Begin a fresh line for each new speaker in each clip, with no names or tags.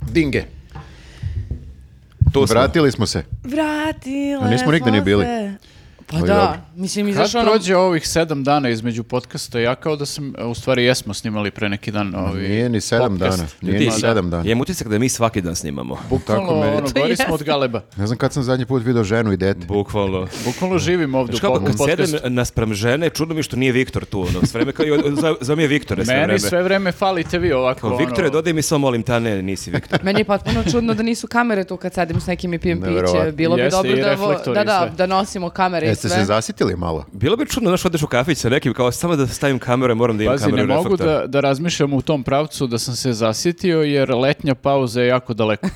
Dinge. Tu smo.
Vratili smo se.
Vratile
A nismo nigde
smo
ni bili.
se. Pa
Ali dobro.
da, mislim,
Kad
izašao nam...
prođe ovih sedam dana između podcasta, ja kao da sam, u stvari jesmo snimali pre neki dan ovaj, ovi...
Nije ni sedam
podcast.
dana. Nije ni
Ti-
sedam dana.
Jem utisak da mi svaki dan snimamo.
Bukvalno,
meni-
ono, gori smo od galeba.
Ne znam kad sam zadnji put video ženu i dete.
Bukvalno.
Bukvalno živim ovdje u
Znaš kako, kad
podcastu.
sedem naspram žene, čudno mi je što nije Viktor tu, ono, sve vreme, kao, i od- za, za mi je Viktore sve vreme.
Meni sve vreme falite vi ovako.
Kao, Viktore,
ono,
dodaj mi samo, molim, ta ne, nisi Viktor.
Meni je potpuno čudno da nisu kamere tu kad sedim s nekim i pijem piće.
Neverovatno.
Bilo bi
Jeste,
dobro da,
i
vo-
reflektori
da,
i
da,
sve.
da nosimo kamere i
Jeste
sve.
se zasitili malo?
Bilo bi čudno, znaš, odeš u kafić sa nekim, kao, samo da stavim kameru, moram da imam
Pazi, ne
kameru
mogu
reflektor.
da, da razmišljam u tom pravcu da sam se zasjetio jer letnja pauza je jako daleko.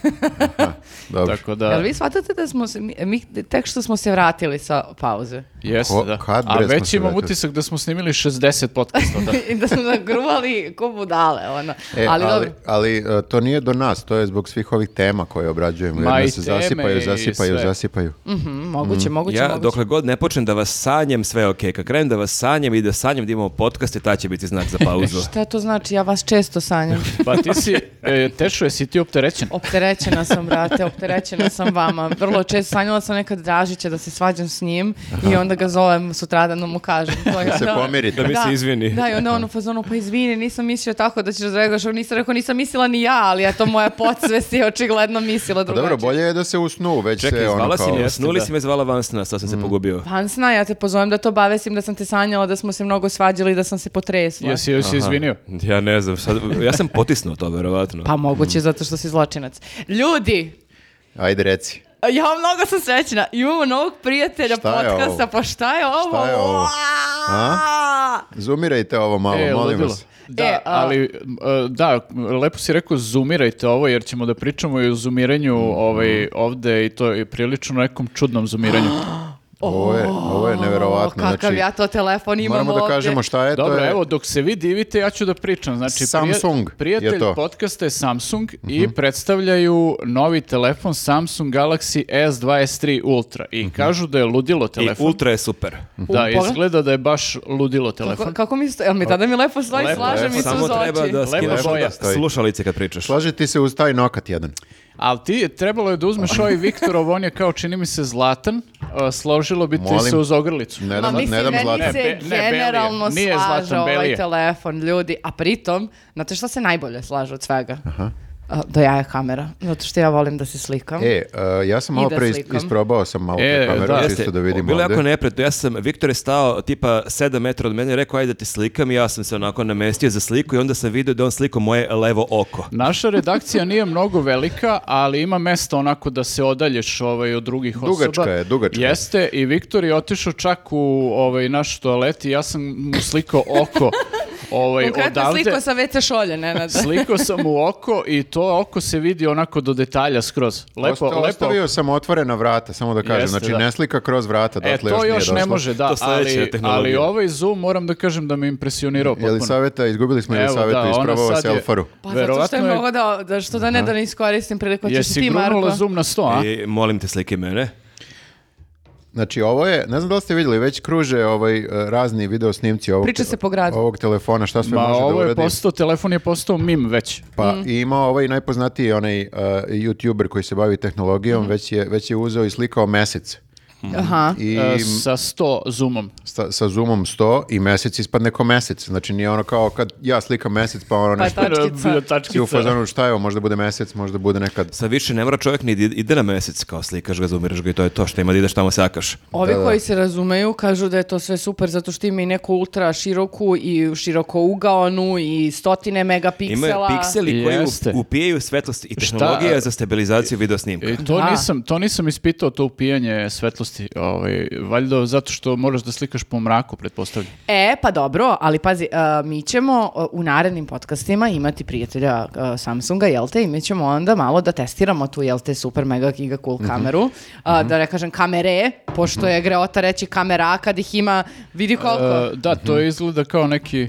Dobro.
Tako
Jel
da,
vi shvatate da smo se, mi, mi tek što smo se vratili sa pauze?
jeste
Ko-
da.
kad
A
bre smo
već
se
imam
vratili?
utisak da smo snimili 60 podcasta. Da.
I da smo nagruvali ko budale, ono.
E,
ali,
ali,
dobro.
ali, e, to nije do nas, to je zbog svih ovih tema koje obrađujemo.
Ma
Jedna
i
se
teme
zasipaju,
i
zasipaju,
sve.
zasipaju.
Mhm, moguće, moguće,
Mm, Ja,
moguće.
dokle god ne počnem da vas sanjem, sve je okej. Kad krenem da vas sanjem i da sanjem da imamo podcast, i ta će biti znak za pauzu.
Šta to znači? Ja vas često sanjam.
Pa ti si, e, Tešo, jesi ti opterećen?
Opterećena sam, brate, opterećena sam vama. Vrlo često sanjala sam nekad Dražića da se svađam s njim i onda ga zovem sutradanom mu kažem. To je,
Da se pomirite.
Da mi se izvini.
Da, i onda on u fazonu, pa izvini, nisam mislio tako da ćeš razregaš. Nisam rekao, nisam mislila ni ja, ali eto moja podsvest je očigledno mislila
Pa dobro,
drugačije.
bolje je da se usnu, već
Čekaj,
se ono
zvala si
kao...
me, snuli si me, zvala van sna, sad
Mm.
sam se pogubio.
Pa-
Pansna, ja te pozovem da to obavesim, da sam te sanjala, da smo se mnogo svađali, da sam se potresla.
Jesi joj se izvinio?
Ja ne znam, sad, ja sam potisnuo to, verovatno.
Pa moguće, zato što si zločinac. Ljudi,
Ajde, reci.
Ja mnogo sam srećna. Imamo novog prijatelja
Šta je
podcasta,
ovo?
pa šta je ovo?
Šta je ovo? A? Zoomirajte ovo malo,
E,
molim
ludilo.
vas.
Da,
E, a-
ali e, da, lepo si rekao zoomirajte ovo jer ćemo da pričamo i o zoomiranju
Mhm.
ovaj, ovde i to je prilično nekom čudnom zoomiranju.
Ovo je, ovo je neverovatno.
Kakav
znači,
ja to telefon imam
Moramo da
ovdje.
kažemo šta je, to
Dobro,
je...
evo, dok se vi divite, ja ću da pričam. Znači, prije-
Samsung je
prijatelj
to. Mhm.
podcasta je Samsung i predstavljaju novi telefon Samsung Galaxy S2 S3 Ultra. I
Mhm.
kažu da je ludilo
I
telefon.
ultra je super.
Da,
Pogled.
izgleda da je baš ludilo
Kako,
telefon.
kako mi stoji? Jel mi tada mi lepo stoji,
Lepo,
slaže
lepo,
mi se
Samo
uz
treba
oči.
da skineš
boja.
onda slušalice kad pričaš.
Slaže ti se uz taj nokat jedan.
Ali ti je- trebalo je da
Pa.
uzmeš ovaj Viktorov, on je kao čini mi se zlatan, a, složilo bi ti
Molim.
se uz ogrlicu.
Ne
Ma
dam,
mislim,
ne dam
meni
zlatan.
se
Ne, be- ne, Beli je.
generalno
Nije
slaže
Zlatan, Beli
ovaj
je.
telefon, ljudi. A pritom, znate šta se najbolje slaže od svega? A, Do jaja kamera. Zato što ja volim da se slikam.
E, uh, ja sam malo
da
pre is-
slikam.
isprobao sam malo
E,
pre kameru,
da.
čisto da vidim
bilo je jako
ovde.
neprijatno. Ja sam, Viktor je stao tipa 7 metra od mene i rekao, ajde da te slikam i ja sam se onako namestio za sliku i onda sam vidio da je on slikao moje levo oko.
Naša redakcija nije mnogo velika, ali ima mesta onako da se odalješ ovaj, od drugih osoba.
Dugačka je, dugačka je.
Jeste, i Viktor je otišao čak u ovaj, naš toalet i ja sam mu slikao oko ovaj,
Konkretno
odavde.
sliko sa WC šolje, Nenad.
Slikao sam mu oko i to oko se vidi onako do detalja skroz. Lepo,
Osta-
lepo.
Ostavio sam otvorena vrata, samo da kažem.
Jeste,
znači,
da.
ne slika kroz vrata,
E,
dotle
to
dakle nije
još ne
došlo.
može, da,
To sledeća
ali, ali
tehnologija.
ovaj zoom moram da kažem da me impresionirao potpuno.
Jelisaveta, izgubili smo Jelisavetu,
ona
isprobao
sad
se
je-
Elfaru.
Pa zato što je mogao da, da što da ne da ne iskoristim priliku. Hoćeš
Jesi
ti, Marko?
grunula zoom na 100,
E,
a?
I molim te slike mene.
Znači, ovo je, ne znam da li ste vidjeli, već kruže ovaj, eh, razni video snimci ovog,
Priča se po gradu.
ovog telefona, šta sve
Ma
može da
ovo je
uradi.
postao, telefon je postao mim već.
Pa
Mm.
i ima ovaj najpoznatiji onaj eh, youtuber koji se bavi tehnologijom,
Mm.
već, je, već je uzeo i slikao mesec.
Aha.
I
E, sa 100 zoomom.
sta- sa zoomom 100 i mesec ispadne kao mesec. Znači nije ono kao kad ja slikam mesec pa ono
Pa
nešto
je Tačkica.
E,
si u
Tačkica.
fazonu šta je ovo, možda bude mesec, možda bude nekad.
Sad više ne mora čovjek ni da ide na mesec, kao slikaš ga, zoomiraš ga i to je to što ima da ideš tamo sakaš.
Ovi koji se razumeju kažu da je to sve super zato što ima i neku ultra široku i široko ugaonu i stotine megapiksela.
Imaju pikseli koji
Jeste.
up- upijaju svetlost i tehnologija za stabilizaciju video snimka.
I to
Da.
nisam, to nisam ispitao, to upijanje svetlosti. Ovaj, valjda zato što moraš da slikaš po mraku, pretpostavljam.
E, pa dobro, ali pazi, a, mi ćemo a, u narednim podcastima imati prijatelja a, Samsunga, jel te, i mi ćemo onda malo da testiramo tu, jel te, super mega giga cool kameru, A, da ne kažem kamere, pošto je greota reći kamera kad ih ima, vidi koliko.
E, da, to
Mhm.
izgleda kao neki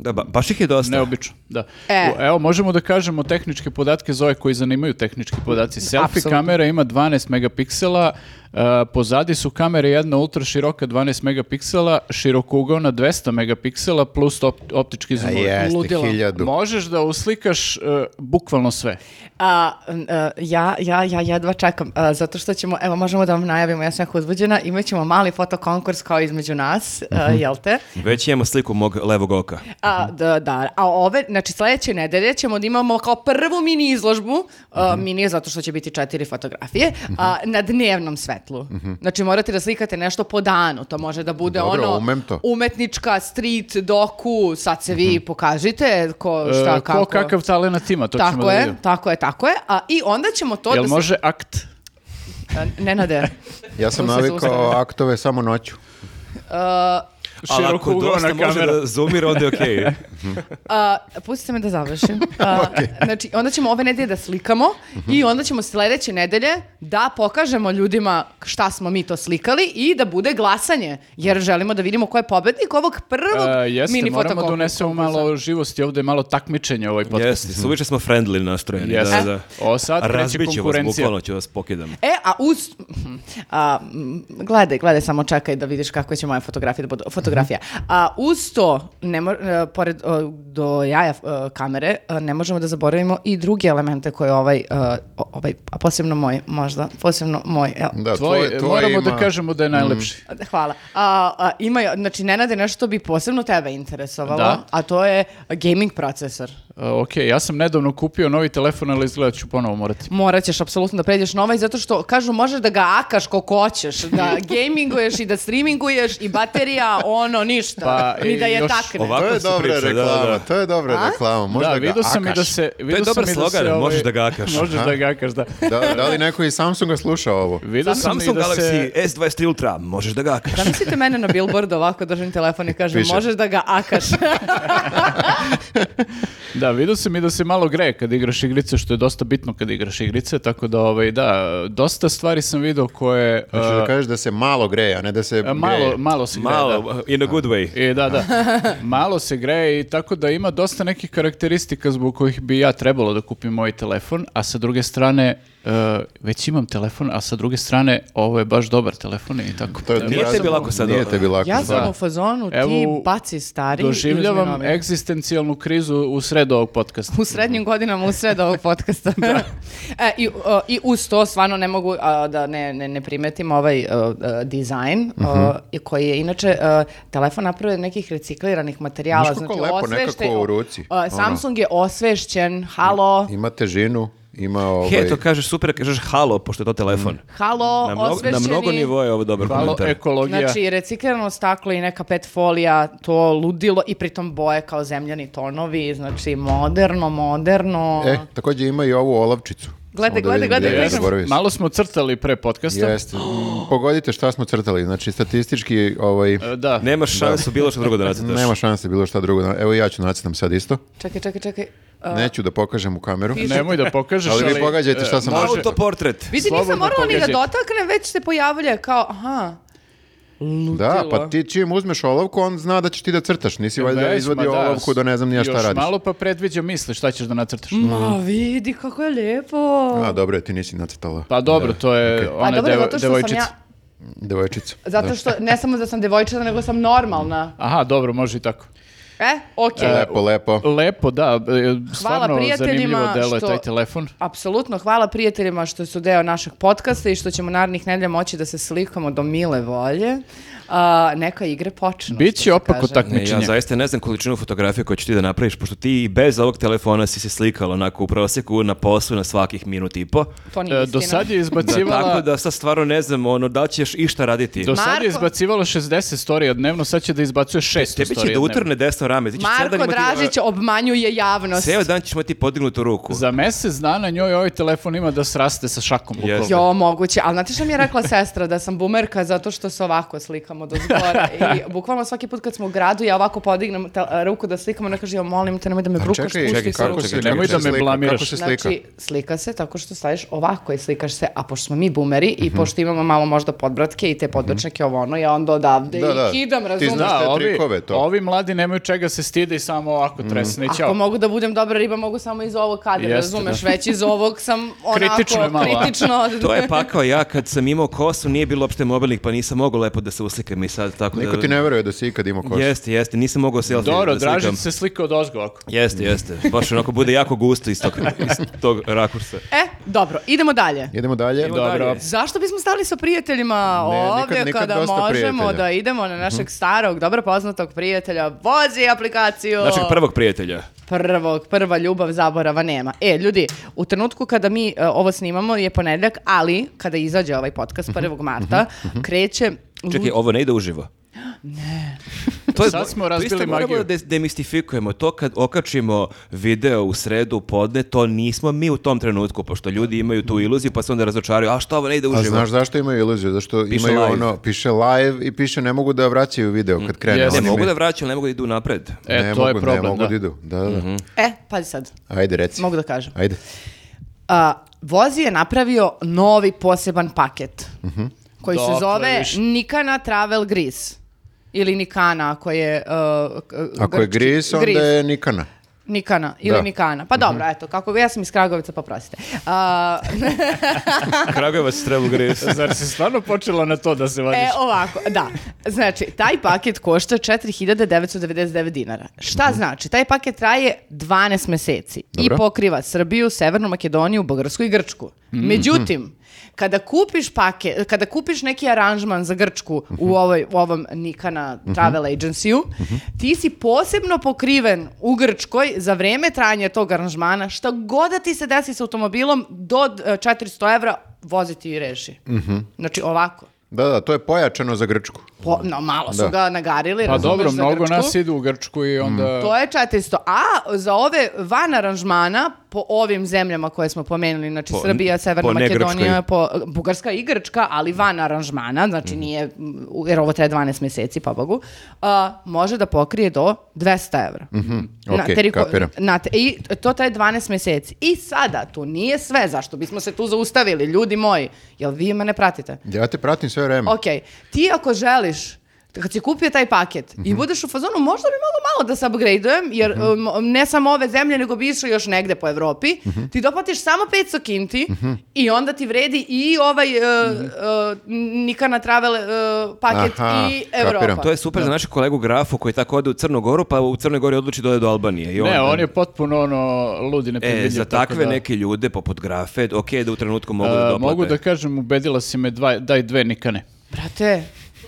Da, ba- baš ih je dosta.
neobično. Da.
E.
U- Evo, možemo da kažemo tehničke podatke za ove koji zanimaju tehnički podaci. Selfie
Apsolutno.
kamera ima 12 megapiksela, E, pozadi su kamere jedna ultra široka 12 megapiksela, širokugona 200 megapiksela plus op- optički zoom.
jeste,
Ludilo.
hiljadu.
Možeš da uslikaš e, bukvalno sve.
A, n- e, ja, ja, ja jedva čekam, e, zato što ćemo, evo možemo da vam najavimo, ja sam jako uzbuđena, imat ćemo mali fotokonkurs kao između nas, e,
Mhm.
jel te?
Već imamo sliku mog levog oka.
A, da, da, a ove, znači sledeće nedelje ćemo da imamo kao prvu mini izložbu, a,
Mhm.
mini zato što će biti četiri fotografije, a, na dnevnom svetlu.
Mhm.
Znači morate da slikate nešto po danu, to može da bude
Dobro,
ono
umem to.
umetnička, street, doku, sad se vi pokažite ko, šta,
Mhm. E,
kako.
Ko kakav talenat ima, to ćemo
tako
da
je,
vidimo.
tako je, tako je. A, I onda ćemo to
Jel
da se-
može akt?
E, Nenade,
Ja sam
To se
navikao
zaustavlja.
aktove samo noću.
Ali ako dosta
Širokugona
može
kamera.
da zoomira, onda je okej.
a, pustite me da završim. A, Znači, onda ćemo ove nedelje da slikamo
Mhm.
i onda ćemo sledeće nedelje da pokažemo ljudima šta smo mi to slikali i da bude glasanje, jer želimo da vidimo ko je pobednik ovog prvog
E, jeste,
mini
moramo da
fotokonkursa.
unesemo malo živosti, ovdje je malo takmičenje ovaj podcast.
Jeste, suviše smo friendly nastrojeni.
Jeste.
Da, da.
O, sad kreće
Razbit ću vas,
konkurencija.
bukvalno ću vas pokidam.
E, a uz... A, mm, gledaj, gledaj, samo čekaj da vidiš kako će moja fotografija da bude, fotografija. A uz to, ne mo- e, pored e, do jaja e, kamere, e, ne možemo da zaboravimo i druge elemente koje ovaj, e, o- ovaj, a posebno moj, možda, posebno moj, e,
Da,
Tvoj,
tvoj- tvoj
moramo
Pa
da
ima- Mm.
kažemo da je najlepši.
Hvala. A, a, ima, znači, Nenade, nešto bi posebno tebe interesovalo,
Da.
a to je gaming procesor.
A, E, ok, ja sam nedavno kupio novi telefon, ali izgleda ću ponovo morati.
Morat ćeš apsolutno da pređeš na ovaj, zato što, kažu, možeš da ga akaš koliko hoćeš, da gaminguješ i da streaminguješ i baterija, ono, ništa.
Pa,
Ni da
i
je
još
takne.
Ovako
To je
se
dobra
priča, da,
reklama,
da.
to je dobra
A?
reklama. Možda
da,
ga
vidio sam i da
akaš.
se... vidio sam
dobar
i da se,
slogan,
ovaj,
možeš da ga akaš.
možeš da ga akaš, da.
Da, da li neko iz Samsunga sluša ovo?
Vidio sam i
Samsung
da
Galaxy
se...
S23 Ultra, možeš da ga akaš.
Zamislite mene na billboardu ovako držim telefon i kažem,
Piše.
možeš da ga akaš.
Da, vidio sam i da se malo greje kad igraš igrice, što je dosta bitno kad igraš igrice, tako da, ovaj, da, dosta stvari sam vidio koje...
Znači da
a,
kažeš da se malo greje, a ne da se
a, Uh, e, malo,
greje.
malo se greje, da.
Malo, in a good way.
E, da, da. Malo se greje i tako da ima dosta nekih karakteristika zbog kojih bi ja trebalo da kupim moj telefon, a sa druge strane, e, već imam telefon, a sa druge strane, ovo je baš dobar telefon i tako.
To je
Nije
ti-
tebi lako sad
Nije
ovo.
tebi lako.
ja sam
Da.
u fazonu, ti
Evo,
baci stari. i uzmi
Doživljavam
novi.
ovaj.
egzistencijalnu krizu u sred ovog podcasta.
U srednjim godinama, u sred ovog podcasta. e, i, o, I uz to stvarno ne mogu a, da ne, ne, ne primetim ovaj o, e, dizajn o,
Mhm.
i koji je inače e, telefon napravio od nekih recikliranih materijala. znači
Znaš kako lepo nekako u ruci, Ono.
o, Samsung je osvešćen, halo,
Ima težinu, ima ovaj...
He, to kažeš super, kažeš halo, pošto je to telefon.
Mm.
halo,
Na, mnogo, na
osvešćeni.
mnogo nivoa je ovo dobar
Hvala,
komentar.
ekologija.
Znači, reciklirano staklo i neka pet folija, to ludilo i pritom boje kao zemljani tonovi, znači moderno, moderno.
E, također ima i ovu olavčicu.
Gledaj,
Samo da vidim
gledaj, gledaj,
gdje je,
gledaj.
zaboravio sam.
Malo smo crtali pre podcasta.
Jeste. Pogodite šta smo crtali. Znači, statistički, ovaj,
E, Da.
Nemaš šansu bilo što drugo da nacrtaš.
nema šanse bilo šta drugo. Evo ja ću nacrtam sad isto.
Čekaj, čekaj, čekaj. E, A,
Neću da pokažem u kameru.
Nemoj da pokažeš,
Ali vi pogađajte
e,
šta sam-
može-
Autoportret.
Vidi, nisam
Slobodno
morala ni da
pogađajte.
dotaknem, već se pojavlja kao, aha,
Da, pa ti čim uzmeš olovku, on zna da ćeš ti da crtaš. Nisi valjda
Već,
izvadio
ma pa da,
olovku da ne znam nija šta
Još
radiš.
malo pa predviđa misli šta ćeš da nacrtaš.
ma vidi kako je lijepo.
A, dobro je, ti nisi nacrtala.
Pa dobro, to je
okej.
A
ona
dobro,
devo-
zato što sam
devojčica.
ja,
Devojčicu.
zato što ne samo da sam devojčica, nego sam normalna.
Aha, dobro, može i tako.
E, okej.
Lepo, lepo.
Lepo, da, e, stvarno
prijateljima
zanimljivo delo je
što-
taj telefon. E,
Apsolutno, hvala prijateljima što su deo našeg podcasta i što ćemo narednih nedelja moći da se slikamo do mile volje. A, neka igre počnu. što se
Biće opako
kaže.
Ne,
takmičenje.
ja zaista ne znam količinu fotografija koju ću ti da napraviš, pošto ti i bez ovog telefona si se slikala onako u prosjeku na poslu na svakih minut i po.
To nije
E,
istina.
do sad je
Da, tako
izbacivala...
da sad stvarno ne znam ono, da li ćeš išta raditi.
Do sad
Marko-
je izbacivala 60 storija dnevno, sad će da izbacuje 600
Tebi će
storija
da
dnevno.
utrne desno rame. znači, Ti ćeš ceo dan
Marko
imati,
Dražić obmanjuje javnost.
Ceo dan ćeš imati podignutu ruku.
Za mjesec dana njoj ovaj telefon ima da sraste sa šakom. bukvalno.
Jeste.
Jo, moguće. Ali znate što mi je rekla sestra? Da sam bumerka zato što se ovako slikam slikamo do zgora. I bukvalno svaki put kad smo u gradu, ja ovako podignem te- ruku da slikam, ona kaže, ja molim te, nemoj da me
A
brukaš,
Pa čekaj,
pusti
čekaj,
se
kako
ruku."
se,
Nemoj
kako se
da me
slika? Kako
blamiraš.
se slika?
Znači, slika se tako što staviš ovako i slikaš se, a pošto smo mi bumeri
Mhm.
i pošto imamo malo možda podbratke i te podbratčake ovo ono, ja onda odavde
Da,
i
da.
kidam,
Ti ono,
razumiješ?
znaš
Da,
te
ovi,
trikove, to.
ovi mladi nemaju čega se stide i samo ovako tresne i
Ako
ćao.
mogu da budem dobra riba, mogu samo iz ovog kadra,
Jeste,
razumeš?
da.
Već iz ovog sam onako
Kritično je malo, a?
kritično.
To je pakao ja kad sam imao kosu, nije bilo uopšte mobilnih, pa nisam mogao lepo da se uslikam i sad tako
Niko
da...
ti ne veruje da si ikad imao kosu.
Jeste, jeste, nisam mogao selfie
Dobro,
da slikam.
Dražić se slika od ozgo ovako.
Jeste, jeste. Baš onako bude jako gusto iz tog, iz tog rakursa.
E, dobro, idemo dalje.
Idemo dalje.
Idemo
Dobro.
dalje.
Zašto bismo stali sa prijateljima
Ne, nikad-
ovdje
nikad
kada
dosta
možemo
prijatelja. Mhm.
da idemo na našeg starog, dobro poznatog prijatelja, vozi aplikaciju.
Našeg prvog prijatelja.
prvog, prva ljubav zaborava nema. E, ljudi, u trenutku kada mi e, ovo snimamo je ponedjeljak, ali kada izađe ovaj podcast
Mhm.
1. marta, kreće...
Čekaj, ovo ne ide uživo. Ne. To
Sad smo
to
razbili
isto moramo
magiju.
da des- demistifikujemo to kad okačimo video u sredu podne, to nismo mi u tom trenutku, pošto ljudi imaju tu iluziju pa se onda razočaraju, a što ovo ne ide uživo?
A Pa znaš zašto imaju iluziju? Zašto imaju
live.
ono, piše live i piše ne mogu da vraćaju video kad krene.
Jeste.
ne
Oni
mogu
mi-
da vraćam, ne mogu da idu napred.
E,
ne
to
mogu,
je problem,
Ne mogu da
da.
idu. Da, da.
E, pazi sad,
Ajde, reci.
mogu da kažem.
Ajde.
A, vozi je napravio novi poseban paket
Mhm.
koji
Dokle
se zove
više?
Nikana Travel Gris. Ili Nikana, ako je... uh, k-
Ako je
grčki-
gris, onda je Nikana.
Nikana ili
Da. Mhm.
Nikana. Pa dobro, eto, kako, ja sam iz Kragovica, pa prostite. A,
Kragujevac strelu gris.
Zar si stvarno počela na to da se vadiš?
E, ovako, da. Znači, taj paket košta 4999 dinara. Šta znači? Taj paket traje 12 meseci
Dobro.
i pokriva Srbiju, Severnu Makedoniju, Bugarsku i Grčku. Međutim, kada kupiš paket, kada kupiš neki aranžman za Grčku u, ovoj, u ovom Nikana Travel Agency-u, ti si posebno pokriven u Grčkoj za vreme trajanja tog aranžmana, šta god da ti se desi s automobilom, do e, 400 evra voziti i reši. Znači ovako.
Da, da, to je pojačano za Grčku.
Po, no, malo su
Da.
ga nagarili.
Pa
razumeš,
dobro,
za
mnogo
Grčku.
nas idu u Grčku i onda...
To je 400. A za ove van aranžmana, po ovim zemljama koje smo pomenuli, znači
Po-
Srbija, Severna
po ne
Makedonija,
Grčkoj. Mhm.
po Bugarska i Grčka, ali van aranžmana, znači nije, jer ovo traje 12 mjeseci, pa bogu, a, može da pokrije do 200 evra.
Mhm,
okej,
teriko-
kapiram.
na te- I to traje 12 mjeseci. I sada, to nije sve, zašto bismo se tu zaustavili, ljudi moji, jel vi mene pratite?
Ja te pratim sve vreme.
Ok, ti ako želiš kad si kupio taj paket i budeš u fazonu, možda bi mogu malo da se upgradeujem, jer um, ne samo ove zemlje, nego bi išao još negde po Evropi, ti doplatiš samo 500 kinti i onda ti vredi i ovaj uh, uh, Nikana Travel uh, paket
Aha,
i
kapiram.
Evropa.
To je super za našeg kolegu Grafu koji tako ode u Crnu Goru, pa u Crnoj Gori odluči da ode do Albanije. I
Ne,
onda-
on je potpuno ono ludi ne
E, za takve neke ljude poput Grafe, ok, da u trenutku mogu da doplate.
E, mogu da kažem, ubedila si me dva, daj dve nikane.
Brate,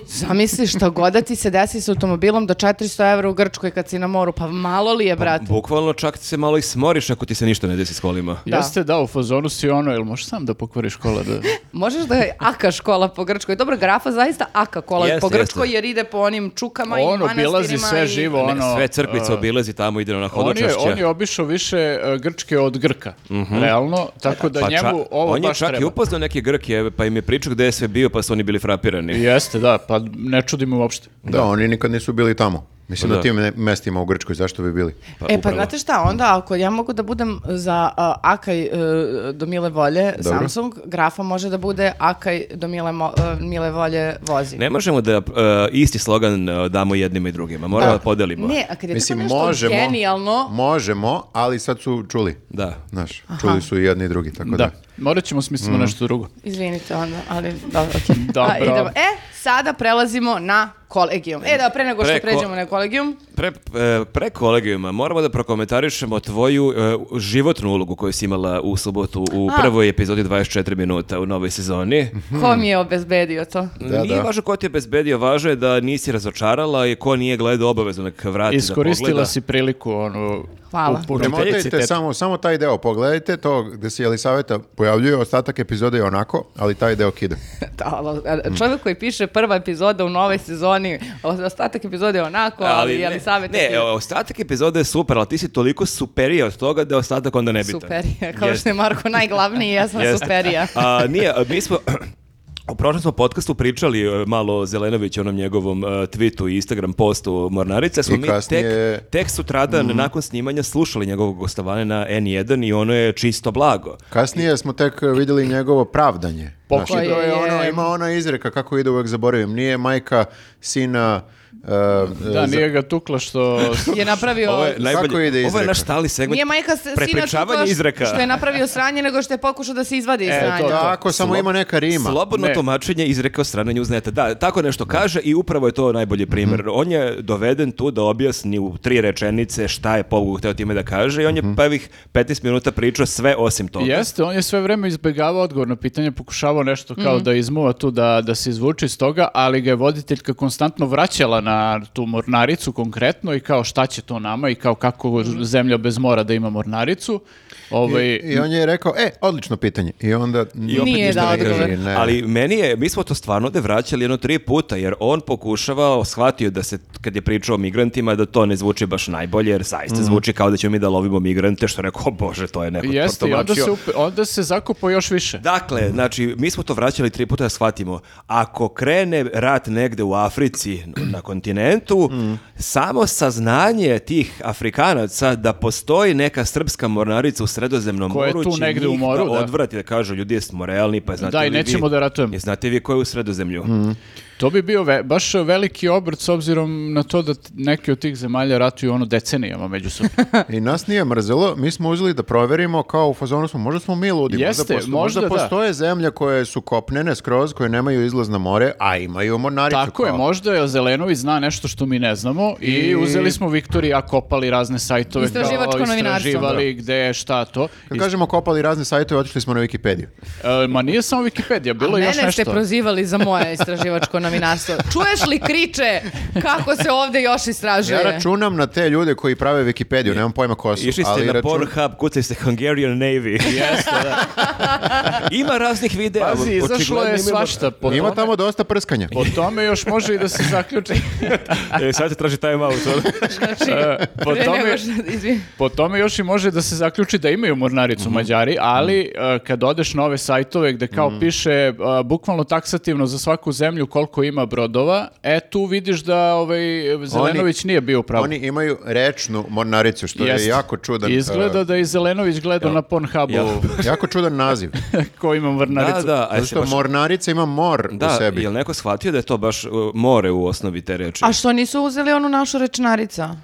zamisli šta god da ti se desi s automobilom do 400 evra u Grčkoj kad si na moru, pa malo li je, brate?
Bukvalno čak se malo i smoriš ako ti se ništa ne desi s kolima.
Da.
Jeste da, u fazonu si ono, jel možeš sam da pokvariš kola da...
Možeš da je aka škola po Grčkoj. Dobro, grafa zaista aka kola
Jeste,
po Grčkoj
jeste.
jer ide po onim čukama i
ono,
manastirima.
bilazi sve
i-
živo,
Ne,
ono...
sve crkvice
uh,
obilazi tamo, ide na
On je,
hodočašće.
on je obišao više uh, Grčke od Grka, realno, tako da
Mhm. Pa ča-
njemu ovo
on je
baš
čak i
treba.
upoznao neke Grke, pa im je pričao gde je sve bio, pa su oni bili frapirani.
Jeste, da, pa ne čudi me uopšte.
Da, oni nikad nisu bili tamo. Mislim
Pa
na
da.
tim ne- mestima u Grčkoj, zašto bi bili?
e, pa
upravo.
znate šta, onda ako ja mogu da budem za a, Akaj e, do mile volje
Dobro.
Samsung, grafa može da bude Akaj do mile, mo- e, mile volje vozi.
Ne možemo da e, isti slogan e, damo jednima i drugima, moramo da, podelimo.
Ne, a kad je
Mislim,
tako nešto
možemo,
genijalno,
možemo, ali sad su čuli.
Da.
Znaš, čuli su i jedni i drugi, tako da.
Da, morat ćemo smislimo
Mhm.
nešto drugo.
izvinite onda, ali dobro, okej. A,
Dobro.
idemo. E, sada prelazimo na kolegijum. E da, pre nego što
Preko-
pređemo na kolegijum,
Pre, e, pre kolegijuma moramo da prokomentarišemo tvoju e, životnu ulogu koju si imala u subotu u
A.
prvoj epizodi 24 minuta u novoj sezoni.
ko mi je obezbedio to?
Da,
nije
da.
važno ko ti je bezbedio, važno je da nisi razočarala i ko nije gledao obavezno nek vrati da
Iskoristila
pogleda.
si priliku, ono...
Hvala.
u punom
Premotajte
kapacitetu.
samo, samo taj deo, pogledajte to gde se Jelisaveta pojavljuje, ostatak epizode je onako, ali taj deo kida.
Da, ali, a, čovjek koji piše prva epizoda u novoj sezoni, o- ostatak epizode je onako, ali, ali,
ne,
savjet
ne, ostatak epizode je super, ali ti si toliko superija od toga da je ostatak onda nebitan.
Superija, kao
Jeste.
što je Marko najglavniji, ja sam
Jeste.
superija.
A, nije, a, mi smo... U prošlom smo podcastu pričali e, malo o Zelenoviću, onom njegovom e, tweetu i Instagram postu Mornarice. Smo
I
mi
kasnije- Mhm.
tek, tek sutradan nakon snimanja slušali njegovog gostovanja na N1 i ono je čisto blago.
Kasnije smo tek uh, vidjeli njegovo pravdanje.
Pokoj
Znaš, to je
je-
ono, ima ona izreka, kako ide uvek zaboravim. Nije majka sina... uh,
Da,
uh,
nije ga tukla što...
Je napravio...
Ovo je
Kako ide
Ovo je naš
izreka?
stali segment.
Nije majka s- sina
prepričavanje
tukla š-
izreka.
što je napravio sranje, nego što je pokušao da se izvadi iz
E,
sranja.
to, to.
Da, ako samo
Slob-
ima neka rima.
Slobodno
Ne.
tumačenje izrekao strane newsneta. Da, tako nešto kaže i upravo je to najbolji primjer.
Mhm.
On je doveden tu da objasni u tri rečenice šta je Bogu hteo time da kaže i on je
Mhm.
prvih 15 minuta pričao sve osim toga.
Jeste, on je sve vreme izbegavao odgovor na pitanje, pokušavao nešto kao da izmuva tu, da, da se izvuče iz toga, ali ga je voditeljka konstantno vraćala na tu mornaricu konkretno i kao šta će to nama i kao kako zemlja bez mora da ima mornaricu. Ovaj,
I, I on je rekao, e, odlično pitanje. I onda...
I opet
Nije
ništa
dao
ne kaže.
odgovor.
Ne.
Ali meni je, mi smo to stvarno ovde vraćali jedno tri puta, jer on pokušavao, shvatio da se, kad je pričao o migrantima, da to ne zvuči baš najbolje, jer zaista
Mhm.
zvuči kao da ćemo mi da lovimo migrante, što je rekao, o bože, to je neko
Jeste, i onda
protumačio.
se, upe- onda se zakopao još više.
Dakle, znači, mi smo to vraćali tri puta da shvatimo. Ako krene rat negde u Africi, na kontinentu, samo saznanje tih Afrikanaca da postoji neka srpska mornarica u sredozemnom
Koja je
moru
tu
će
negde u
njih
moru,
da
da.
odvrati, da kažu, ljudi, jesmo realni, pa znate
Da, i
li vi-
nećemo da ratujemo. Mm.
Je, znate vi ko je u sredozemlju?
To bi bio ve- baš veliki obrt s obzirom na to da t- neke od tih zemalja ratuju ono decenijama međusobno.
I nas nije mrzelo, mi smo uzeli da proverimo kao u fazonu smo, možda smo mi ludi, možda,
Jeste,
posto-
možda da.
postoje zemlje koje su kopnene skroz, koje nemaju izlaz na more, a imaju mornaricu.
Tako je,
kao.
možda je Zelenović zna nešto što mi ne znamo i, uzeli smo Viktorija, kopali razne sajtove, kao
Istraživačko novinarstvo.
istraživali gde je šta to.
Kad kažemo kopali razne sajtove, otišli smo na Wikipediju.
E, ma nije samo Wikipedija, bilo
A
je još
mene
nešto.
ste prozivali za moje istraživačko novinarstvo. Čuješ li kriče kako se ovde još istražuje?
Ja računam na te ljude koji prave Wikipediju, nemam pojma ko su.
Išli ste
ali
na
račun-
Pornhub, kucali ste Hungarian Navy.
Jeste, da.
Ima raznih videa.
Pazi, izašlo
očigledno ima-
je svašta. Po
Ima
tome,
tamo dosta prskanja.
po tome još može i da se zaključi.
E, sad se traži time out. ono.
Znači,
E, po
pre
tome-
nego što- izvini.
Po tome još i može da se zaključi da imaju mornaricu Mađari, ali e, kad odeš na ove sajtove gde kao piše e, bukvalno taksativno za svaku zemlju koliko ima brodova, e tu vidiš da ovaj Zelenović nije bio pravo.
Oni imaju rečnu mornaricu, što je jako čudan,
Izgleda
e,
uh,
da je i Zelenović gledao na Pornhubu
Jel?
jako čudan naziv.
ko ima
da,
mornaricu.
da. a
Zato
jesi
što
baš-
mornarica ima mor u
Da,
sebi.
jel neko shvatio da je to baš uh, more u osnovi te reči?
A što nisu uzeli onu našu rečnarica?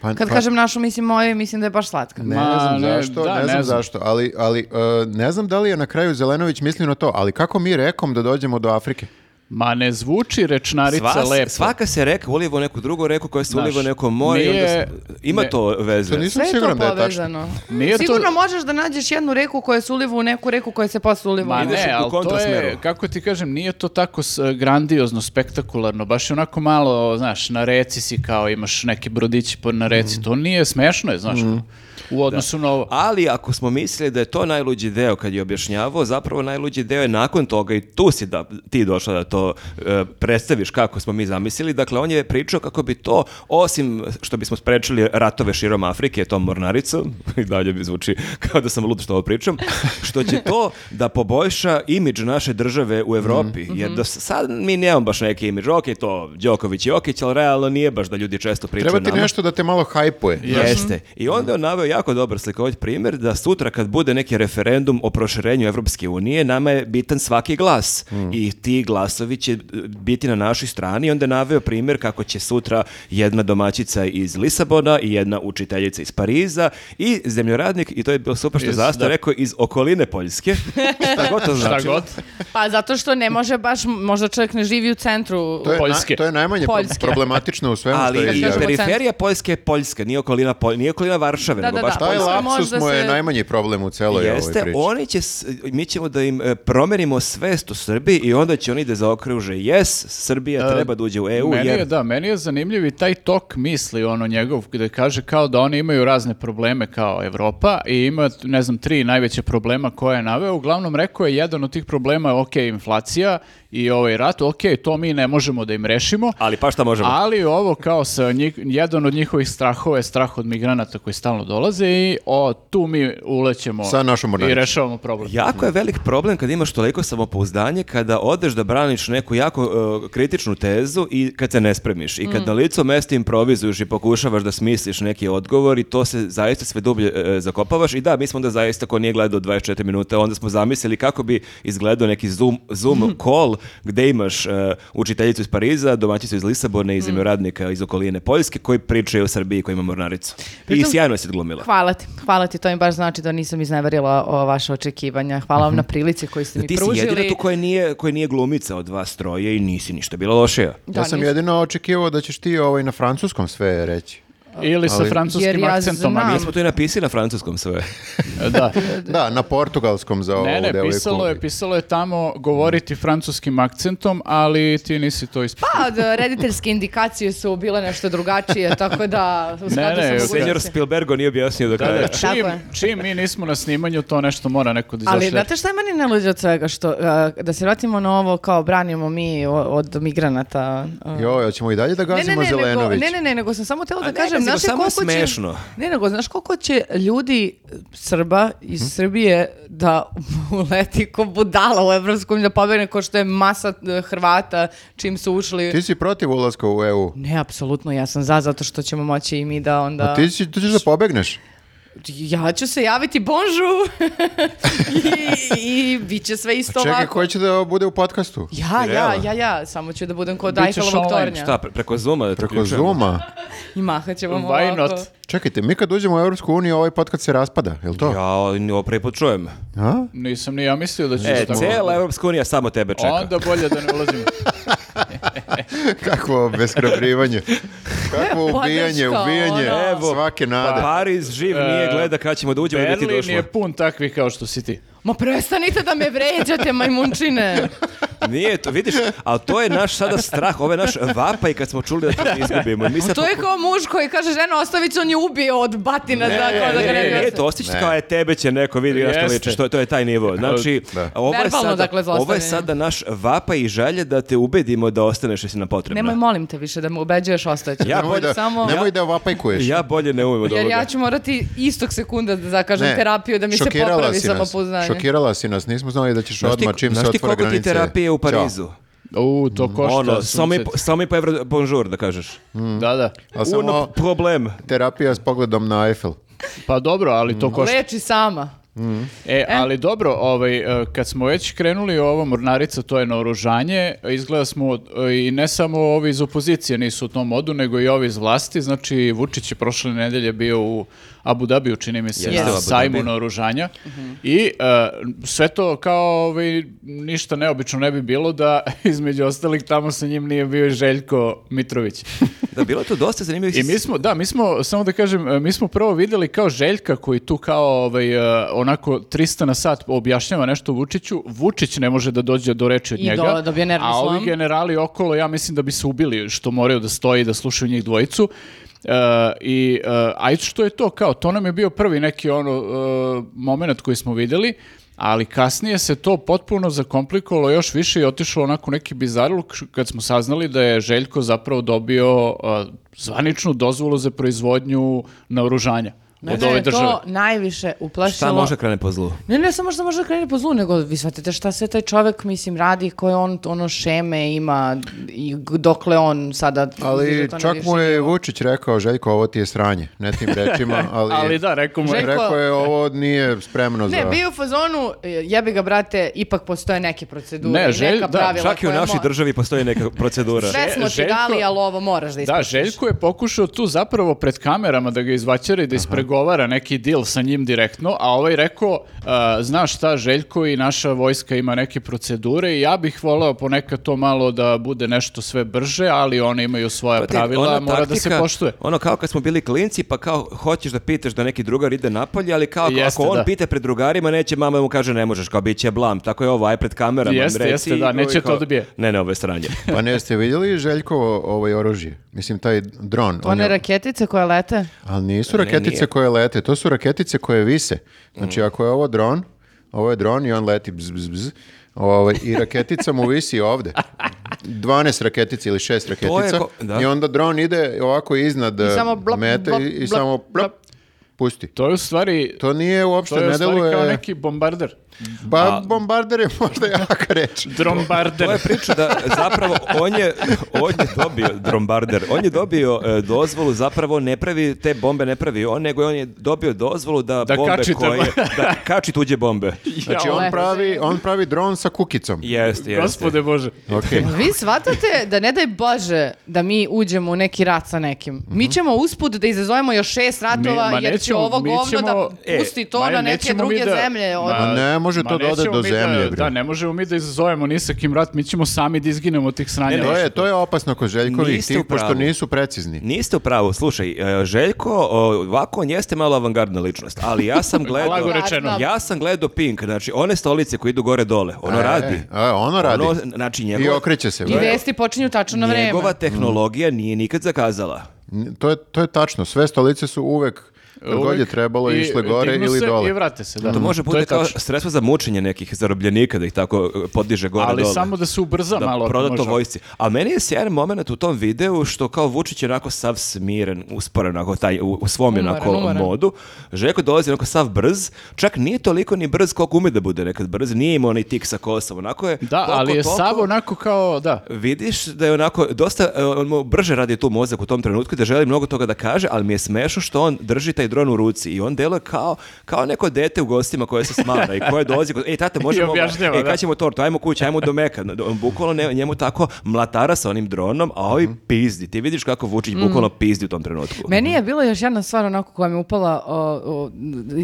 Pa-
Kad
pa-
kažem našu, mislim moje, mislim da je baš slatka.
Ne,
Ma,
ne znam
ne,
zašto,
da,
ne,
ne
znam
znam.
zašto, ali, ali e, ne znam da li je na kraju Zelenović mislio na to, ali kako mi rekom da dođemo do Afrike?
Ma ne zvuči rečnarica
Sva-
lepo.
Svaka se reka uliva u neku drugu reku koja se
Znaš,
uliva u neko more i onda
nije-
se- ima
ne-
to veze.
To nisam
Sve je to
siguran da je tačno.
povezano.
Nije to-
Sigurno možeš da nađeš jednu reku koja se uliva u neku reku koja se posle uliva.
Ma
u neku.
ideš
ne,
u
ali to je,
kontrasmeru.
kako ti kažem, nije to tako s- grandiozno, spektakularno, baš je onako malo, znaš, na reci si kao imaš neki brodići po na
Mm.
reci, to nije smešno je, znaš, u odnosu na ovo.
Ali ako smo mislili da je to najluđi deo kad je objašnjavao, zapravo najluđi deo je nakon toga i tu si da, ti došla da to e, predstaviš kako smo mi zamislili. Dakle, on je pričao kako bi to, osim što bismo sprečili ratove širom Afrike, tom mornaricom, i dalje mi zvuči kao da sam lud što ovo pričam, što će to da poboljša imidž naše države u Evropi.
Mhm.
Jer do sad mi nemamo baš neki imidž. Ok, to Đoković i Okić, ali realno nije baš da ljudi često pričaju
Treba ti
nama.
nešto da te malo hajpuje.
Jeste. I onda je on naveo jako dobar slikovit primjer da sutra kad bude neki referendum o proširenju Evropske unije, nama je bitan svaki glas. I ti glasovi će e, biti na našoj strani. I onda je naveo primjer kako će sutra jedna domaćica iz Lisabona i jedna učiteljica iz Pariza i zemljoradnik, i to je bilo super što je
Iz-
Zasta
da.
rekao, iz okoline Poljske. Šta god to
Šta
znači.
god.
Pa zato što ne može baš, možda čovjek ne živi u centru.
To je, na-
Poljske.
to je najmanje pro-
Poljske.
problematično u svemu što
Ali
je
i
kažemo
periferija Poljske je Poljska, nije okolina, Polj, nije okolina Varšave,
Da,
nego
da,
baš
da.
Taj
Poljska
lapsus
možda
mu je
se-
najmanji problem u celoj ovoj
Jeste,
priči.
oni će, s- mi ćemo da im e, promenimo svest u Srbiji i onda će oni da zaokruže yes, Srbija treba da uđe E, u EU,
E, meni je,
jer
da, meni je zanimljiv i taj tok misli, ono njegov, gde kaže kao da oni imaju razne probleme kao Evropa i ima, ne znam, tri najveće problema koje je naveo. Uglavnom, rekao je jedan od tih problema, ok, inflacija i ovaj rat, ok, to mi ne možemo da im rešimo.
Ali pa šta možemo?
Ali ovo kao sa njih- jedan od njihovih strahova je strah od migranata koji stalno dolaze i o, tu mi ulećemo
Sa našom
i
mornaricom.
rešavamo problem.
Jako je velik problem kad imaš toliko samopouzdanje, kada odeš da braniš neku jako e, kritičnu tezu i kad se ne spremiš. I kad na licu mesta improvizuješ i pokušavaš da smisliš neki odgovor i to se zaista sve dublje e, zakopavaš. I da, mi smo onda zaista, ko nije gledao 24 minuta, onda smo zamislili kako bi izgledao neki Zoom, zoom call gde imaš e, učiteljicu iz Pariza, domaćicu iz Lisabona, iz zemljoradnika iz okoline Poljske koji pričaju o Srbiji koja ima mornaricu. I
Pritom-
sjajno se glumila.
Hvala ti, hvala ti, to mi baš znači da nisam izneverila o, vaše očekivanja. Hvala vam na prilici koju ste mi
Ti si
pružili.
jedina tu koja nije, koja nije glumica od vas troje i nisi ništa bila lošija.
Da,
ja sam
nisam.
jedino očekivao da ćeš ti ovaj na francuskom sve reći.
Ili sa
Ali-
Jer
francuskim
ja
akcentom.
znam.
ali-
Mi smo to i napisali na francuskom sve.
Da.
Da, na portugalskom za ovaj ovu
Ne, ne,
devojku.
pisalo je, pisalo je tamo govoriti francuskim akcentom, ali ti nisi to ispisao.
Pa, da, rediteljske indikacije su bile nešto drugačije, tako da... u skladu sa
ne,
Senjor
mogućnostima.
Spielbergo nije objasnio do kraja.
Pa, Tako
E, Čim,
je.
čim mi nismo na snimanju, to nešto mora neko da
Ali
izašlje.
znate šta je meni najluđe od svega? Što, uh, da se vratimo na ovo kao branimo mi o- od migranata. uh.
Joj, hoćemo i dalje da
Ne, ne,
gazimo
ne, nego,
Zelenović.
ne, ne, ne, nego sam samo htjela da
A ne,
kažem,
nego
znaš li
samo je
koliko će-
smešno.
Ne, nego, znaš koliko će ljudi, Srba
Mhm.
iz Srbije, da uleti ko budala u Evropsku uniju, da pobegne ko što je masa eh, Hrvata čim su ušli.
Ti si protiv ulaska u EU.
Ne, apsolutno, ja sam za, zato što ćemo moći i mi da onda...
A ti, si, ti ćeš da pobegneš.
Ja ću se javiti bonžu i, i bit će sve isto
Čekaj,
ovako.
ko će da bude u podcastu?
Ja, ja,
Realno.
ja, ja, samo ću da budem kod
Bićeš
Eiffelovog
online,
tornja.
Šta, pre- preko Zuma da te
Preko
uključujemo?
Zooma.
I mahat ćemo ovako.
Why not?
Čekajte, mi kad uđemo u Europsku uniju, ovaj podcast se raspada, je li to?
Ja, ovo prvi put čujem.
A?
Nisam ni ja mislio da će
E,
se tako...
cijela Evropska unija samo tebe čeka.
Onda bolje da ne ulazimo.
Kakvo obeshrabrivanje. Kakvo
Podrška,
ubijanje, ubijanje
ono.
Evo, Pa,
svake nade.
Pariz živ nije gleda kad ćemo da uđemo i da ti
Berlin
došlo.
je pun takvih kao što si ti.
Ma prestanite da me vređate, majmunčine.
Nije to, vidiš, ali to je naš sada strah, ovo je naš vapaj kad smo čuli da ćemo da izgubimo. I Mi sad
To je kao muž koji kaže, ženo, ostavit ću, on je ubio od batina. Ne, tako, da ga ne,
ne,
bi
E,
ne,
ostao."
to osjećaš
Ne.
kao je tebe će neko vidi na što
Jeste.
liči, što je, to je taj nivo. Znači,
Da.
ovo, je
Verbalno,
sada,
dakle,
ovo je
zlostavljanje.
sada naš vapa i želje da te ubedimo da ostaneš jer si nam potrebna.
Nemoj, molim te više, da me ubeđuješ, ostaću.
Ja
Nemoj
bolje
da,
samo-
nemoj da vapajkuješ.
Ja bolje ne umem od
Jer
ovoga.
ja ću morati istog sekunda da zakažem
Ne,
terapiju da mi se
šokirala
popravi
si nas.
samopoznanje.
Šokirala si nas, nismo znali da ćeš
Znaš ti-
odmah čim se
znaš ti
otvore
koliko ti
granice.
terapije u
Ćao.
Parizu?
U, to košta.
Ono, samo i,
sunce.
po- samo i po evro bonjour da kažeš.
Da, da.
A samo
Uno problem.
terapija s pogledom na Eiffel.
Pa dobro, ali
Mm.
to košta.
Leči sama.
E, ali dobro, ovaj, e, kad smo već krenuli ovo mornarica, to je naoružanje, e, izgleda smo, e, i ne samo ovi iz opozicije nisu u tom modu, nego i ovi iz vlasti, znači Vučić je prošle nedelje bio u Abu Dhabiju, čini mi se,
Jeste u
na
Abu
sajmu
Dhabiju.
naoružanja, i e, sve to kao ovaj, ništa neobično ne bi bilo da između ostalih tamo sa njim nije bio i Željko Mitrović.
Da, bilo je to dosta zanimljivih...
I mi smo, da, mi smo, samo da kažem, e, mi smo prvo vidjeli kao Željka koji tu kao ovaj, e, onako 300 na sat objašnjava nešto Vučiću, Vučić ne može da dođe do reči od
I
njega,
do- dobije nervni
a ovi
slom.
generali okolo, ja mislim da bi se ubili što moraju da stoji i da slušaju njih dvojicu. E, I, e, a i što je to kao, to nam je bio prvi neki ono moment koji smo vidjeli, ali kasnije se to potpuno zakomplikovalo još više i otišlo onako u neki bizarluk kad smo saznali da je Željko zapravo dobio e, zvaničnu dozvolu za proizvodnju naoružanja od ove
Mene je
države.
to najviše uplašilo.
Šta može krene po zlu?
Ne, ne, samo što može da krene po zlu, nego vi shvatite šta sve taj čovek, mislim, radi, koje on, ono, šeme ima i g- dokle on sada... uzdiže
Ali
to na
čak
viši
mu je Vučić rekao, Željko, ovo ti je sranje. Ne tim rečima, ali,
Ali da, rekao mu je,
Željko-
rekao je, ovo nije spremno
Ne,
za...
bio je u fazonu, e, jebi ga brate, ipak postoje neke procedure,
Ne,
i
želj-
neka
da,
pravila.
Čak i u
koja
našoj
mo-
državi postoji neka procedura.
Sve smo ti
Željko-
dali, ali ovo moraš da
Da,
ispoštuješ.
Željko je pokušao tu zapravo pred kamerama da ga izvaćara i da ispregovara neki deal sa njim direktno, a ovaj rekao, "A, znaš šta, Željko i naša vojska ima neke procedure i ja bih voleo ponekad to malo da bude nešto sve brže, ali oni imaju svoja
Pa ti,
pravila,
ona
mora da se
taktika,
poštuje.
Ono kao kad smo bili klinci, pa kao hoćeš da pitaš da neki drugar ide napolje, ali kao ako-
Jeste,
ako on
da.
pita pred drugarima, neće mama mu kaže ne možeš, kao bit će blam. Tako je ovo, aj pred kamerama.
Jeste,
reci
jeste, da,
i
neće
kao-
to da bije.
Ne, ne, ovo je sranje.
Pa ne, jeste vidjeli Željkovo ovaj oružje? Mislim, taj dron. on
One
je-
raketice koje lete?
Ali nisu raketice
nije.
koje lete, to su raketice koje vise. Znači, ako je ovo dron, ovo je dron i on leti bz, bz, bz. Ovaj, I raketica mu visi ovde. 12 raketica ili 6 raketica.
ko- da.
I onda dron ide ovako iznad
I samo
eh,
blop,
mete
blop,
i, i
blop,
samo
blop.
blop, pusti.
To je u stvari... To
To nije uopšte,
je u
ne
stvari
deluje...
kao neki bombarder.
Ba, bombarder je možda jaka reč.
To je
Drombarder.
priča da zapravo on je, on je dobio, Drombarder, on je dobio e, dozvolu, zapravo ne pravi te bombe, ne pravi on, nego on je dobio dozvolu da,
Da
bombe
kači
koje...
drva.
Da kači tuđe bombe.
Znači on
Jao.
pravi, on pravi dron sa kukicom.
Jeste, jeste.
Gospode Bože.
Okej.
Pa Vi shvatate da ne daj Bože da mi uđemo u neki rat sa nekim. Mi ćemo usput da izazovemo još šest ratova
Mhm. Mi- ma
jer će
nećemo,
ovo
mi
govno da
ćemo-
E,
pusti to
Ma,
na neke
nećemo mi
druge
da-
zemlje. Od-
Ma-
ne može
ma
to da ode
nećemo
do
mi
zemlje,
Da,
bre.
da, ne možemo mi da izazovemo ni sa kim rat, mi ćemo sami da izginemo tih sranja.
Ne, ne,
To je, to je opasno kod Željkovih
Niste u
tih, pošto
pravu.
nisu precizni.
Niste u pravu, slušaj, e, Željko, o, ovako on jeste malo avangardna ličnost, ali ja sam
Blago
gledao...
rečeno.
Avangardna.
ja sam gledao Pink, znači one stolice koje idu gore-dole, ono
E,
radi.
e, ono radi.
Ono, znači
I
njegova,
okreće se.
I
bre.
vesti počinju tačno na vreme.
njegova tehnologija nije nikad zakazala.
N- To je, to je tačno. Sve stolice su uvek, kad god je
Uvek
trebalo,
i-
išle gore
dignu
ili
se
dole.
I vrate se,
Mm.
da.
To može
je
bude kao
tačno.
sredstvo za mučenje nekih zarobljenika da ih tako e, podiže gore
Ali
dole.
samo da se ubrza
da
malo. ako
proda to
može.
vojsci. A meni je sjajan moment u tom videu što kao Vučić je onako sav smiren, usporen onako taj, u, u svom je
Umoran,
onako
umoran.
modu. Žeko dolazi onako sav brz, čak nije toliko ni brz koliko ume da bude nekad brz, nije imao ni tik sa kosom, onako je...
Da,
koliko
ali je
toliko-
Savo onako kao, da.
Vidiš da je onako dosta, e, on mu brže radi tu mozak u tom trenutku i da želi mnogo toga da kaže, ali mi je smešno što on drži taj dron u ruci i on deluje kao, kao neko dete u gostima koje se smara i koje dolazi, kod- ej tate možemo,
objašnjava,
ej
da.
kad ćemo tortu, ajmo kući, ajmo do meka. On Bukvalno ne- njemu tako mlatara sa onim dronom, a ovi pizdi. Ti vidiš kako Vučić bukvalno pizdi u tom trenutku.
Meni je bila još jedna stvar onako koja mi je upala o, o,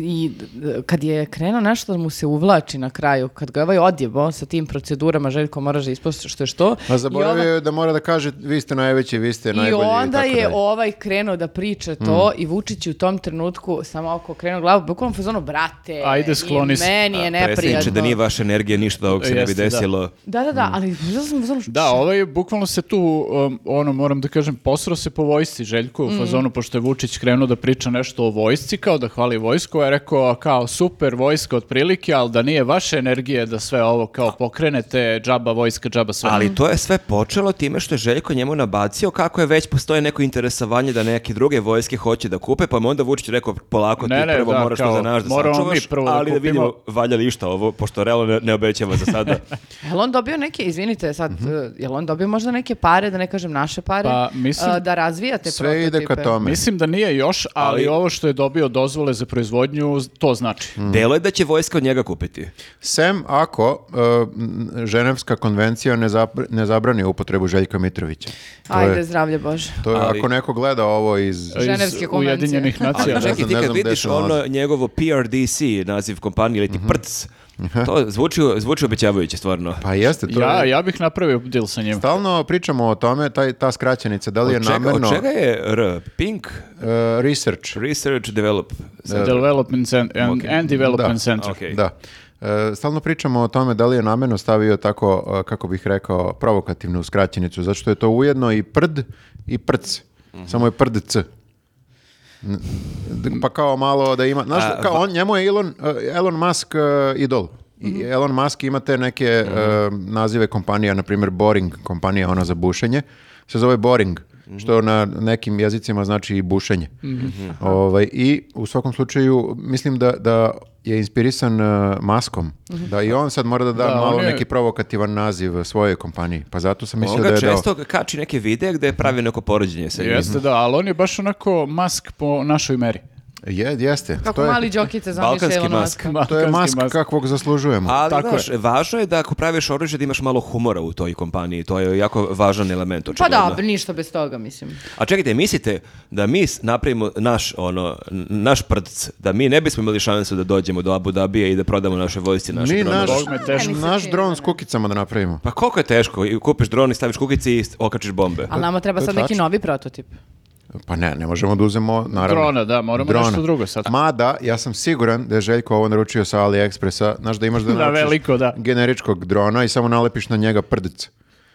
i e, kad je krenuo nešto da mu se uvlači na kraju, kad ga je ovaj odjebo sa tim procedurama, Željko moraš da isposti što je što.
A
i
zaboravio
ova-
je da mora da kaže vi ste najveći, vi ste najbolji
I onda
tako Hmm.
je
dalje.
ovaj krenuo da priča to i Vučić je u tom trenutku samo oko krenuo glavu, bukvalno u fazonu, brate,
Ajde, skloni
i
se."
meni je
A, predsjedniče,
neprijatno.
da nije vaša energija, ništa ovog se ne bi
Jeste, da.
desilo.
Da, da,
Hmm.
da, ali bila sam u fazonu,
Da, ovaj je bukvalno se tu, um, ono moram da kažem, posrao se po vojsci Željko u fazonu, pošto je Vučić krenuo da priča nešto o vojsci, kao da hvali vojsku, je rekao kao super vojska otprilike, ali da nije vaše energije da sve ovo kao pokrenete, džaba vojska, džaba sve.
Ali to je sve počelo time što je Željko njemu nabacio kako je već postoje neko interesovanje da neke druge vojske hoće da kupe, pa mu je onda Vučić rekao polako
Ne,
ti
ne,
prvo
da,
moraš to
kao,
za naš da
moramo
sačuvaš,
mi prvo da
ali da
kupimo.
vidimo valja li išta ovo, pošto realno ne, ne obećava za sada.
Jel on dobio neke, izvinite sad,
Mhm.
e, jel on dobio možda neke pare, da ne kažem naše pare,
Pa, mislim-
a, da razvijate
Sve ide ka tome.
Mislim da nije još, ali,
Ali-
ovo što je dobio dozvole za proizvodnju, to znači.
Mm.
Delo je da će vojska od njega kupiti.
Sem ako uh, m, Ženevska konvencija ne, zapr- ne zabrani upotrebu Željka Mitrovića. To je-
Ajde, zdravlje Bože.
To je,
Ali-
ako neko gleda ovo iz...
Iz
Ženevske konvencije.
Ujedinjenih
Ali
nacija.
ne
čekaj,
znam-
ti
ne
kad
znam gde
vidiš
se
ono
nalazi.
njegovo PRDC naziv kompanije ili ti
Mhm.
prc, to zvuči, zvuči obećavajuće stvarno.
Pa jeste, to
ja,
je...
ja bih napravio deal sa njim.
Stalno pričamo o tome, taj, ta skraćenica, da li je
Od čega,
namerno
od čega je R? Pink
e, research?
Research Develop.
Development cent- and, and Development
Da.
Center.
Ok.
Da. E, stalno pričamo o tome da li je namerno stavio tako, e, kako bih rekao, provokativnu skraćenicu, zato što je to ujedno i prd i prc. Samo je prdc. N- d- Pa kao malo da ima... Znaš,
A,
kao
va-
on, njemu je Elon, e, Elon Musk e, idol. I
Mhm.
Elon Musk ima te neke e, nazive kompanija, na primjer Boring kompanija, ona za bušenje, se zove Boring,
Mhm.
što na nekim jezicima znači i bušenje. Ovaj, I u svakom slučaju mislim da, da je inspirisan e, Muskom,
Mhm.
da i on sad mora da da,
Da,
malo
on je-
neki provokativan naziv svojoj kompaniji, pa zato sam mislio
On
da
ga
je dao.
često kači neke videe gde pravi neko poređenje sa njim.
Jeste, da, ali on je baš onako mask po našoj meri.
Je, jeste.
Kako
to je,
mali džokice ono zamišlja
Balkanski
Elona
mask.
Muska.
to je
Balkanski
Musk kakvog zaslužujemo.
Ali
Tako
znaš,
je.
važno je da ako praviš oružje da imaš malo humora u toj kompaniji, to je jako važan element
Pa
očigledno.
da, ništa bez toga, mislim.
A čekajte, mislite da mi s- napravimo naš ono n- naš prdc, da mi ne bismo imali šansu da dođemo do Abu Dabija i da prodamo naše vojsci naše
Mi
dronove?
naš,
Bog me teško.
naš dron s kukicama da napravimo.
Pa koliko je teško, I kupiš dron i staviš kukice i s- okačiš bombe.
Ali nama treba
to je
sad neki
tačno.
novi prototip.
Pa ne, ne možemo da uzemo, naravno.
Drona, da, moramo nešto drugo sad.
Mada, ja sam siguran da je Željko ovo naručio sa AliExpressa. Znaš da imaš da
Da,
naručiš
veliko, da.
generičkog drona i samo nalepiš na njega prdic.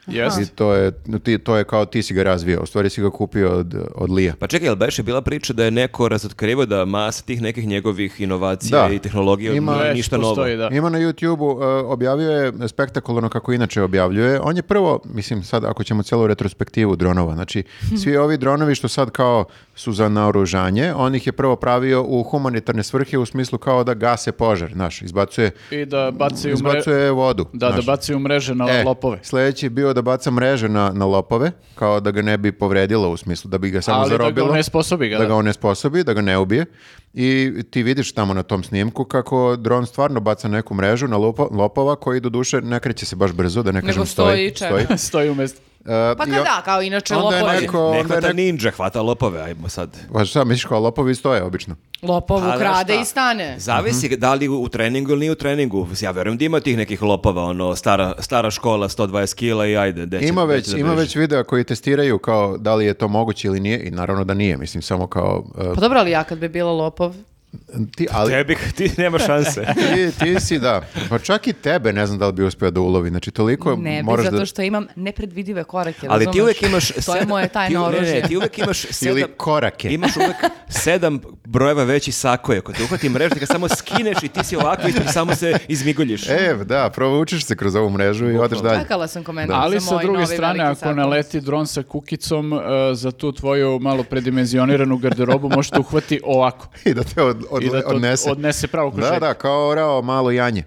Jest.
I to je, ti, to je kao ti si ga razvio, u stvari si ga kupio od, od Lija.
Pa čekaj, jel baš je bila priča da je neko razotkrivao da masa tih nekih njegovih inovacija
Da.
i tehnologija
Ima-
nije
Već
ništa novo.
postoji, Da.
Ima na YouTube-u, e, objavio je spektakularno kako inače objavljuje. On je prvo, mislim sad ako ćemo celu retrospektivu dronova, znači svi ovi dronovi što sad kao su za naoružanje, on ih je prvo pravio u humanitarne svrhe u smislu kao da gase požar, znaš, izbacuje,
I da bacaju, mre...
izbacuje vodu.
da, da
znaš.
bacaju mreže na
E,
lopove.
Sljedeći je bio da baca mreže na, na lopove, kao da ga ne bi povredilo u smislu, da bi ga samo
Ali da ga
zarobilo.
onesposobi ga,
Da
da.
ga onesposobi, da ga ne ubije. I ti vidiš tamo na tom snimku kako dron stvarno baca neku mrežu na lopo- lopova koji do duše ne kreće se baš brzo, da ne kažem
stoji
stoji.
i čeka.
Stoji u mestu.
E,
Pa
i
kad
o-
da, kao inače
onda je
lopovi.
neko-
Ne
onda je
hvata
neko-
ninja, hvata lopove, ajmo sad.
Pa šta, misliš kao lopovi stoje obično?
Lopov
Pa, znaš
ukrade
šta,
i stane.
Zavisi
Mhm.
da li u treningu ili nije u treningu. Ja verujem da ima tih nekih lopova, ono, stara, stara škola, 120 kila i ajde. gde će-
Ima
gde
već,
će da
ima
beži.
već videa koji testiraju kao da li je to moguće ili nije i naravno da nije, mislim samo kao e,
Pa dobro, ali ja kad bi bila lopov...
ti, ali
Tebi, ti nema šanse.
ti, ti si, da. Pa čak i tebe ne znam da li bi uspio da ulovi. Znači, toliko
Ne bi,
moraš
zato
da...
što imam nepredvidive korake,
Ali ti
razumeš?
uvek imaš...
To je
sedam-
moje tajno
ti- ne,
oružje.
Ne, ti uvek imaš sedam...
Ili korake.
Imaš uvek sedam brojeva veći sako je. Ako te uhvati mreža, ti ga samo skineš i ti si ovako i samo se izmigoljiš.
Ev, E, da, provučeš se kroz ovu mrežu i odeš dalje.
Čekala sam komentar
Ali
za
sa
moj
druge
novi
strane,
veliki
ako
satans.
naleti dron sa kukicom e, za tu tvoju malo predimenzioniranu garderobu, možete uhvati ovako.
I da te od, od-
I da te od-
odnese.
odnese pravo kroz
Da,
šetnju.
da, kao orao malo janje.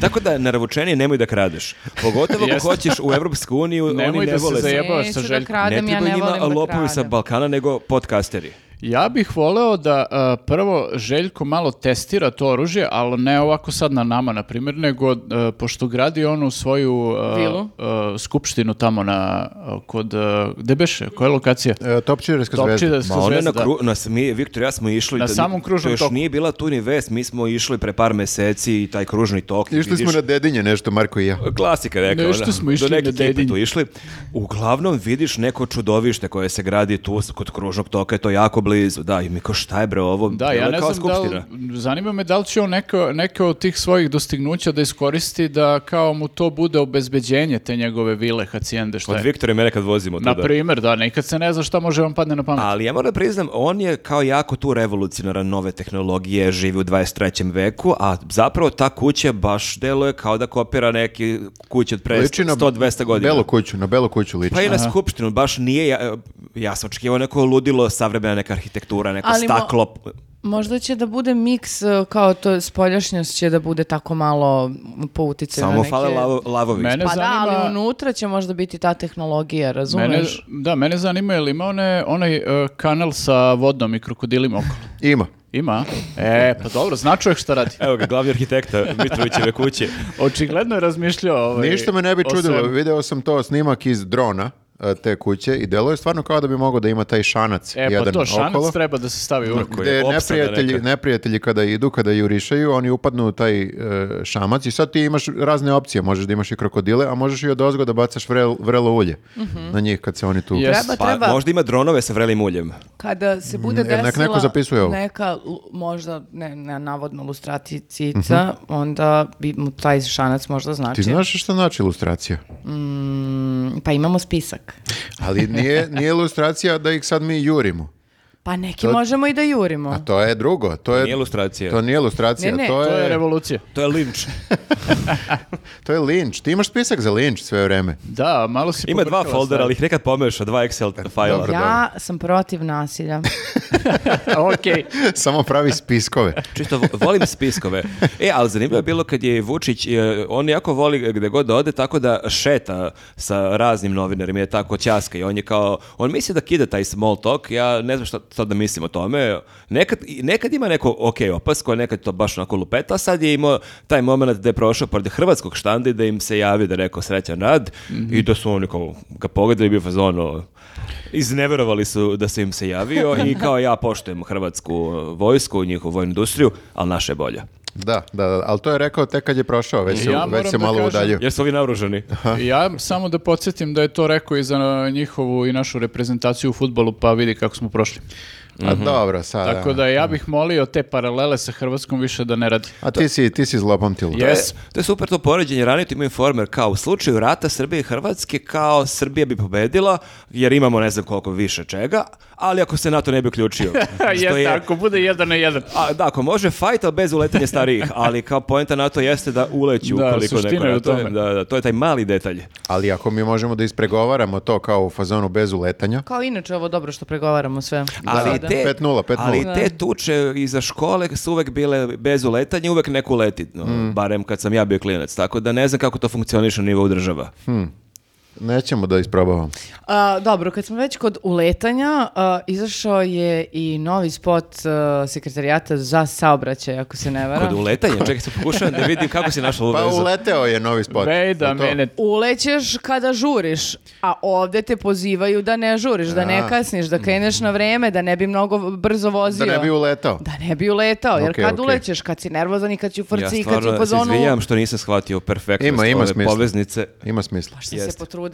Tako da, naravučeni, nemoj da kradeš. Pogotovo ako
Jeste.
hoćeš u Evropsku uniju, oni
Nemoj
ne
da se
vole.
zaje-
Ne
jebavaš sa
Neću da
željkom.
kradem, ja
trebaju
ne
njima
volim da
lopovi sa
kradem.
Balkana, nego podcasteri.
Ja bih voleo da e, prvo Željko malo testira to oružje, ali ne ovako sad na nama, na primjer, nego e, pošto gradi onu svoju e,
Vilu?
e, skupštinu tamo na, kod, e, gde beše, koja je lokacija?
E, Topčiderska zvezda.
Topčiderska
Ma ona je na,
zvezda.
kru, na, s- mi, Viktor i ja smo išli.
Na
to-
samom kružnom
to još
toku.
nije bila tu ni vest, mi smo išli pre par meseci i taj kružni tok. i
Išli smo
vidiš-
na dedinje nešto, Marko i ja.
Klasika rekao.
Nešto
da.
smo išli
Do neke
na
ekipe
Dedinje.
tu išli. Uglavnom vidiš neko čudovište koje se gradi tu s- kod kružnog toka, je to jako blizu. Da, i mi kao šta je bre ovo?
Da, ja
Delo
ne
kao
znam da li,
skupština.
zanima me da li će on neko, neke od tih svojih dostignuća da iskoristi da kao mu to bude obezbeđenje te njegove vile, hacijende, šta
Od
je.
Viktora i mene kad vozimo tu,
E. Na
Pa da.
primjer, da, nikad se ne zna šta može vam padne na pamet.
Ali ja moram da priznam, on je kao jako tu revolucionaran nove tehnologije, živi u 23. veku, a zapravo ta kuća baš deluje kao da kopira neki kuće od pre
Liči na
100-200 godina.
Belu kuću, na belu kuću liči.
Pa i na skupštinu, baš nije, ja, ja sam očekivao neko ludilo, savremena neka arhitektura, neko
Ali mo-
staklo.
Možda će da bude miks e, kao to spoljašnjost će da bude tako malo po uticaju na
Samo
neke...
fale lavo, lavovi.
Mene
Pa da,
zanima...
ali unutra će možda biti ta tehnologija, razumeš?
Mene, da, mene zanima je li ima one, onaj e, kanal sa vodom i krokodilima okolo.
Ima.
Ima? E, pa dobro, zna čovjek šta radi.
Evo ga, glavni arhitekta Mitrovićeve kuće.
Očigledno je razmišljao ovaj,
Ništa me ne bi
o
čudilo.
svemu.
Video sam to snimak iz drona e, te kuće i delo je stvarno kao da bi mogao da ima taj šanac
E,
jedan
pa to, šanac
okolo.
treba da se stavi uvijek.
Koji je
Gde
opsada
neprijatelji,
neka.
neprijatelji kada idu, kada jurišaju, oni upadnu u taj e, šamac i sad ti imaš razne opcije. Možeš da imaš i krokodile, a možeš i od ozgo da bacaš vrel- vrelo ulje
Mhm.
na njih kad se oni tu...
Je.
Treba,
Pa
treba.
možda ima dronove sa vrelim uljem.
Kada se bude
Mm, jel
desila
nek neko zapisuje ovo?
neka, lu- možda, ne, ne, navodno lustraticija, onda bi mu taj šanac možda znači.
Mhm. Ti znaš šta znači ilustracija?
Mm, Pa imamo spisak.
Ali nije, nije ilustracija da ih sad mi jurimo.
Pa neki možemo i da jurimo.
A to je drugo. To je,
Nije ilustracija.
To nije ilustracija,
Ne, ne,
to,
To
E.
je
je,
revolucija.
To je linč.
to je linč. Ti imaš spisak za linč sve vreme.
Da, malo si
Ima dva
pobrkala
foldera, ali
stvari.
ih nekad pomeša, dva Excel fajla.
Dobro,
ja sam protiv nasilja.
Okej.
Samo pravi spiskove.
Čisto vo- volim spiskove. E, ali zanimljivo je bilo kad je Vučić, e, on jako voli gde god da ode, tako da šeta sa raznim novinarima, je tako ćaska i on je kao, on misli da kida taj small talk, ja ne znam šta sad da mislim o tome. Nekad, i- nekad ima neko ok opasko, a nekad to baš onako lupeta, a sad je imao taj moment da je prošao pored hrvatskog štanda i da im se javio da je rekao srećan rad i da su oni kao ga pogledali i bio fazono, Izneverovali su da se im se javio i kao ja poštujem hrvatsku e, vojsku, njihovu vojnu industriju, ali naša je bolja.
Da, da, da, ali to je rekao tek kad je prošao, već se,
Ja moram
već se
da
malo
kažem-
udaljio.
Jer su ovi naoružani.
Ja samo da podsjetim da je to rekao i za njihovu i našu reprezentaciju u futbolu, pa vidi kako smo prošli.
A
Mhm.
dobro, sada.
Tako da ja bih molio te paralele sa Hrvatskom više da ne radi.
A ti si, ti si zlopamtil.
Je.
To je-
Yes.
To je super to poređenje, ranije ima informer kao u slučaju rata Srbije i Hrvatske, kao Srbija bi pobedila, jer imamo ne znam koliko više čega, ali ako se NATO ne bi uključio. što
Jeste,
je-
ako bude jedan na jedan.
A, da, ako može fight, ali bez uletanja starijih, ali kao poenta NATO jeste da uleću
Da,
ukoliko
suština
neko
je u
ratuje.
tome.
Da, da, to je taj mali detalj.
Ali ako mi možemo da ispregovaramo to kao u fazonu bez uletanja,
Kao inače ovo dobro što pregovaramo sve.
Ali
sada.
te,
5:0, 5:0.
ali te tuče iza škole su uvek bile bez uletanja, uvek neko leti, no, barem kad sam ja bio klinac, tako da ne znam kako to funkcioniše na nivou država.
nećemo da isprobavamo.
A, dobro, kad smo već kod uletanja, a, izašao je i novi spot a, sekretarijata za saobraćaj, ako se ne varam.
Kod uletanja, čekaj, se pokušavam da vidim kako si našla
Pa
uvezu.
uleteo je novi spot.
Vej da
Je Pa, to?
mene...
Ulećeš kada žuriš, a ovdje te pozivaju da ne žuriš, da ne
A.
kasniš, da kreneš na vreme, da ne bi mnogo v- brzo vozio.
Da ne bi uletao.
Da ne bi uletao, jer
Okej,
kad
okej.
ulećeš, kad si nervozan i kad si u
Ja
frci i kad si u
stvarno se
fazonu...
izvinjam što nisam shvatio perfektnost
Ima- ima
ove
smisla.
poveznice.
Ima smisla.
Pa što se
Jeste.
potrudila?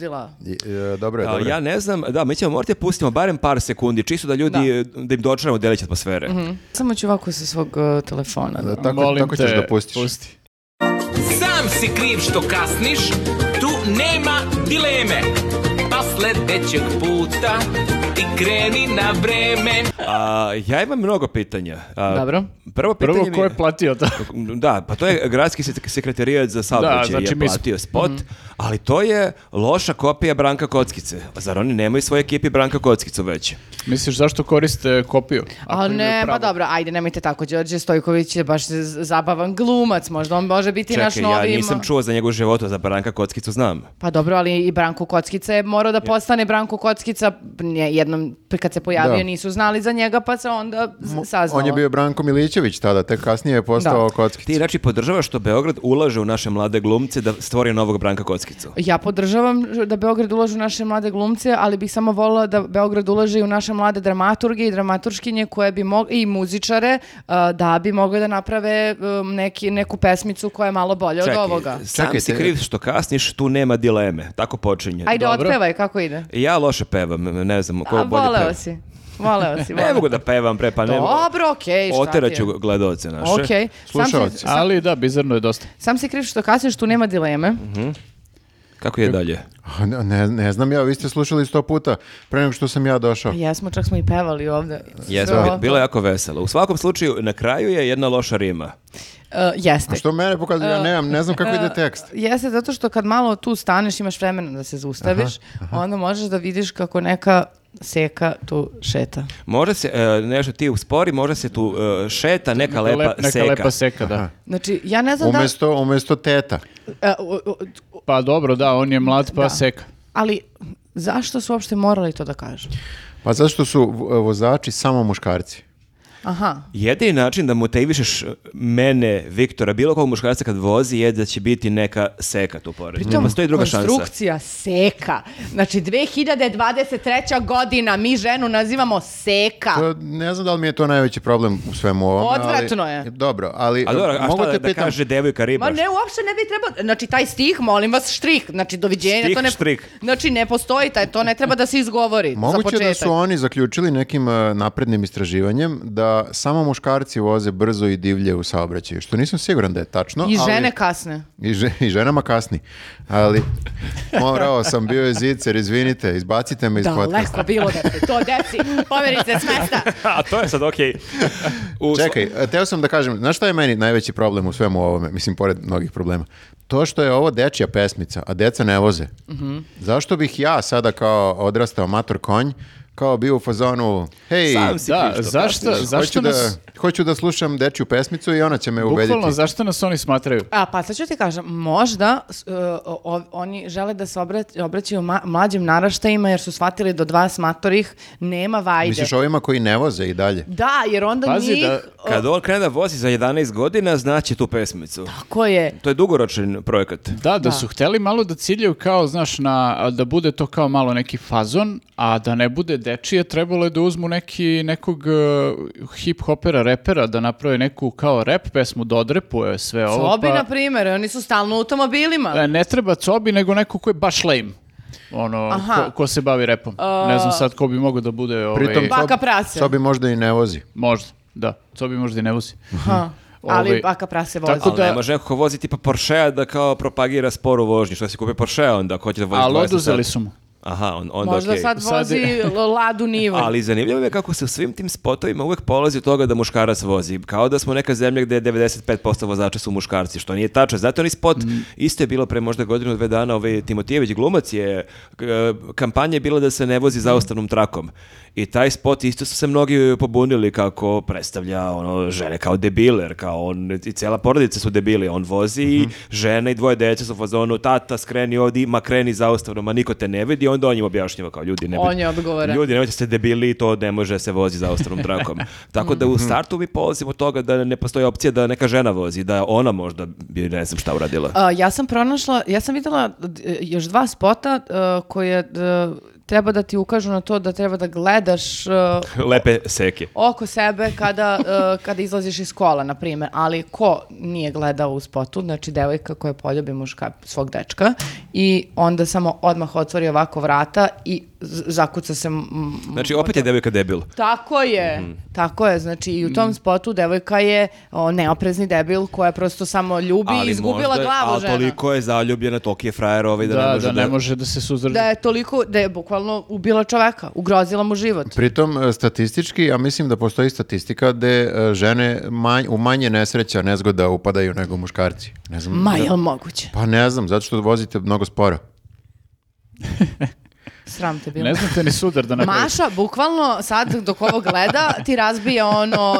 I- e, Dobro je,
A,
dobro je.
ja ne znam, da, mi ćemo morati pustimo barem par sekundi, čisto da ljudi, da, im dočaramo delić atmosfere.
Hm. Samo ću ovako sa svog uh, telefona. Da.
Da, tako,
Molim
tako ćeš
te,
da pustiš.
pusti.
Sam si kriv što kasniš, tu nema dileme. Pa sledećeg puta ti kreni na vreme.
A, ja imam mnogo pitanja. A,
Dobro.
Prvo pitanje
Prvo,
mi
ko je platio to?
Da, pa to je gradski sek- sekretarijat za saobraćaj
Da, znači
je
mi smo-
platio spot,
Mhm.
ali to je loša kopija Branka Kockice. Zar oni nemaju svoje ekipi Branka Kockicu već?
Misliš zašto koriste kopiju? Ako
A
imaju
ne,
pravu.
pa dobro, ajde, nemojte tako. Đorđe Stojković je baš z- zabavan glumac, možda on može biti naš
Čekaj,
novi...
ja
ma-
nisam čuo za njegov život, a za Branka Kockicu znam.
Pa dobro, ali i Branko Kockica je morao da postane Branko Kockica. Nije, jednom, kad se pojavio,
Da.
nisu znali za njega, pa se onda z- saznalo.
On je bio Branko Milićević tada, tek kasnije je postao
Da.
Ti
kockica.
znači podržavaš što Beograd ulaže u naše mlade glumce da stvori novog Branka Kockicu.
Ja podržavam da Beograd ulaže u naše mlade glumce, ali bih samo volila da Beograd ulaže i u naše mlade dramaturge i dramaturškinje koje bi mog i muzičare a, da bi mogli da naprave um, neki, neku pesmicu koja je malo bolja od ovoga.
sam
Čekaj,
si
te-
kriv što kasniš, tu nema dileme. Tako počinje.
Ajde,
dobro.
otpevaj, kako ide?
Ja loše pevam, ne znam ko
A,
bolje peva.
voleo si. Voleo si,
Ne
voleo.
mogu da pevam pre, pa ne mogu.
Dobro, okej, šta ti je?
Oterat ću gledaoce naše.
Okej. Sam
Slušaoci.
si,
Ali da, bizarno je dosta.
sam si kriv što kasniš, tu nema dileme.
Kako je dalje?
A, Ne, ne- ne znam ja, vi ste slušali sto puta pre nego što sam ja došao.
Pa Jesmo, čak smo i pevali ovde.
Jesmo,
Sve
bi-
ovo.
bilo je jako veselo. U svakom slučaju, na kraju je jedna loša rima.
E, jeste.
A što mene pokazuje,
E.
ja nemam, ne znam kako ide tekst.
Jeste, zato što kad malo tu staneš, imaš vremena da se zaustaviš, onda možeš da vidiš kako neka seka tu šeta.
Može se, e, nešto ti uspori, može se tu e, šeta neka
Neka
lepa
lep- neka
seka.
lepa seka, da.
Znači, ja ne znam
Umesto, umesto teta.
da... e, u- u- u-
Pa dobro, da, on je mlad pa
Da.
seka.
ali zašto su uopšte morali to da kažu?
Pa zato što su vo- vozači samo muškarci.
Aha.
Jedini način da motivišeš mene, Viktora, bilo kog muškarca kad vozi je da će biti neka seka tu pored.
Pritom,
Ne postoji druga šansa.
konstrukcija seka. Znači, 2023. godina mi ženu nazivamo seka.
To, ne znam da li mi je to najveći problem u svemu ovome. ali-
Odvratno je.
Dobro, ali
A dobro, a
mogu
šta
te
da
pitam-
kaže devojka
Ma
ribaš?
ne, uopšte ne bi trebao, znači taj stih, molim vas, štrik, znači doviđenja,
Štrik,
to ne,
štrik.
znači ne postoji, taj, to ne treba da se izgovori za
Moguće
početak.
da su ono, oni zaključili nekim e, naprednim istraživanjem da samo muškarci voze brzo i divlje u saobraćaju, što nisam siguran da je tačno.
I
ali-
žene kasne.
I, že- I ženama kasni. Ali morao sam, bio je zicer, izvinite, izbacite me iz podcasta.
Daleko bilo da se to deci, pomeri se s mesta.
a to je sad okej. U sva-
Čekaj, e, teo sam da kažem, znaš šta je meni najveći problem u svemu ovome, mislim, pored mnogih problema? To što je ovo dečja pesmica, a deca ne voze.
Mhm.
Zašto bih ja sada kao odrastao mator konj, kao bio u fazonu, hej,
Sam si
Da,
kriv što
zašto,
kasniš.
zašto
hoću,
nas...
da, hoću da slušam dečju pesmicu i ona će me ubediti.
Bukvalno, zašto nas oni smatraju?
A, pa sad ću ti kažem, možda s- e, o- o- oni žele da se obrać- obraćaju ma- mlađim naraštajima jer su shvatili do dva matorih nema vajde.
Misliš ovima koji ne voze i dalje?
Da, jer onda
Pazi
njih,
da-
Kad on krene da vozi za 11 godina, znaće tu pesmicu.
ko je,
To je dugoročan projekat.
Da, da, su hteli malo da ciljaju kao, znaš, na, a da bude to kao malo neki fazon, a da ne bude dečije, trebalo je da uzmu neki, nekog eh, hip-hopera, repera, da naprave neku kao rap pesmu, da odrepuje sve ovo.
Sobi,
pa-
na primjer, oni su stalno u automobilima.
E, Ne treba Cobi, nego neko ko je baš lame. ono,
Aha.
ko, ko se bavi repom. Ne znam sad ko bi mogao da bude ovaj,
Pritom
Baka
Cob-
prase.
Cobi možda i ne vozi.
možda, da, to bi možda i ne vozi.
Ha. Ali
Ovaj,
baka prase vozi.
tako
Ali
da-
ne može neko ko vozi tipa Porschea da kao propagira sporu vožnju. Što si kupio Porschea onda ako hoće da vozi
Ali
20
oduzeli
sat?
su mu.
Aha, on, onda
Možda
okej.
sad
Sad-
vozi ladu nivo.
Ali zanimljivo mi je kako se u svim tim spotovima uvek polazi od toga da muškarac vozi. Kao da smo neka zemlja gde 95% vozača su muškarci, što nije tačno. Zato ni spot
Mm.
isto je bilo pre možda godinu, dve dana, ovaj Timotijević glumac je, k- e, kampanja je bila da se ne vozi
Mm.
zaustavnom trakom. I taj spot isto su se mnogi pobunili kako predstavlja ono, žene kao debiler, kao on, i cela porodica su debili, on vozi i
Mhm.
žene i dvoje dece su u fazonu, tata skreni ovdje, ma kreni zaustavno, ma niko te ne vidi, onda on im objašnjava kao ljudi ne
On
bi-
je odgovoran.
Ljudi, nemojte ste debili, to ne može se vozi za ostarom trakom. Tako da u startu mi polazimo od toga da ne postoji opcija da neka žena vozi, da ona možda bi ne znam šta uradila.
A, ja sam pronašla, ja sam videla d- još dva spota e, koje d- treba da ti ukažu na to da treba da gledaš e,
Lepe seke.
oko sebe kada, e, kada izlaziš iz kola, na primjer. Ali ko nije gledao u spotu, znači devojka koja poljubi muška svog dečka i onda samo odmah otvori ovako vrata i z- zakuca se... m- m-
Znači, opet je devojka debil.
Tako je, tako je, znači i u tom spotu devojka je o, neoprezni debil koja prosto samo ljubi i izgubila
možda-
glavu
ali
žena.
toliko je zaljubljena, toliki je frajer ovaj da,
Da,
ne može da...
se suzdrži.
da je toliko, da je bukvalno ubila čoveka, ugrozila mu život.
Pritom, e, statistički, ja mislim da postoji statistika gde e, žene manj, u manje nesreća, nezgoda upadaju nego muškarci. Ne znam.
Ma, jel moguće?
Pa ne znam, zato što vozite mnogo sporo.
Sram te bilo.
Ne znam te ni sudar da napraviš.
Maša, bukvalno sad dok ovo gleda, ti razbije ono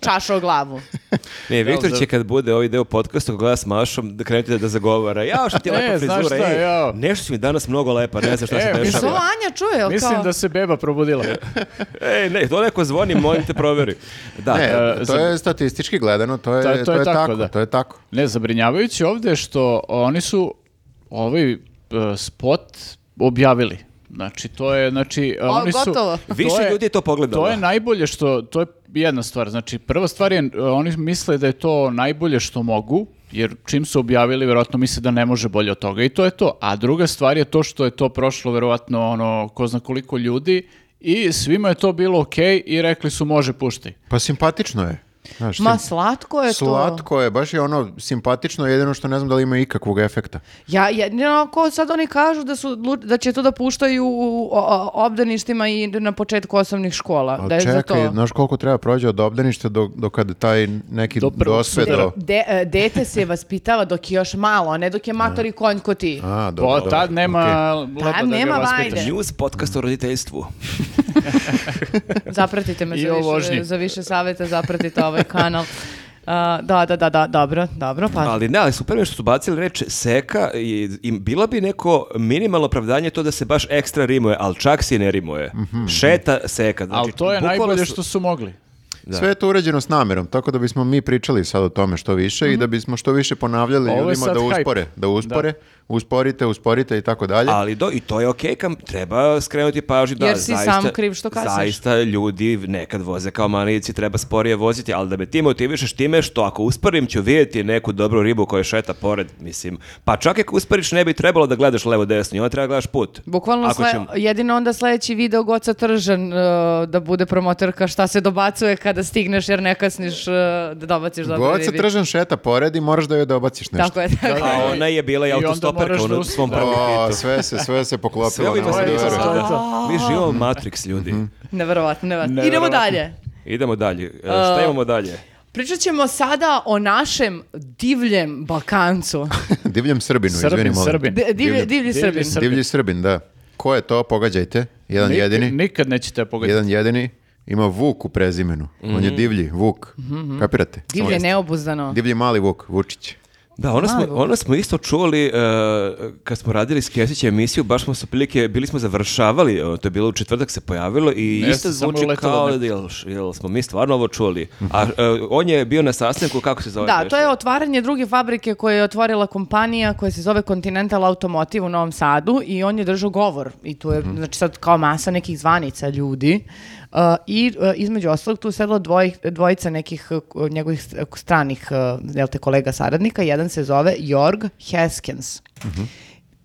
čašu o glavu.
Ne, Viktor će kad bude ovaj deo podcasta, gleda s Mašom, da krenuti da zagovara. Ja, što ti je
E,
lepa
znaš
frizura,
šta,
ej,
jao."
nešto si mi danas mnogo lepa, ne znam šta
E,
se
Jer se ovo
dešava.
Anja čuje, jel
Mislim
kao?
da se beba probudila.
Ej, ne, to neko zvoni, molim te proveri. Da,
Ne, to
E, za-
je statistički gledano, to je,
To-
to, je, tako,
da.
to je tako.
Ne, zabrinjavajuće ovdje je što oni su ovaj e, spot objavili. Znači, to je, znači... e,
O,
oni su,
gotovo.
to
Više ljudi je to pogledalo.
To je najbolje što, to je jedna stvar. Znači, prva stvar je, e, oni misle da je to najbolje što mogu, jer čim su objavili, verovatno misle da ne može bolje od toga i to je to. A druga stvar je to što je to prošlo, verovatno, ono, ko zna koliko ljudi i svima je to bilo okej i rekli su može pušti.
Pa simpatično je. Znaš,
Ma,
sim-
slatko je to.
Slatko je, baš je ono simpatično, jedino što ne znam da li ima ikakvog efekta.
Ja, jedino ako sad oni kažu da, su, odlu- da će to da puštaju u o- o- obdaništima i na početku osnovnih škola.
Ali
da je za to.
čekaj, znaš koliko treba prođe od obdaništa do, do kad taj neki
Do prvog
dosve
sudara.
do...
De, e, dete se vaspitava dok je još malo, a ne dok je mator i konj ko ti.
A, dobro,
Pa
dobro,
tad nema
okej.
leba
Tad
da
nema
ga vaspitaš.
vajde.
News podcast o roditeljstvu.
Zapratite me
I
za
o
više,
vožnji.
za više saveta, zapratite ovaj kanal. A, da, da, da, da, dobro, dobro, pa
Ali ne, ali super mi je što su bacili reč seka i, i bilo bi neko minimalno opravdanje to da se baš ekstra rimuje, ali čak se i ne rimuje.
Mhm,
Šeta seka. Znači,
Ali to je
bukvalno
najbolje
su-
što su mogli.
Sve je to uređeno s namjerom, tako da bismo mi pričali sad o tome što više i da
Mhm.
bismo što više ponavljali
Ovo je
ljudima
sad
da
hype.
uspore, da uspore, usporite, usporite i tako dalje.
Ali do, i to je okej, kam treba skrenuti pažnju da
Jer si sam kriv što kasniš.
Zaista ljudi nekad voze kao manici, treba sporije voziti, ali da me ti motivišeš time što ako usporim ću vidjeti neku dobru ribu koja šeta pored, mislim. Pa čak i ako usporiš ne bi trebalo da gledaš levo desno, i onda treba da gledaš put.
Bukvalno
Ako
sle-
ćemo-
jedino onda sledeći video Goca Tržan e, da bude promotorka šta se dobacuje kada stigneš jer ne kasniš e, da dobaciš dobro
God se tržan šeta pored i moraš da joj dobaciš nešto.
Tako je, tako je.
A ona je bila i
I onda
autostoperka
moraš da
u
uspiješ.
svom prvom
O,
hitu.
sve se, sve se
Sve ono
poklopilo.
ovi
ne
to
mogu da
je
verujem.
sada. Mi živimo u Matrix, ljudi.
Neverovatno, neverovatno. Idemo
Neverovatno.
dalje.
Idemo dalje. E, Šta imamo dalje?
Pričat ćemo sada o našem divljem Balkancu.
Divljem Srbinu,
Srbin,
izvini molim.
Srbin.
D- divlji,
Divlji-
divlji Srbin.
Srbin.
Divlji Srbin, da. Ko je to, pogađajte. Jedan
Nikad-
jedini,
Nikad nećete pogoditi.
jedan jedini. Ima Vuk u prezimenu. On
Mhm.
je divlji, Vuk. Kapirate?
Divlje neobuzdano.
Divlji mali Vuk, Vučić.
Da, ono smo, ono smo isto čuli e, kad smo radili s Kesića emisiju, baš smo se prilike, bili smo završavali, e, to je bilo u četvrtak se pojavilo i
Jeste,
isto
samo
zvuči
uletelo
kao
neko.
da jel, jel smo mi stvarno ovo čuli. A e, on je bio na sastanku, kako se zove?
Da,
beše?
to je otvaranje druge fabrike koje je otvorila kompanija koja se zove Continental Automotive u Novom Sadu i on je držao govor i tu je, znači sad kao masa nekih zvanica ljudi Uh, i uh, između ostalog tu je sedlo dvoj, dvojica nekih uh, njegovih st- stranih uh, jel te, kolega saradnika, jedan se zove Jorg Heskens.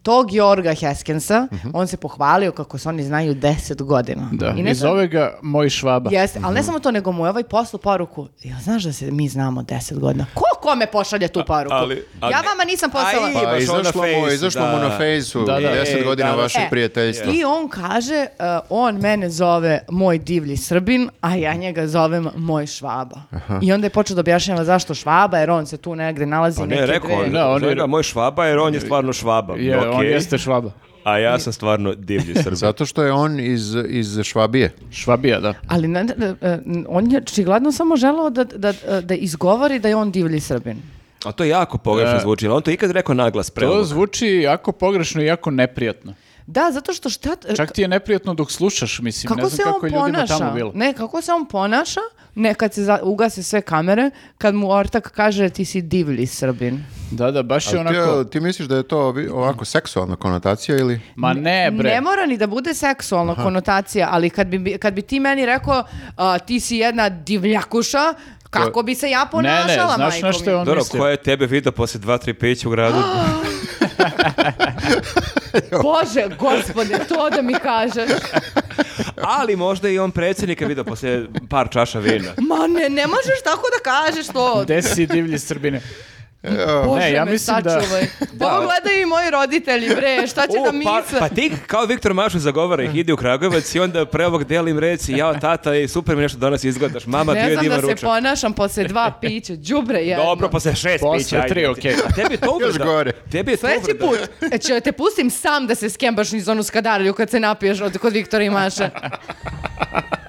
tog Jorga Heskensa, on se pohvalio kako se oni znaju 10 godina.
Da.
I
I,
ne znam-
zove ga moj švaba.
Jeste, ali ne
Mhm.
samo to, nego mu je ovaj poslao poruku. Ja, znaš da se mi znamo 10 godina. Ko kome pošalje tu poruku?
ali- ali-
ja vama nisam poslala. E,
Aj,
Pa
Imaš ono
izašlo mu,
face,
izašlo mu
da.
na fejsu
Da, da.
10
Ej,
godina
da, da.
vašeg
E,
prijateljstva.
I on kaže, uh, on mene zove moj divlji srbin, a ja njega zovem moj švaba. I onda je počeo da objašnjava zašto švaba, jer on se tu negde nalazi.
Pa ne,
neke
rekao
dve-
on,
Ne, on
zove
je-
ga moj švaba jer on je stvarno švaba.
Je,
Okej.
on jeste švaba.
A ja sam stvarno divlji srbin.
Zato što je on iz, iz Švabije.
Švabija, da.
Ali ne- ne- e, on je čigladno samo želao da, da, da izgovori da je on divlji srbin.
A to je jako pogrešno
E.
zvuči. jel On to ikad rekao naglas
To
prelog.
zvuči jako pogrešno i jako neprijatno.
Da, zato što šta...
Čak ti je neprijatno dok slušaš, mislim.
kako
ne
se
znam kako
on
je ljudima
ponaša?
tamo bilo.
Ne, kako se on ponaša? Ne, kad se za- ugase sve kamere, kad mu ortak kaže ti si divlji srbin.
Da, da, baš je
Ti,
onako...
ti misliš da je to ovi- ovako seksualna konotacija ili...
Ma ne, E, bre.
Ne mora ni da bude seksualna konotacija, ali kad bi, bi- kad bi ti meni rekao a, ti si jedna divljakuša, kako bi se ja
ne,
ponašala,
ne, znaš
majko
na što
mi?
je on
Dobro,
mislio?
ko je tebe vidio poslije dva, tri pića u gradu?
Bože, gospode, to da mi kažeš.
Ali možda i on predsjednika vidio poslije par čaša vina.
Ma ne, ne možeš tako da kažeš to.
Gde si divlji Srbine?
Bože,
Ne, ja
me
mislim da-
sačuvaj. Pogledaju i moji roditelji, bre, šta će
U,
Znači da
pa,
misle?
pa ti kao Viktor Mašu zagovara ih, ide u Kragujevac i onda prevog delim reci, jao tata, i super mi nešto danas izgledaš, mama Pa bio
ne
je
znam da
divan
se
ručak.
ponašam posle dva pića, đubre jedno.
Dobro, pa posle šest
Posle
pića. ajde.
tri, okej.
A tebi je to
Još
uvreda.
gore.
Tebi je to
Sljedeći
uvreda.
put e, će te pustim sam da se skembaš niz onu skadarlju kad se napiješ od kod Viktora i Maše.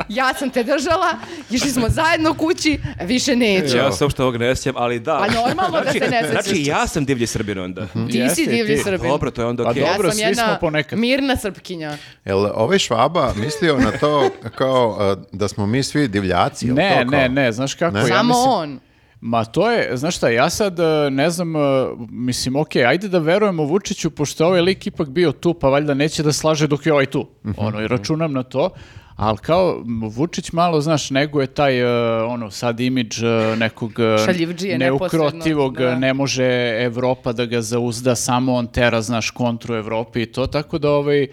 Ja sam te držala, išli smo zajedno kući, više neću.
Znači, Ja se uopšte ovog ne sjećam, ali da.
Pa normalno da se ne sjećaš. Mhm.
Znači, ja sam divlji srbin onda.
Ti
Jeste
si
i
divlji
ti.
Srbin.
Dobro, to je onda
Pa
okej.
Ja
dobro,
sam
svi
jedna
smo ponekad.
mirna srpkinja.
Jel ovaj Švaba mislio na to kao e, da smo mi svi divljaci? jel
Ne,
to kao?
ne, ne, znaš kako, Pa ja
Samo
mislim...
on.
Ma to je, znaš šta, ja sad e, ne znam, e, mislim, okej, ajde da verujemo Vučiću, pošto je ovaj lik ipak bio tu, pa valjda neće da slaže dok je ovaj tu. Ono, i računam na to. Ali kao m, Vučić malo, znaš, neguje taj, e, ono, sad imidž e, nekog e,
Šaljivdžije
neukrotivog,
neposrednog, da.
ne može Evropa da ga zauzda, samo on tera, znaš, kontru Evropi i to, tako da ovaj, e,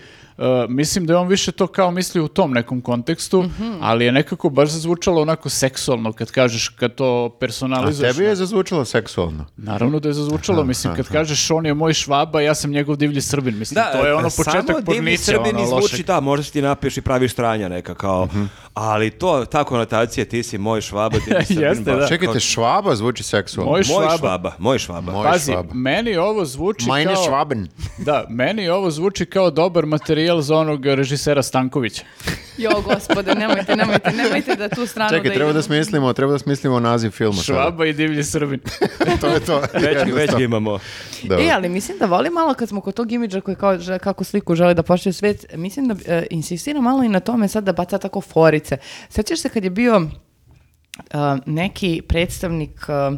mislim da je on više to kao misli u tom nekom kontekstu,
Mhm.
ali je nekako baš zazvučalo onako seksualno kad kažeš, kad to
A
personalizuješ.
tebi je zazvučilo seksualno.
Naravno da je zazvučalo, mislim, kad kažeš on je moj švaba, ja sam njegov divlji srbin, mislim, to je ono
samo
početak
divni
pornića,
srbin
ono
izvuči,
lošeg. Mhm.
da, možda ti napiješ i praviš stranja neka kao, ali to, ta konotacija, ti si moj švaba, divlji srbin.
Jeste,
baš
da.
Čekajte, Švaba zvuči seksualno.
Moj
Moj
švaba.
švaba, moj švaba.
Moj
Pazi,
Švaba.
meni ovo zvuči
Meine
kao...
Schwaben.
Da, meni ovo zvuči kao dobar materijal za onog režisera Stankovića.
Jo, gospode, nemojte, nemojte, nemojte da tu stranu
Čekaj, treba da
idemo.
smislimo, treba da smislimo naziv filma. sada.
Švaba i divlji srbin.
to je to.
Već, već
Jednostavno.
ga imamo.
Dobro.
E, ali mislim da volim malo kad smo kod tog imidža koji kao, že- kako sliku žele da pošalje u svet, mislim da e, insistira malo i na tome sad da baca tako forice. Sjećaš se kad je bio e, neki predstavnik e,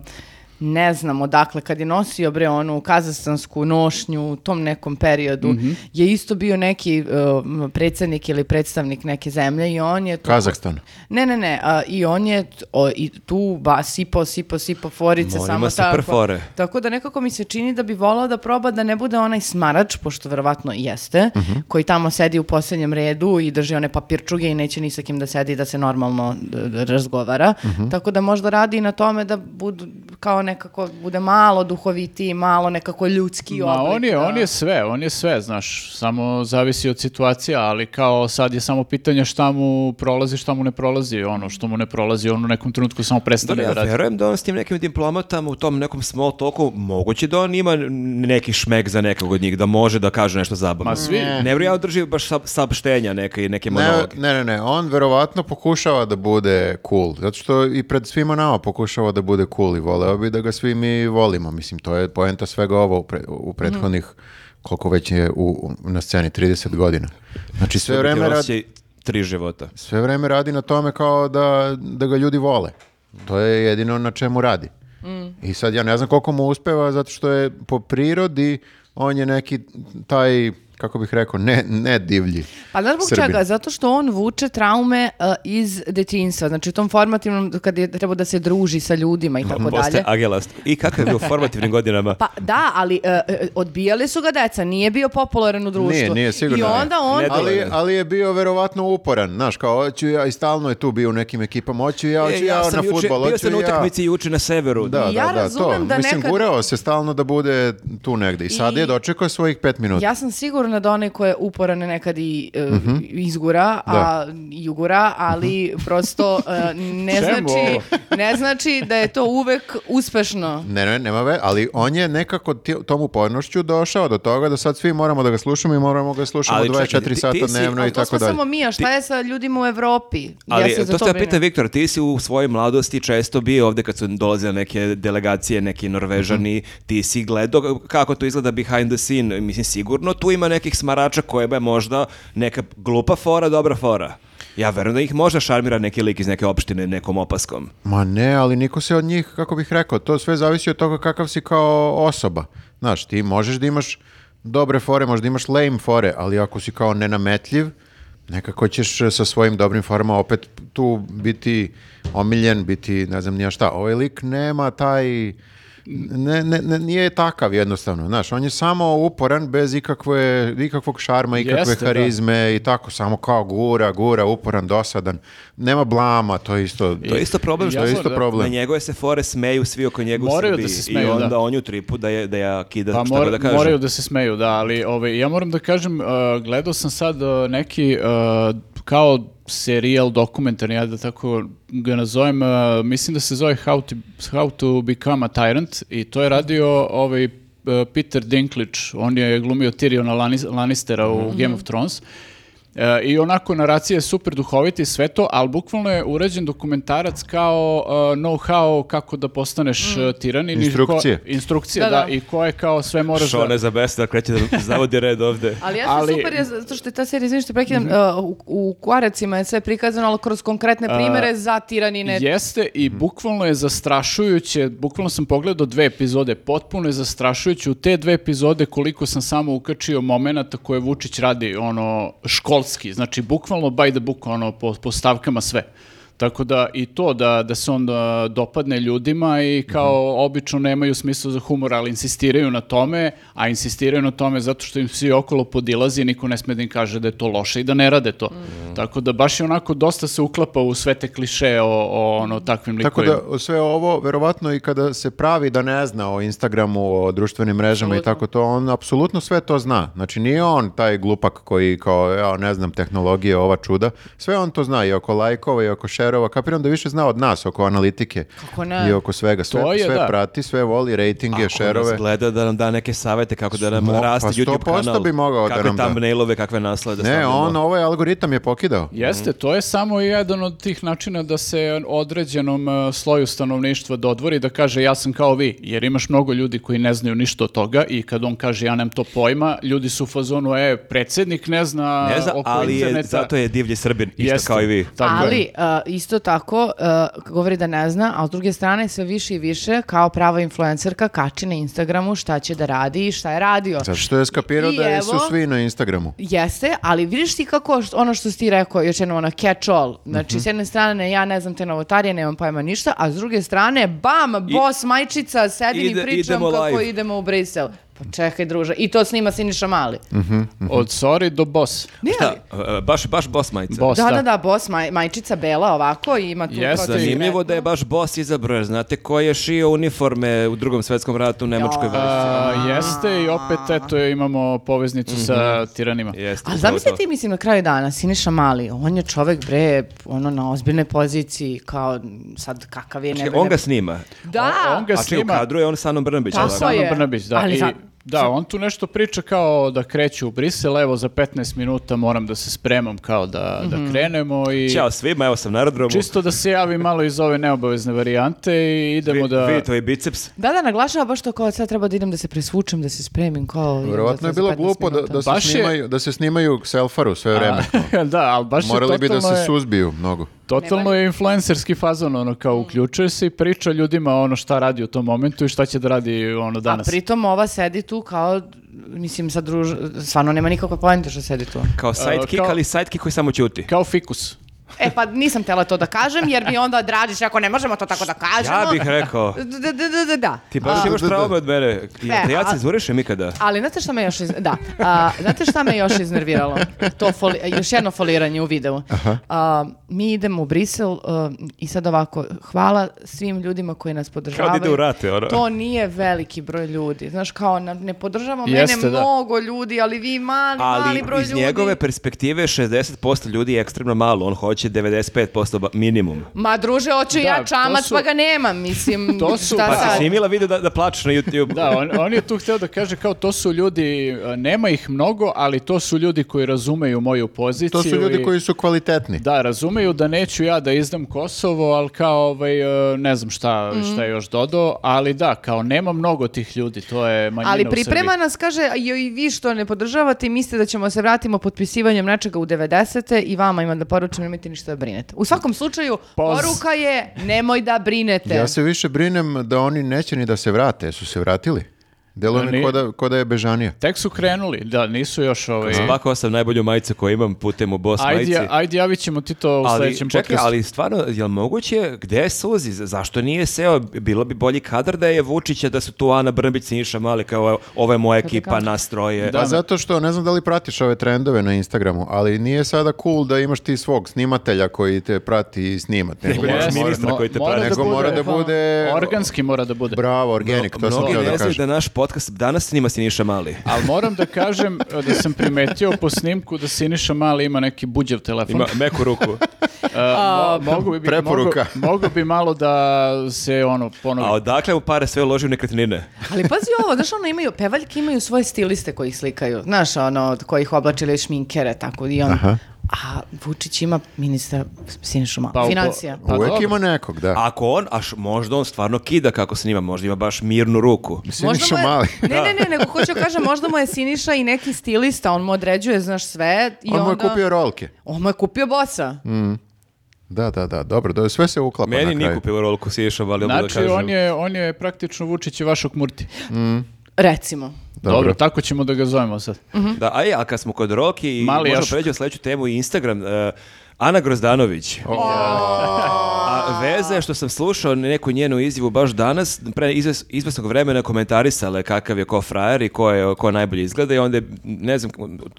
ne znam odakle, kad je nosio bre onu kazastansku nošnju u tom nekom periodu, je isto bio neki e, m, predsjednik ili predstavnik neke zemlje i on je... tu-
Kazahstan.
Ne, ne, ne, a, i on je t- o, i tu ba, sipo, sipo, sipo forice,
Ma, on
samo
ima super
tako.
fore.
Tako da nekako mi se čini da bi volao da proba da ne bude onaj smarač, pošto verovatno i jeste,
Mhm.
koji tamo sedi u posljednjem redu i drži one papirčuge i neće ni sa kim da sedi i da se normalno d- d- razgovara.
Mhm.
Tako da možda radi i na tome da budu kao nekako bude malo duhovitiji, malo nekako ljudski
Ma
oblik.
on je,
da.
on je sve, on je sve, znaš, samo zavisi od situacija, ali kao sad je samo pitanje šta mu prolazi, šta mu ne prolazi, ono što mu ne prolazi, on u nekom trenutku samo prestane
Dobro,
da
ja
radi.
verujem da on s tim nekim diplomatama u tom nekom small talku moguće da on ima neki šmek za nekog od njih, da može da kaže nešto zabavno.
Ma svi- Ne.
Ne vrije održi baš sab, sabštenja neke i neke
Ne,
monologe.
ne, ne, ne, on verovatno pokušava da bude cool, zato što i pred svima nama pokušava da bude cool i voleo bi da ga svi mi volimo, mislim, to je poenta svega ovo u, pre- u
Mhm.
prethodnih, koliko već je u, u- na sceni, 30 godina. Znači sve vreme, rad-
Osjećaj tri života.
sve vreme radi na tome kao da, da ga ljudi vole, to je jedino na čemu radi.
Mm.
I sad ja ne znam koliko mu uspeva, zato što je po prirodi, on je neki taj kako bih rekao, ne, ne divlji
Pa znaš zbog
Srbin.
čega? Zato što on vuče traume uh, iz detinjstva. Znači u tom formativnom, kad je trebao da se druži sa ljudima i tako
Postaje
dalje.
agelast. I kakav je bio u formativnim godinama?
Pa da, ali uh, uh, odbijali su ga deca, nije bio popularan u društvu.
Nije, nije, sigurno
I
ne.
onda on...
Ne
Ali,
Dovoljno.
ali je bio verovatno uporan, znaš, kao hoću ja i stalno je tu bio u nekim ekipama, hoću ja, hoću
E,
ja, na
sam juče-
fudbal,
bio
hoću
sam na
ja.
utakmici juče na severu.
Da,
I ja
da, da, to.
razumem da
Mislim,
nekad-
gurao se stalno da bude tu negde i sad
I-
je dočekao svojih pet minuta.
Ja sam sigurna da onaj ko je uporan nekad i uh, izgura, a i ugura, ali prosto uh, ne,
Čemu
znači,
ovo?
ne znači da je to uvek uspešno.
Ne, ne, nema ve, ali on je nekako ti- tom upornošću došao do toga da sad svi moramo da ga slušamo i moramo ga slušamo
Ali čekaj,
24
ti- ti
sata
si-
dnevno
ali
i
Ali to
tako
smo
dalje.
samo mi, a šta je sa ljudima u Evropi?
Ali
ja se za
to
to
ste pita
brinem.
Viktor, ti si u svojoj mladosti često bio ovde kad su dolazile neke delegacije, neki Norvežani,
Mhm.
ti si gledao kako to izgleda behind the scene. Mislim, sigurno tu ima nekih smarača koje je možda neka glupa fora, dobra fora. Ja verujem da ih možda šarmira neki lik iz neke opštine nekom opaskom.
Ma ne, ali niko se od njih, kako bih rekao, to sve zavisi od toga kakav si kao osoba. Znaš, ti možeš da imaš dobre fore, možda imaš lame fore, ali ako si kao nenametljiv, nekako ćeš e, sa svojim dobrim forama opet tu biti omiljen, biti ne znam nija šta. Ovaj lik nema taj... Ne, ne, ne- nije takav jednostavno, znaš, on je samo uporan bez ikakve, ikakvog šarma, ikakve
Jeste, da.
harizme i tako, samo kao gura, gura, uporan, dosadan, nema blama, to je isto...
To je isto problem što
To je
Jasno,
isto
da.
na
problem.
njegove se fore smeju svi oko njega u
Moraju
Srbiji
da se smeju,
i onda
da.
on ju tripu da, je, da ja kida
Pa
šta
mora-
god da kaže.
moraju da se smeju, da, ali ovaj, ja moram da kažem, uh, gledao sam sad uh, neki uh, kao serijal dokumentarni, ja da tako ga nazovem, uh, mislim da se zove How to, How to Become a Tyrant i to je radio ovaj uh, Peter Dinklage, on je glumio Tyriona Lannis- Lannistera u
Mhm.
Game of Thrones. E, I onako naracija je super duhovita i sve to, ali bukvalno je urađen dokumentarac kao e, know-how kako da postaneš
Mhm.
e, tiran. i ni- ko-
Instrukcije.
instrukcije,
Da,
da,
da.
i ko je kao sve moraš
Šone
da...
za bes da kreće da zavodi red ovde.
Ali ja sam
Ali- Mhm.
super, je, zato što je ta serija, izvini što prekidam, uh, u, u Kvaracima je sve prikazano, ali kroz konkretne
Uh,
primere za tiranine.
Jeste i
Mhm.
bukvalno je zastrašujuće, bukvalno sam pogledao dve epizode, potpuno je zastrašujuće u te dve epizode koliko sam samo ukačio momenata koje Vučić radi ono školski, znači bukvalno by the book ono po, po stavkama sve. Tako da i to da, da se onda dopadne ljudima i kao
Mhm.
obično nemaju smisla za humor, ali insistiraju na tome, a insistiraju na tome zato što im svi okolo podilazi i niko ne sme da im kaže da je to loše i da ne rade to.
Mhm.
Tako da baš je onako dosta se uklapa u sve te kliše o, o ono, takvim
Tako
likovima.
da sve ovo, verovatno i kada se pravi da ne zna o Instagramu, o društvenim mrežama i tako to, on apsolutno sve to zna. Znači nije on taj glupak koji kao, ja ne znam, tehnologije, ova čuda. Sve on to zna i oko lajkova i oko šerova. Kapiram da više zna od nas oko analitike
Kako ne?
i oko svega. Sve,
To je,
sve
da.
prati, sve voli, rejtinge,
Ako
šerove.
nas gleda Ono da nam da neke savete kako da nam
Smo-
raste
pa
YouTube
100%
kanal.
bi mogao da
kakve
nam da.
thumbnailove, kakve naslove da
Ne,
stavljamo.
on ovaj algoritam je pokidao.
Jeste,
Mhm.
to je samo jedan od tih načina da se određenom e, sloju stanovništva dodvori da kaže ja sam kao vi, jer imaš mnogo ljudi koji ne znaju ništa od toga i kad on kaže ja nemam to pojma, ljudi su u fazonu e, predsjednik ne zna,
Ne zna,
oko
ali je,
interneta.
zato je divlji srbin, isto
Jeste,
kao i vi.
tako je.
ali uh, isto tako uh, govori da ne zna, a s druge strane sve više i više kao prava influencerka kači na Instagramu šta će da radi i šta je radio.
Zato što je skapirao
I
da
evo-
su svi na Instagramu.
Jeste, ali vidiš ti kako š- ono što si ti rekao, još jednom ono catch all.
Mhm.
Znači, s jedne strane, ja ne znam te novotarije, nemam pojma ništa, a s druge strane, bam, bos, majčica, sedim
Ide-
i pričam
idemo
kako
live.
idemo u Brisel. Pa čekaj, druže. I to snima Siniša Mali.
Od sorry do boss.
Ne, ali-
Mhm. Da, pa e, baš, baš boss majica.
Boss,
Da, da, da, bos, maj- majčica bela ovako i ima tu...
Jeste,
protiv-
Zanimljivo da je baš boss izabrao, jer znate ko je šio uniforme u drugom svetskom ratu u Nemačkoj
Ja.
vojsci.
A, jeste i opet eto imamo poveznicu sa tiranima.
Mhm. Jeste,
Ali
upravo
zamisli
to.
ti, mislim, na kraju dana, Siniša Mali, on je čovek, bre, ono, na ozbiljnoj poziciji, kao, sad, kakav je, ne,
Čekaj,
bre,
Znači, On
ne-
ga snima.
Da!
On, on ga
A čekaj, u
snima.
kadru je on sa Anom Brnabić.
Tako
jel' da?
je.
Ana Brnabić, da.
Ali
I-
za-
da, on tu nešto priča kao da kreću u Brisel, evo za 15 minuta moram da se spremam kao da,
Mhm.
da krenemo i
Ćao svima, evo sam na aerodromu.
čisto da se javi malo iz ove neobavezne varijante i idemo
Vi-
da...
Vidite ovaj biceps.
Da, da, naglašava baš to kao sad treba da idem da se presvučem, da se spremim kao... idem
Vjerovatno
za-
je
za
bilo
15
glupo da,
minuta.
da, se
Baš je-
snimaju, da se snimaju selfaru sve vreme.
da, ali baš
Morali
je
bi da
totalno,
se
je,
suzbiju mnogo.
totalno je influencerski fazon, ono kao
Mhm.
uključuje se i priča ljudima ono šta radi u tom momentu i šta će da radi ono danas.
A pritom ova sedi tu kao mislim, sad druž... Stvarno nema nikakve poente što sedi tu.
Kao sidekick,
kao-
ali sidekick koji samo ćuti.
Kao fikus.
E, pa nisam tela to da kažem, jer bi onda Dražić rekao, ne možemo to tako da kažemo.
Ja bih rekao.
Da, da, da, da, da.
Ti baš imaš
da, da.
traume od mene. Ja,
E,
te ja
a-
cenzurišem ikada.
Ali znate šta me još iz... da, a, znate šta me još iznerviralo? To foli- još jedno foliranje u videu. A, mi idemo u Brisel a, i sad ovako hvala svim ljudima koji nas podržavaju.
ide u rate, ono.
To nije veliki broj ljudi. Znaš kao na- ne podržava
Jeste,
mene
da.
mnogo ljudi, ali vi mali mali
Ali
broj
iz
ljudi.
njegove perspektive 60% ljudi je ekstremno malo. On hoće 95% ba- minimum.
Ma druže, hoću
Da,
ja
to
čamac,
su-
pa ga nemam, mislim.
To su-
šta
Pa si
Pa
sad?
si snimila video da, da plačeš na YouTube.
Da, on, on je tu hteo da kaže kao to su ljudi, e, nema ih mnogo, ali to su ljudi koji razumeju moju poziciju.
To su ljudi
i-
koji su kvalitetni.
Da, razumeju da neću ja da izdam Kosovo, ali kao ovaj, e, ne znam šta,
Mhm.
šta je još dodao, ali da, kao nema mnogo tih ljudi, to je manjina
Ali
u
priprema
Srbiji.
nas, kaže, joj i vi što ne podržavate i mislite da ćemo se vratimo potpisivanjem nečega u 90. i vama imam da poručim, nemojte ništa da brinete. U svakom slučaju,
Poz.
poruka je nemoj da brinete.
Ja se više brinem da oni neće ni da se vrate. Su se vratili? Delo mi
Oni-
ko da, ko da je bežanija.
Tek su krenuli, da, nisu još ovaj...
Spakao sam najbolju majicu koju imam putem u Boss majici.
Ajde, ajde, javit ćemo ti to u
Ali,
sledećem
čekaj,
podcastu.
ali stvarno, je li moguće, gde je Suzi? Zašto nije seo? Bilo bi bolji kadar da je Vučića, da su tu Ana Brnbić, Siniša Mali, kao ovo je moja ekipa, nastroje.
Pa zato što, ne znam da li pratiš ove trendove na Instagramu, ali nije sada cool da imaš ti svog snimatelja koji te prati i snima. te.
Nego nemaš
Jeste,
ministra
mo-
koji te
mora
prati.
Nego
bude,
mora da bude...
Organski mora da bude.
Bravo, organic, to sam
Mnogi
htio da
ne znaju da
kažem.
naš podcast danas snima Siniša Mali.
Ali moram da kažem e, da sam primetio po snimku da Siniša Mali ima neki buđav telefon.
Ima meku ruku.
E, mo- mogu bi,
preporuka.
Mogu, mogu bi malo da se ono ponovi.
A odakle mu pare sve uloži u nekretnine?
Ali pazi ovo, znaš, ono imaju, pevaljke imaju svoje stiliste koji ih slikaju. Znaš, ono, od kojih oblačili šminkere, tako i on. A Vučić ima ministra Sinišu Malog,
Pa, u-
financija.
Pa
Uvek
dobro.
ima nekog, da.
Ako on, a š- možda on stvarno kida kako snima, možda ima baš mirnu ruku.
Siniša
mu je-
Mali.
Ne, ne, ne, nego hoću da kažem, možda mu je Siniša i neki stilista, on mu određuje, znaš, sve. I
On mu je
onda-
kupio rolke.
On mu je kupio bosa.
Da, da, da, dobro, do, sve se uklapa na
Meni
kraju.
nije kupio rolku Siniša Mali, odmah da
Znači,
kažem.
on je, on je praktično Vučić i vašog Murti.
Recimo.
Dobro.
Dobro.
tako ćemo da ga zovemo sad.
Da, a, je, a kad smo kod Roki,
Mali
možemo
jašak.
pređu u sledeću temu i Instagram. e, Ana Grozdanović. A veze je što sam slušao neku njenu izjavu baš danas, pre izves, izvesnog vremena komentarisala je kakav je ko frajer i ko, je, ko najbolje izgleda i onda je, ne znam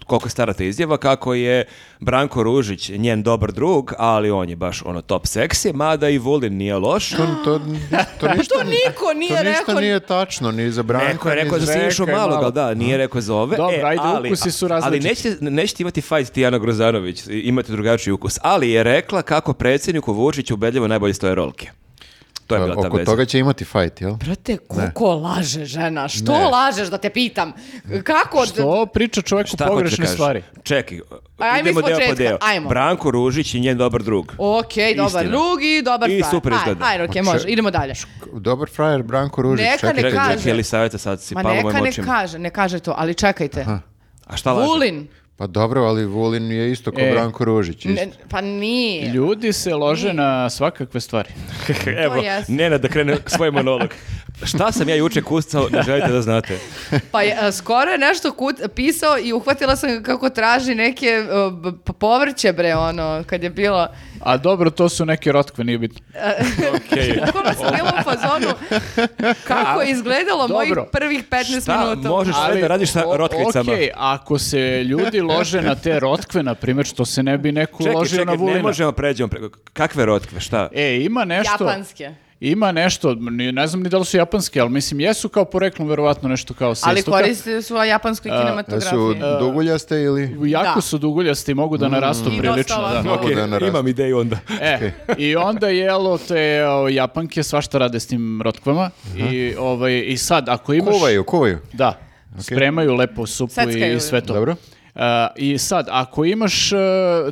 koliko je stara ta izjava, kako je Branko Ružić njen dobar drug, ali on je baš ono top seksi, mada i Vulin nije loš.
To, to, to
Pa
ništa,
To niko nije
to ništa
rekao.
nije tačno, ni za Branka,
Neko je
ni
rekao za Sinišu
Rekao je
Malog,
malo.
ali da, nije rekao za ove.
Dobro,
E,
ajde,
ali,
ukusi su
Ali
različiti.
nećete, nećete imati fajt Tijana Grozanović, i- imate drugačiji ukus. Ali je rekla kako predsjedniku Vučiću ubedljivo najbolje stoje rolke.
Pa,
To je bila ta
Oko
veza.
toga će imati fajt, jel?
Brate, koliko laže žena? Što lažeš da te pitam? Kako?
To priča čoveku
Šta hoćeš da
pogrešne
kažeš?
stvari.
Čekaj,
Ajmo
idemo
Pa, iz
deo po
početka,
deo.
ajmo.
Branko Ružić i njen dobar drug.
Ok, dobar
Istina.
drugi, dobar
I
frajer.
super
Aj,
izgleda.
Aj, Roke, može, idemo dalje.
Dobar frajer Branko Ružić.
Neka
čekajte,
ne
Čekaj,
kaže.
čekaj, Elisaveta, sad si
Ma
palo
neka
mojim
ne
očima.
kaže, ne kaže to, ali čekajte.
A šta laže?
Vulin.
Pa dobro, ali Vulin je isto kao
E.
Branko Ružić. isto.
Ne, pa nije.
Ljudi se lože na svakakve stvari.
Evo,
jeste.
Nena da krene svoj monolog. Šta sam ja juče kucao, ne želite da znate.
Pa je, a, skoro je nešto kut, pisao i uhvatila sam ga kako traži neke a, b- p- povrće, bre, ono, kad je bilo...
A dobro, to su neke rotkve, nije bitno.
Okej.
Kako sam bila u fazonu kako je izgledalo mojih
Dobro.
prvih 15
Šta
minuta.
možeš sve da radiš sa
o-
rotkvicama?
Okej, ako se ljudi lože na te rotkve, na primjer, što se ne bi neko
Čekaj,
ložio na
čekaj,
vulina.
ne možemo pređemo preko. Kakve rotkve, šta?
E, ima nešto...
Japanske.
Ima nešto, ni- ne znam ni da li su japanske, ali mislim jesu kao poreklom verovatno nešto kao sestoka.
Ali koriste su u japanskoj
Da
kinematografiji.
su
E,
duguljaste ili...
Jako
Da.
su duguljasti, mogu
Mm.
da narastu
I
e, prilično.
dosta
Da.
ovako.
Mogu da narastu.
imam ideju onda.
E, i onda jelo te o, japanke svašta rade s tim rotkvama i, ovaj, i sad ako imaš...
Kuvaju, kuvaju.
Da, spremaju lepo supu
Seckaju.
i sve to.
Dobro.
E, I sad, ako imaš e,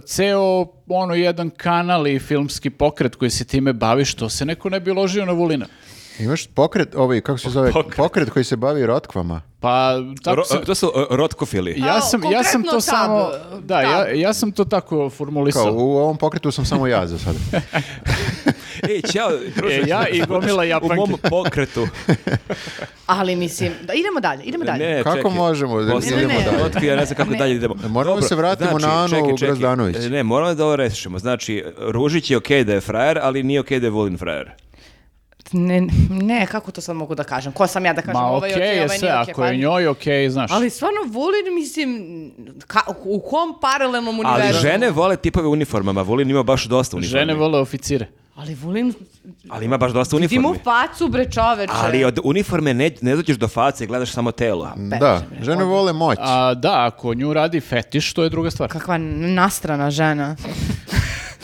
ceo ono jedan kanal i filmski pokret koji se time baviš, to se neko ne bi ložio na vulina.
Imaš pokret, ovaj, kako se zove, pokret, koji se bavi rotkvama.
Pa tako
Ro-
sam-
to su e, rotkofili.
Ja
A,
sam, ja sam
konkretno
to samo...
tab,
Da, ja, ja sam to tako
Kao,
formulisao.
u ovom pokretu sam samo ja za sada.
Ej, ćao, druže.
E, ja i gomila
U
japanki.
mom pokretu.
Ali mislim, da idemo dalje, idemo dalje.
Ne,
Kako
čekaj.
možemo da
Posle
idemo
idemo
dalje?
Otkrio, ja ne znam kako
Ne.
dalje idemo.
Moramo se vratimo na Anu Grozdanović.
E, Ne, moramo da ovo rešimo. Znači, Ružić je okej da je frajer, ali nije okej da je Vulin frajer.
Ne, ne, kako to sad mogu da kažem? Ko sam ja da kažem
Ma
ovaj
okej
je okej,
je
ovaj
sve,
nije okej?
ako
pa-
je njoj okej, znaš.
Ali stvarno Vulin, mislim, ka- u kom paralelnom
Ali
univerzumu?
žene vole tipove u uniformama. Vulin ima baš dosta uniformi.
Žene vole oficire.
Ali Vulin,
Ali ima baš dosta
ti mu
uniformi.
facu bre čoveče.
Ali od uniforme ne, ne dođeš do face, gledaš samo telo.
da, žene vole moć.
A da, ako nju radi fetiš, to je druga stvar.
Kakva nastrana žena.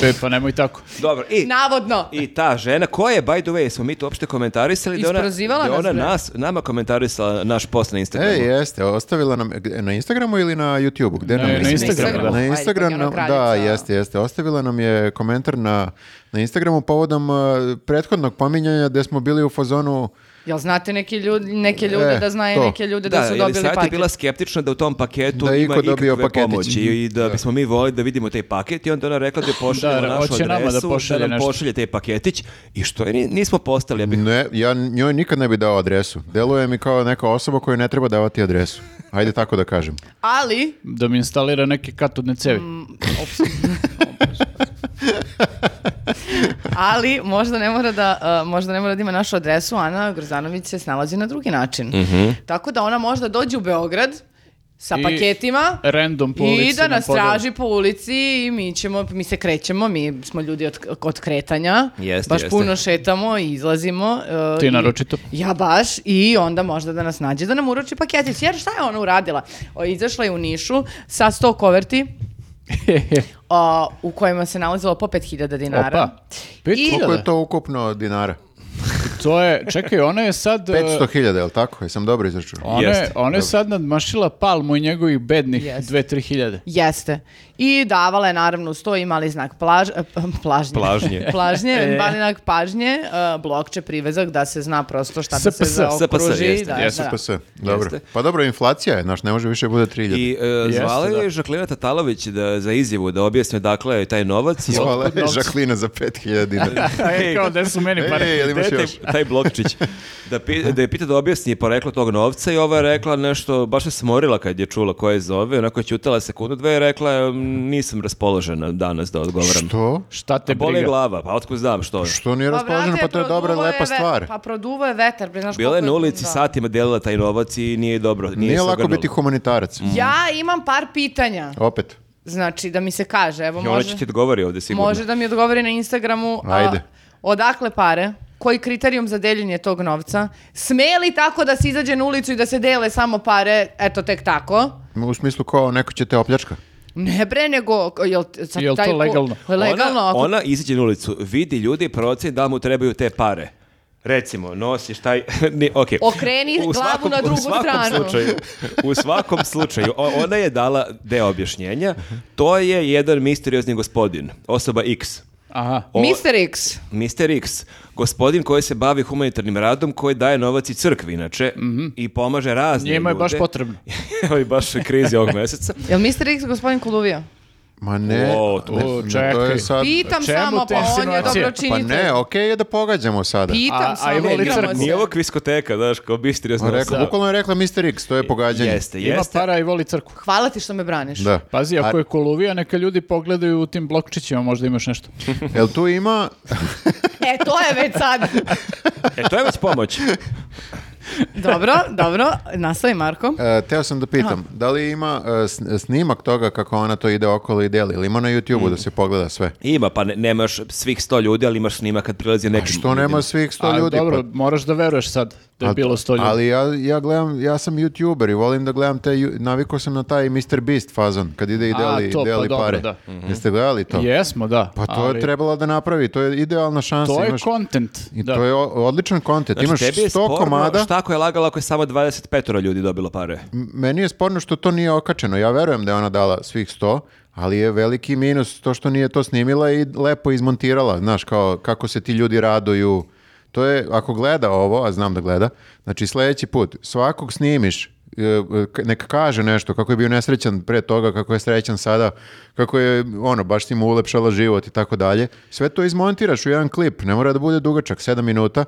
E, pa nemoj tako.
Dobro, i...
Navodno.
I ta žena, koja je, by the way, smo mi to uopšte komentarisali da ona,
Isprozivala
da
nas,
ona
bre.
nas, nama komentarisala naš post na
E,
Instagramu.
jeste, ostavila nam gde- na Instagramu ili na YouTubeu, gde
Ne,
nam je?
na Instagramu, da.
Na
Ajde,
Instagramu,
pa je ona
da,
kraljica.
jeste, jeste. Ostavila nam je komentar na, na Instagramu povodom uh, prethodnog pominjanja gde smo bili u fazonu
Jel znate neki ljudi, neke ljude
E,
da znaju
to.
neke ljude da, su
Elisaveta
dobili
je
paket?
bila skeptična da u tom paketu
Da je
ima
iko dobio
ikakve
paketić.
pomoći i da bismo mi volili da vidimo taj paket i onda ona rekla da je pošaljemo
Da,
našu
hoće nama da
adresu,
pošalje
nam
nešto.
pošalje taj paketić i što je, ni- nismo postali, ja bih
Ne, ja njoj nikad ne bi dao adresu. Deluje mi kao neka osoba koja ne treba davati adresu. Ajde tako da kažem.
Ali,
Da mi instalira neke katodne cevi.
ali možda ne mora da uh, možda ne mora da ima našu adresu, Ana Grozanović se snalazi na drugi način.
Mhm.
Tako da ona možda dođe u Beograd sa
I
paketima
random po
i
ulici
da
nam
nas
podeli.
traži po ulici i mi ćemo mi se krećemo, mi smo ljudi od, od kretanja.
Jeste,
baš
jeste.
puno šetamo i izlazimo. uh,
Ti
i-
naročito.
Ja baš i onda možda da nas nađe da nam uruči paketić. Jer šta je ona uradila? O, izašla je u Nišu sa 100 koverti o, u kojima se nalazilo po 5000 dinara.
Opa. Pet
I-
Koliko je
hiljada.
to ukupno dinara?
To je, čekaj, ona je sad... e,
500.000, je li tako? Jesam dobro izračunao?
Ona je,
Jeste.
ona je sad nadmašila palmu i njegovih bednih
Jeste.
dve, tri hiljade.
Jeste. I davala je naravno uz to i mali znak plaž, eh, plažnje.
Plažnje. E.
plažnje, mali znak pažnje, uh, blokče, privezak da se zna prosto šta da se
SPS,
zaokruži.
jeste,
da,
jeste.
e, da.
SPS, dobro. Pa dobro, inflacija je, znaš, ne može više bude 3.000.
I e, zvala
Jeste,
je
da.
Žaklina Tatalović da, za izjavu da objasni odakle je taj novac. I
Zvala
otkud
je
novci?
Žaklina za 5.000 dinara.
E, kao da su meni pare.
Ej, jel imaš
Gde je
još?
taj, taj blokčić? Da, pi- da je pita da objasni poreklo tog novca i ova je rekla nešto, baš se smorila kad je čula koja je zove, onako je ćutala sekundu dve i rekla "Em, nisam raspoložena danas da odgovaram.
Što?
Šta te
Bole
briga?
glava, pa otkud znam što je.
Što nije raspoloženo?
brate,
Pa to je dobra,
produvo je
lepa
ve-
stvar.
Pa produvo je vetar. Bre, znaš
Bila je
koliko
na ulici,
da.
satima delila taj novac i nije dobro. Nije,
Nije
se
lako
ogrnula.
biti humanitarac.
Ja imam par pitanja.
Opet.
Znači, da mi se kaže. Evo,
I ona
može,
će ti odgovori ovdje sigurno.
može da mi odgovori na Instagramu. a,
Ajde.
odakle pare? Koji kriterijum za deljenje tog novca? Sme li tako da se izađe na ulicu i da se dele samo pare, eto tek tako?
U smislu kao neko će te opljačka.
Ne bre, nego... k- Jel, t- sad
Jel
taj
to
ko-
legalno?
Legalno.
ona,
ako-
ona izađe na ulicu, vidi ljudi proceni da li mu trebaju te pare. Recimo, nosiš taj... ni- okej.
Okreni glavu na drugu
u svakom
stranu.
Slučaju, u svakom slučaju, o- ona je dala deo objašnjenja. To je jedan misteriozni gospodin, osoba X.
Aha.
O-
Mr. X.
Mr. X, gospodin koji se bavi humanitarnim radom, koji daje novac i crkvi, inače,
Mhm.
i pomaže razne
Njima je
ljude.
baš potrebno.
Evo i baš krizi ovog meseca.
Jel Mr. X gospodin Koluvija?
Ma ne.
O, to-
ne,
o,
to
čekaj.
je sad-
Pitam
čemu
samo,
te
pa on je
insinuacije?
dobro
Pa
činitelj.
ne, okej je da pogađamo sada.
Pitam
A- a
samo,
evo li
igramo
crkvu?
se.
Nije ovo kviskoteka, znaš, kao misteriozna
On rekao,
osoba.
bukvalno je rekla Mr. X, to je pogađanje.
Jeste,
Ima
jeste.
para i voli crku.
Hvala ti što me braniš.
Da.
Pazi,
A-
ako je koluvija, neka ljudi pogledaju u tim blokčićima, možda imaš nešto.
Jel tu ima,
E, to je već sad.
E, to je već pomoć.
dobro, dobro. Nastavi, Marko.
e, teo sam da pitam, da li ima e, s- snimak toga kako ona to ide okolo i deli? Ili ima na YouTube-u da se pogleda sve?
Ima, pa ne, nemaš svih sto ljudi, ali imaš snima kad prilazi neki...
Pa Što nema svih sto
A,
ljudi?
dobro, moraš da veruješ sad da je
Pa-
bilo sto ljudi.
Ali ja, ja gledam, ja sam youtuber i volim da gledam te, ju- navikao sam na taj Mr. Beast fazon, kad ide i
A,
deli,
to, pa
deli
dobro,
pare.
da.
Jeste gledali to?
Jesmo, da.
Pa to
ali
je trebalo da napravi, to je idealna šansa.
To je
imaš-
content.
I
da.
to je o- odličan kontent.
Znači,
Imaš 100 komada. Mm,
Šta ako je lagala ako je samo 25 ljudi dobilo pare?
M- Meni je sporno što to nije okačeno. Ja verujem da je ona dala svih 100, ali je veliki minus to što nije to snimila i lepo izmontirala. Znaš, kao kako se ti ljudi raduju To je, ako gleda ovo, a znam da gleda, znači sljedeći put, svakog snimiš, e, e, k- neka kaže nešto, kako je bio nesrećan pre toga, kako je srećan sada, kako je, ono, baš ti mu ulepšala život i tako dalje. Sve to izmontiraš u jedan klip, ne mora da bude dugačak, 7 minuta.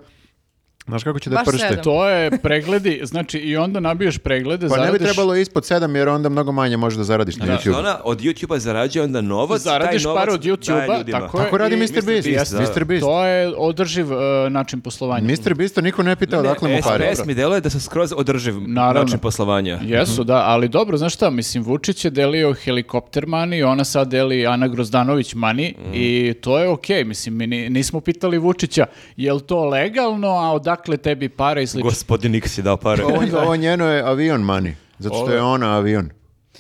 Znaš kako će da
Baš
pršte?
sedam.
To je pregledi, znači i onda nabiješ preglede,
Pa ne bi
zaradiš-
trebalo ispod 7 jer onda mnogo manje možeš da zaradiš na
Da, Ono
YouTube.
Znači, ona od YouTube-a zarađuje onda novac,
Zaradiš
taj novac
par od
daje
YouTube-a,
ljudima.
tako je.
Tako radi
i-
Mr. Beast.
Beast, da.
Mr. Beast.
To je održiv e, način poslovanja.
Mr. Beast niko ne pita
Ne,
Pa odakle mu pare.
SPS mi deluje da se skroz održiv
Naravno.
način poslovanja.
Jesu, da, ali dobro, znaš šta, mislim, Vučić je delio helikopter mani, ona sad deli Ana Grozdanović mani
Mm.
i to je okej, mislim, mi ni- nismo pitali Vučića, je li to legalno, a odakle tebi pare i slično.
Gospodin Nix je dao pare.
Ovo, ovo njeno je avion money, zato što je ona avion.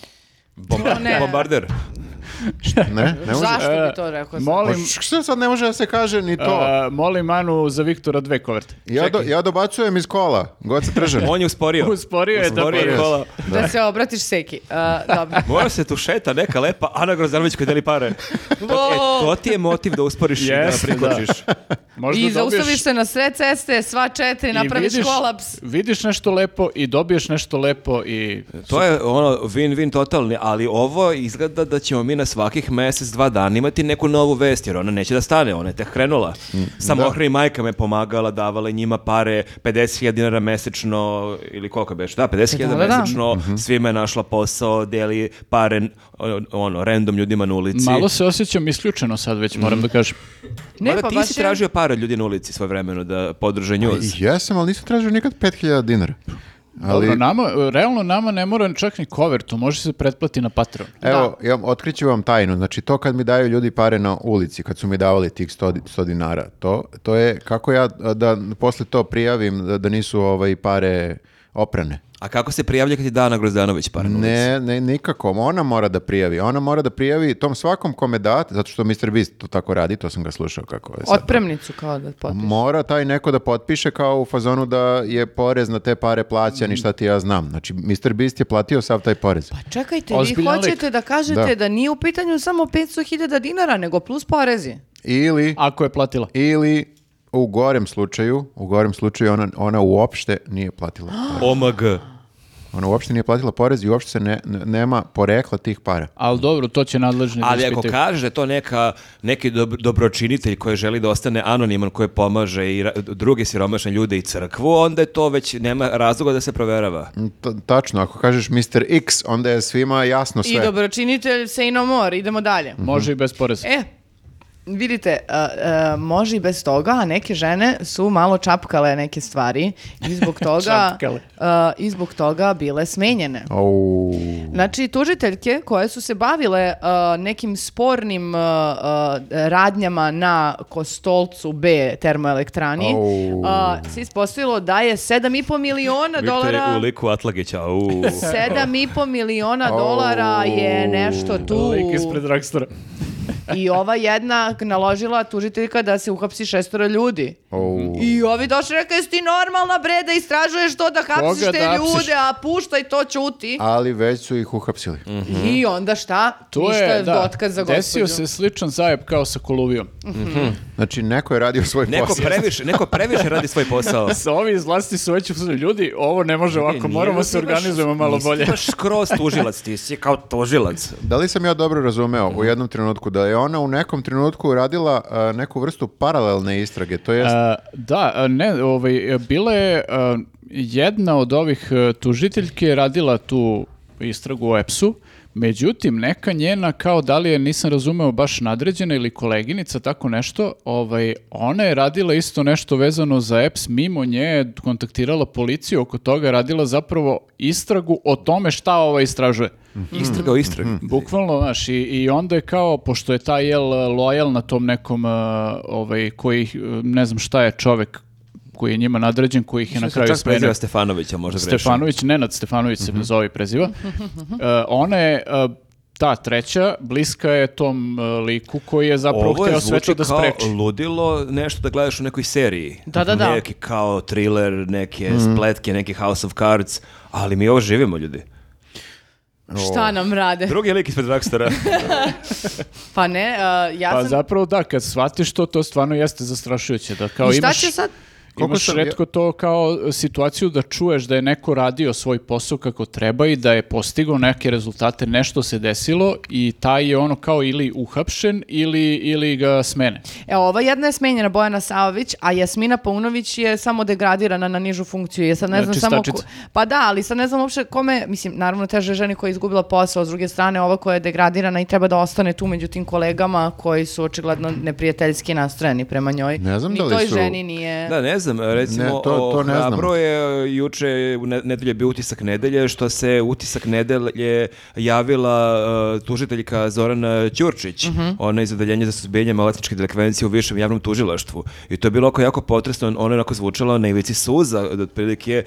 Bomba-
To ne.
Bombarder.
Ne, ne može.
Zašto bi to rekao? sad?
Pa
E, Molim,
š- Što sad ne može da se kaže ni to?
e, molim Anu za Viktora dve koverte.
Ja, do, ja dobacujem iz kola, god se tržan.
On je usporio.
Usporio je, da,
je
pa-
kola.
Da se obratiš Seki. Uh, dobro.
Mora se tu šeta neka lepa Ana Grozanović koja deli pare. To, e, to ti je motiv da usporiš i da
Jeste,
prikočiš.
Možda
I
dobiješ-
zaustaviš se na sve ceste, sva četiri,
i
napraviš
vidiš-
kolaps.
Vidiš nešto lepo i dobiješ nešto lepo i...
To je ono win-win totalni, ali ovo izgleda da ćemo mi na svakih mjesec, dva dana imati neku novu vest, jer ona neće da stane, ona je tek krenula.
Mm,
Samo i majka me pomagala, davala je njima pare, 50.000 dinara mesečno, ili koliko beš, da, 50.000
Da, Mhm. da, da.
mesečno, svima je našla posao, deli pare, ono, random ljudima na ulici.
Malo se osjećam isključeno sad već, moram
Mhm.
da kažem.
Ne,
Mada
pa
ti
baš
si
je-
tražio pare od ljudi na ulici svoje vremeno da podrže njuz.
Ja sam, ali nisam tražio nikad 5000 dinara. Ali,
Dobro, nama, e, realno nama ne mora čak ni cover, to može se pretplati na Patreon.
evo, ja, vam- otkriću vam tajnu. Znači, to kad mi daju ljudi pare na ulici, kad su mi davali tih 100, di- 100 dinara, to, to je kako ja a, da posle to prijavim da, da nisu ovaj pare oprane.
A kako se prijavlja kad je Dana Grozdanović pare na ulici?
Ne, ne, nikako. Ona mora da prijavi. Ona mora da prijavi tom svakom kome dat, zato što Mr. Beast to tako radi, to sam ga slušao kako je sad.
Otpremnicu kao da potpiš.
Mora taj neko da potpiše kao u fazonu da je porez na te pare plaćan i šta ti ja znam. Znači, Mr. Beast je platio sav taj porez.
Pa čekajte, vi
Ozbiljan lik.
hoćete da kažete
Da.
da. nije u pitanju samo 500.000 dinara, nego plus porezi.
Ili,
Ako je platila.
ili u gorem slučaju, u gorem slučaju ona, ona uopšte nije platila porez.
OMG.
Ona uopšte nije platila porez i uopšte se ne, ne- nema porekla tih para.
Ali dobro, to će nadležni da
Ali ako
ispitaju.
kaže da je to neka, neki dob- dobročinitelj koji želi da ostane anoniman, koji pomaže i ra- druge siromašne ljude i crkvu, onda je to već nema razloga da se proverava.
T- Mm, tačno, ako kažeš Mr. X, onda je svima jasno sve.
I dobročinitelj se i no more, idemo dalje.
Mhm.
Može i bez poreza.
E, vidite, a, a, može i bez toga, a neke žene su malo čapkale neke stvari i zbog toga,
Čapkale.
a, i zbog toga bile smenjene.
Au.
Znači, tužiteljke koje su se bavile uh, nekim spornim uh, uh, radnjama na Kostolcu B termoelektrani,
Au.
uh, se ispostavilo da je 7,5 miliona
Viktor je
dolara...
u liku Atlagića. u.
7,5 miliona
Au.
dolara je nešto tu
Lik ispred Rockstar.
i ova jedna naložila tužiteljka da se uhapsi šestoro ljudi.
Au.
I ovi došli i rekao, jesi ti normalna bre da istražuješ to da hapsiš
Koga
te
da hapsiš?
ljude, a puštaj to ćuti.
Ali već su ih uhapsili.
I onda šta?
To
Ništa
je, da,
dotkaz za gospođu.
desio se sličan zajeb kao sa Koluvijom.
Znači, neko je radio svoj
Neko
posao.
previše, neko previše radi svoj posao.
Sa ovi iz vlasti su već u fazonu, ljudi, ovo ne može ovako,
Nije
moramo
da
se
ti baš-
organizujemo malo
nisi
bolje.
ti baš skroz tužilac, ti si kao tužilac.
Da li sam ja dobro razumeo u jednom trenutku da je ona u nekom trenutku uradila a, neku vrstu paralelne istrage, to jest
E, da, e, ne, ovaj, e, bila je e, jedna od ovih e, tužiteljki je radila tu istragu o EPS-u, međutim, neka njena, kao da li je, nisam razumeo, baš nadređena ili koleginica, tako nešto, ovaj, ona je radila isto nešto vezano za EPS, mimo nje je kontaktirala policiju oko toga, radila zapravo istragu o tome šta ova istražuje.
Istraga o istragu.
Mm. Bukvalno, znaš, i, i onda je kao, pošto je taj jel lojal na tom nekom, e, ovaj, koji, ih, e, ne znam šta je čovek koji je njima nadređen, koji ih je na kraju
Čak
smenio.
preziva Mhm. Stefanovića, možda grešim.
Stefanović, Nenad Stefanović se zove i preziva. E, ona je e, ta treća, bliska je tom e, liku koji je zapravo
Ovo je
hteo sve to
zvuči
da
kao
spreči.
ludilo nešto da gledaš u nekoj seriji.
Da, da, da.
Neki kao thriller, neke spletke, neki House of Cards, ali mi ovo živimo, ljudi.
Šta nam rade?
Drugi lik ispred Rockstara.
Pa ne, uh, ja
Pa
sam...
zapravo da, kad shvatiš to, to stvarno jeste zastrašujuće. Da kao
I šta
imaš,
će sad?
Koliko
Imaš
sam ja-
redko to kao situaciju da čuješ da je neko radio svoj posao kako treba i da je postigao neke rezultate, nešto se desilo i taj je ono kao ili uhapšen ili, ili ga smene.
E, ova jedna je smenjena Bojana Savović, a Jasmina Paunović je samo degradirana na nižu funkciju. Ja sad ne
Da,
znam samo...
čistačica.
Pa da, ali sad ne znam uopšte kome... Mislim, naravno, teže je ženi koja je izgubila posao, s druge strane ova koja je degradirana i treba da ostane tu među tim kolegama koji su očigledno neprijateljski nastrojeni prema njoj.
Ne znam
Ni
da li
toj
su-
ženi nije...
Da, ne znam, recimo,
Ne, to- to
o,
ne znam.
hrabro je, e, juče, je u ne, nedelje je bio utisak nedelje, što se utisak nedelje javila e, tužiteljka Zorana Ćurčić,
Mhm.
ona iz odeljenja za suzbijanje maloljetničke delikvencije u višem javnom tužilaštvu. I to je bilo oko jako potresno, ona je onako zvučala na ivici suza, od otprilike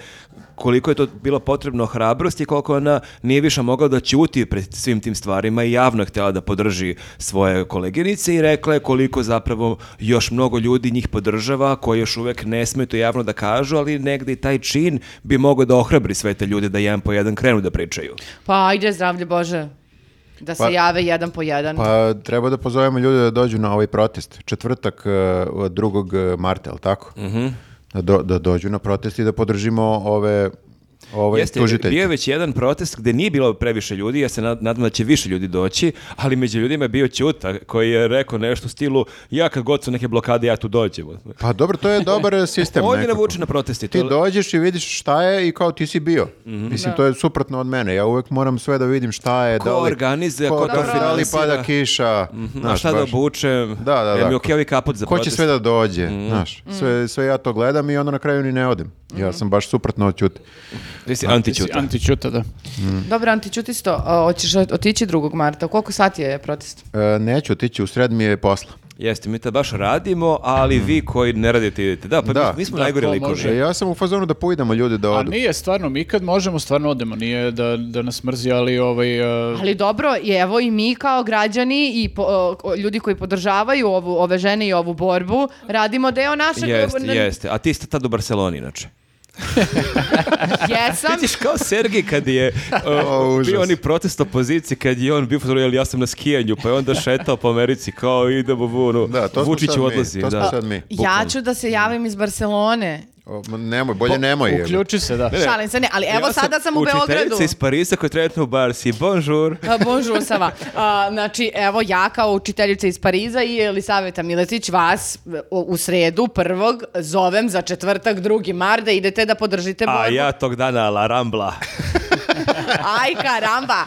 koliko je to bilo potrebno hrabrosti, koliko ona nije više mogla da ćuti pred svim tim stvarima i javno je htjela da podrži svoje koleginice i rekla je koliko zapravo još mnogo ljudi njih podržava koji još uvek ne smeju to javno da kažu, ali negde i taj čin bi mogao da ohrabri sve te ljude da jedan po jedan krenu da pričaju.
Pa ajde, zdravlje Bože, da se
Pa-
jave jedan po jedan.
Pa treba da pozovemo ljude da dođu na ovaj protest. Četvrtak eh, od 2. marta, jel tako?
Mhm.
da, do- da dođu na protest i da podržimo ove, ove
Jeste,
tužiteljke.
bio je već jedan protest gde nije bilo previše ljudi, ja se nad- nadam da će više ljudi doći, ali među ljudima je bio Ćuta koji je rekao nešto u stilu ja kad god su neke blokade ja tu dođem.
Pa dobro, to je dobar eh, sistem.
On je
nekako.
navučen na protesti.
Ti
to-
dođeš i vidiš šta je i kao ti si bio. Mislim, to je suprotno od mene. Ja uvek moram sve da vidim šta je.
Mhm. Ko
da li,
organizuje, ko to
Da li
finansira.
pada kiša.
Na
znaš,
šta da
baš.
obučem?
Da, da,
Jel mi
da.
okej ovaj kaput za
Ko će
protest? Mhm.
sve da dođe, znaš. Sve, sve ja to gledam i onda na kraju ni ne odem. Ja sam baš suprotno od Ćute.
Ti si antićuta.
Antićuta, da.
Dobro, Anti Ćutisto, a, hoćeš otići 2. marta. Koliko sati je protest?
E, neću otići, u sred mi je posla.
Jeste, mi to baš radimo, ali vi koji ne radite idete. Da, pa
Mhm. Da.
mi, mi smo
Da,
najgori
ko
likovi.
može.
E, ja sam u fazonu da poidemo ljudi da
A
odu.
nije stvarno, mi kad možemo stvarno odemo, nije da, da nas mrzi, ali ovaj... uh,
Ali dobro, i evo i mi kao građani i po- o, o, ljudi koji podržavaju ovu, ove žene i ovu borbu, radimo deo našeg...
Jeste,
ne-
jeste. A ti ste tad u Barceloni, inače.
Jesam,
Vidiš kao Sergij kad je uh, bio
užas.
oni protest opozicije, kad je on bio fotografija, ali ja sam na skijanju, pa je onda šetao po Americi kao idemo u ono,
Da, to smo sad
Vučiću
mi,
odlazi.
to smo
da.
sad mi.
ja ću da se javim iz Barcelone.
O, ma nemoj, bolje nemoj. je.
Uključi se, da.
Šalim se, ne, ali evo
Ja
sada sam u Beogradu.
Učiteljica iz Parisa koja je trenutno u Barsi. Bonjour.
A, Bonjour, ça va. A, znači, evo ja kao učiteljica iz Pariza i Elisaveta Miletić vas u, u sredu prvog zovem za četvrtak drugi mar da idete da podržite
A
borbu.
ja tog dana la rambla.
Aj karamba.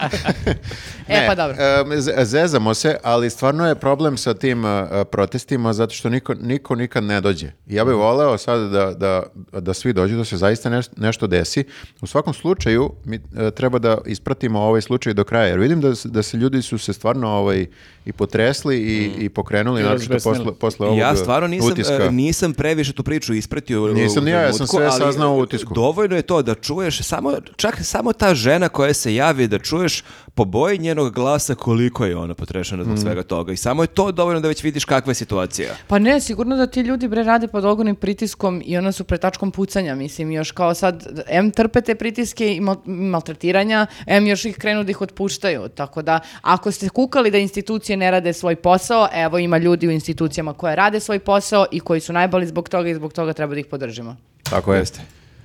e
Ne,
pa dobro.
em, z- zezamo se, ali stvarno je problem sa tim e, e, protestima zato što niko, niko nikad ne dođe. Ja
Mhm.
bih voleo sad da, da, da svi dođu, da se zaista neš- nešto desi. U svakom slučaju mi e, treba da ispratimo ovaj slučaj do kraja, jer vidim da, s- da se ljudi su se stvarno ovaj, i potresli i,
Mhm.
i pokrenuli,
I
naročito
razbesnili.
posle, posle ovog
ja stvarno nisam,
utiska.
e, nisam previše tu priču ispratio. u-
Nisam
u
ni ja, ja sam
trenutku,
sve
ali
saznao u utisku.
Dovoljno je to da čuješ, samo, čak samo ta žena koja se javi da čuješ po boji njenog glasa koliko je ona potrešena
Mm.
zbog svega toga. I samo je to dovoljno da već vidiš kakva je situacija.
Pa ne, sigurno da ti ljudi bre rade pod ogromnim pritiskom i ona su pretačkom pucanja, mislim, još kao sad, em trpe te pritiske i mal- maltretiranja, em još ih krenu da ih otpuštaju, tako da ako ste kukali da institucije ne rade svoj posao, evo ima ljudi u institucijama koje rade svoj posao i koji su najbolji zbog toga i zbog toga treba da ih podržimo.
Tako je.
Jeste.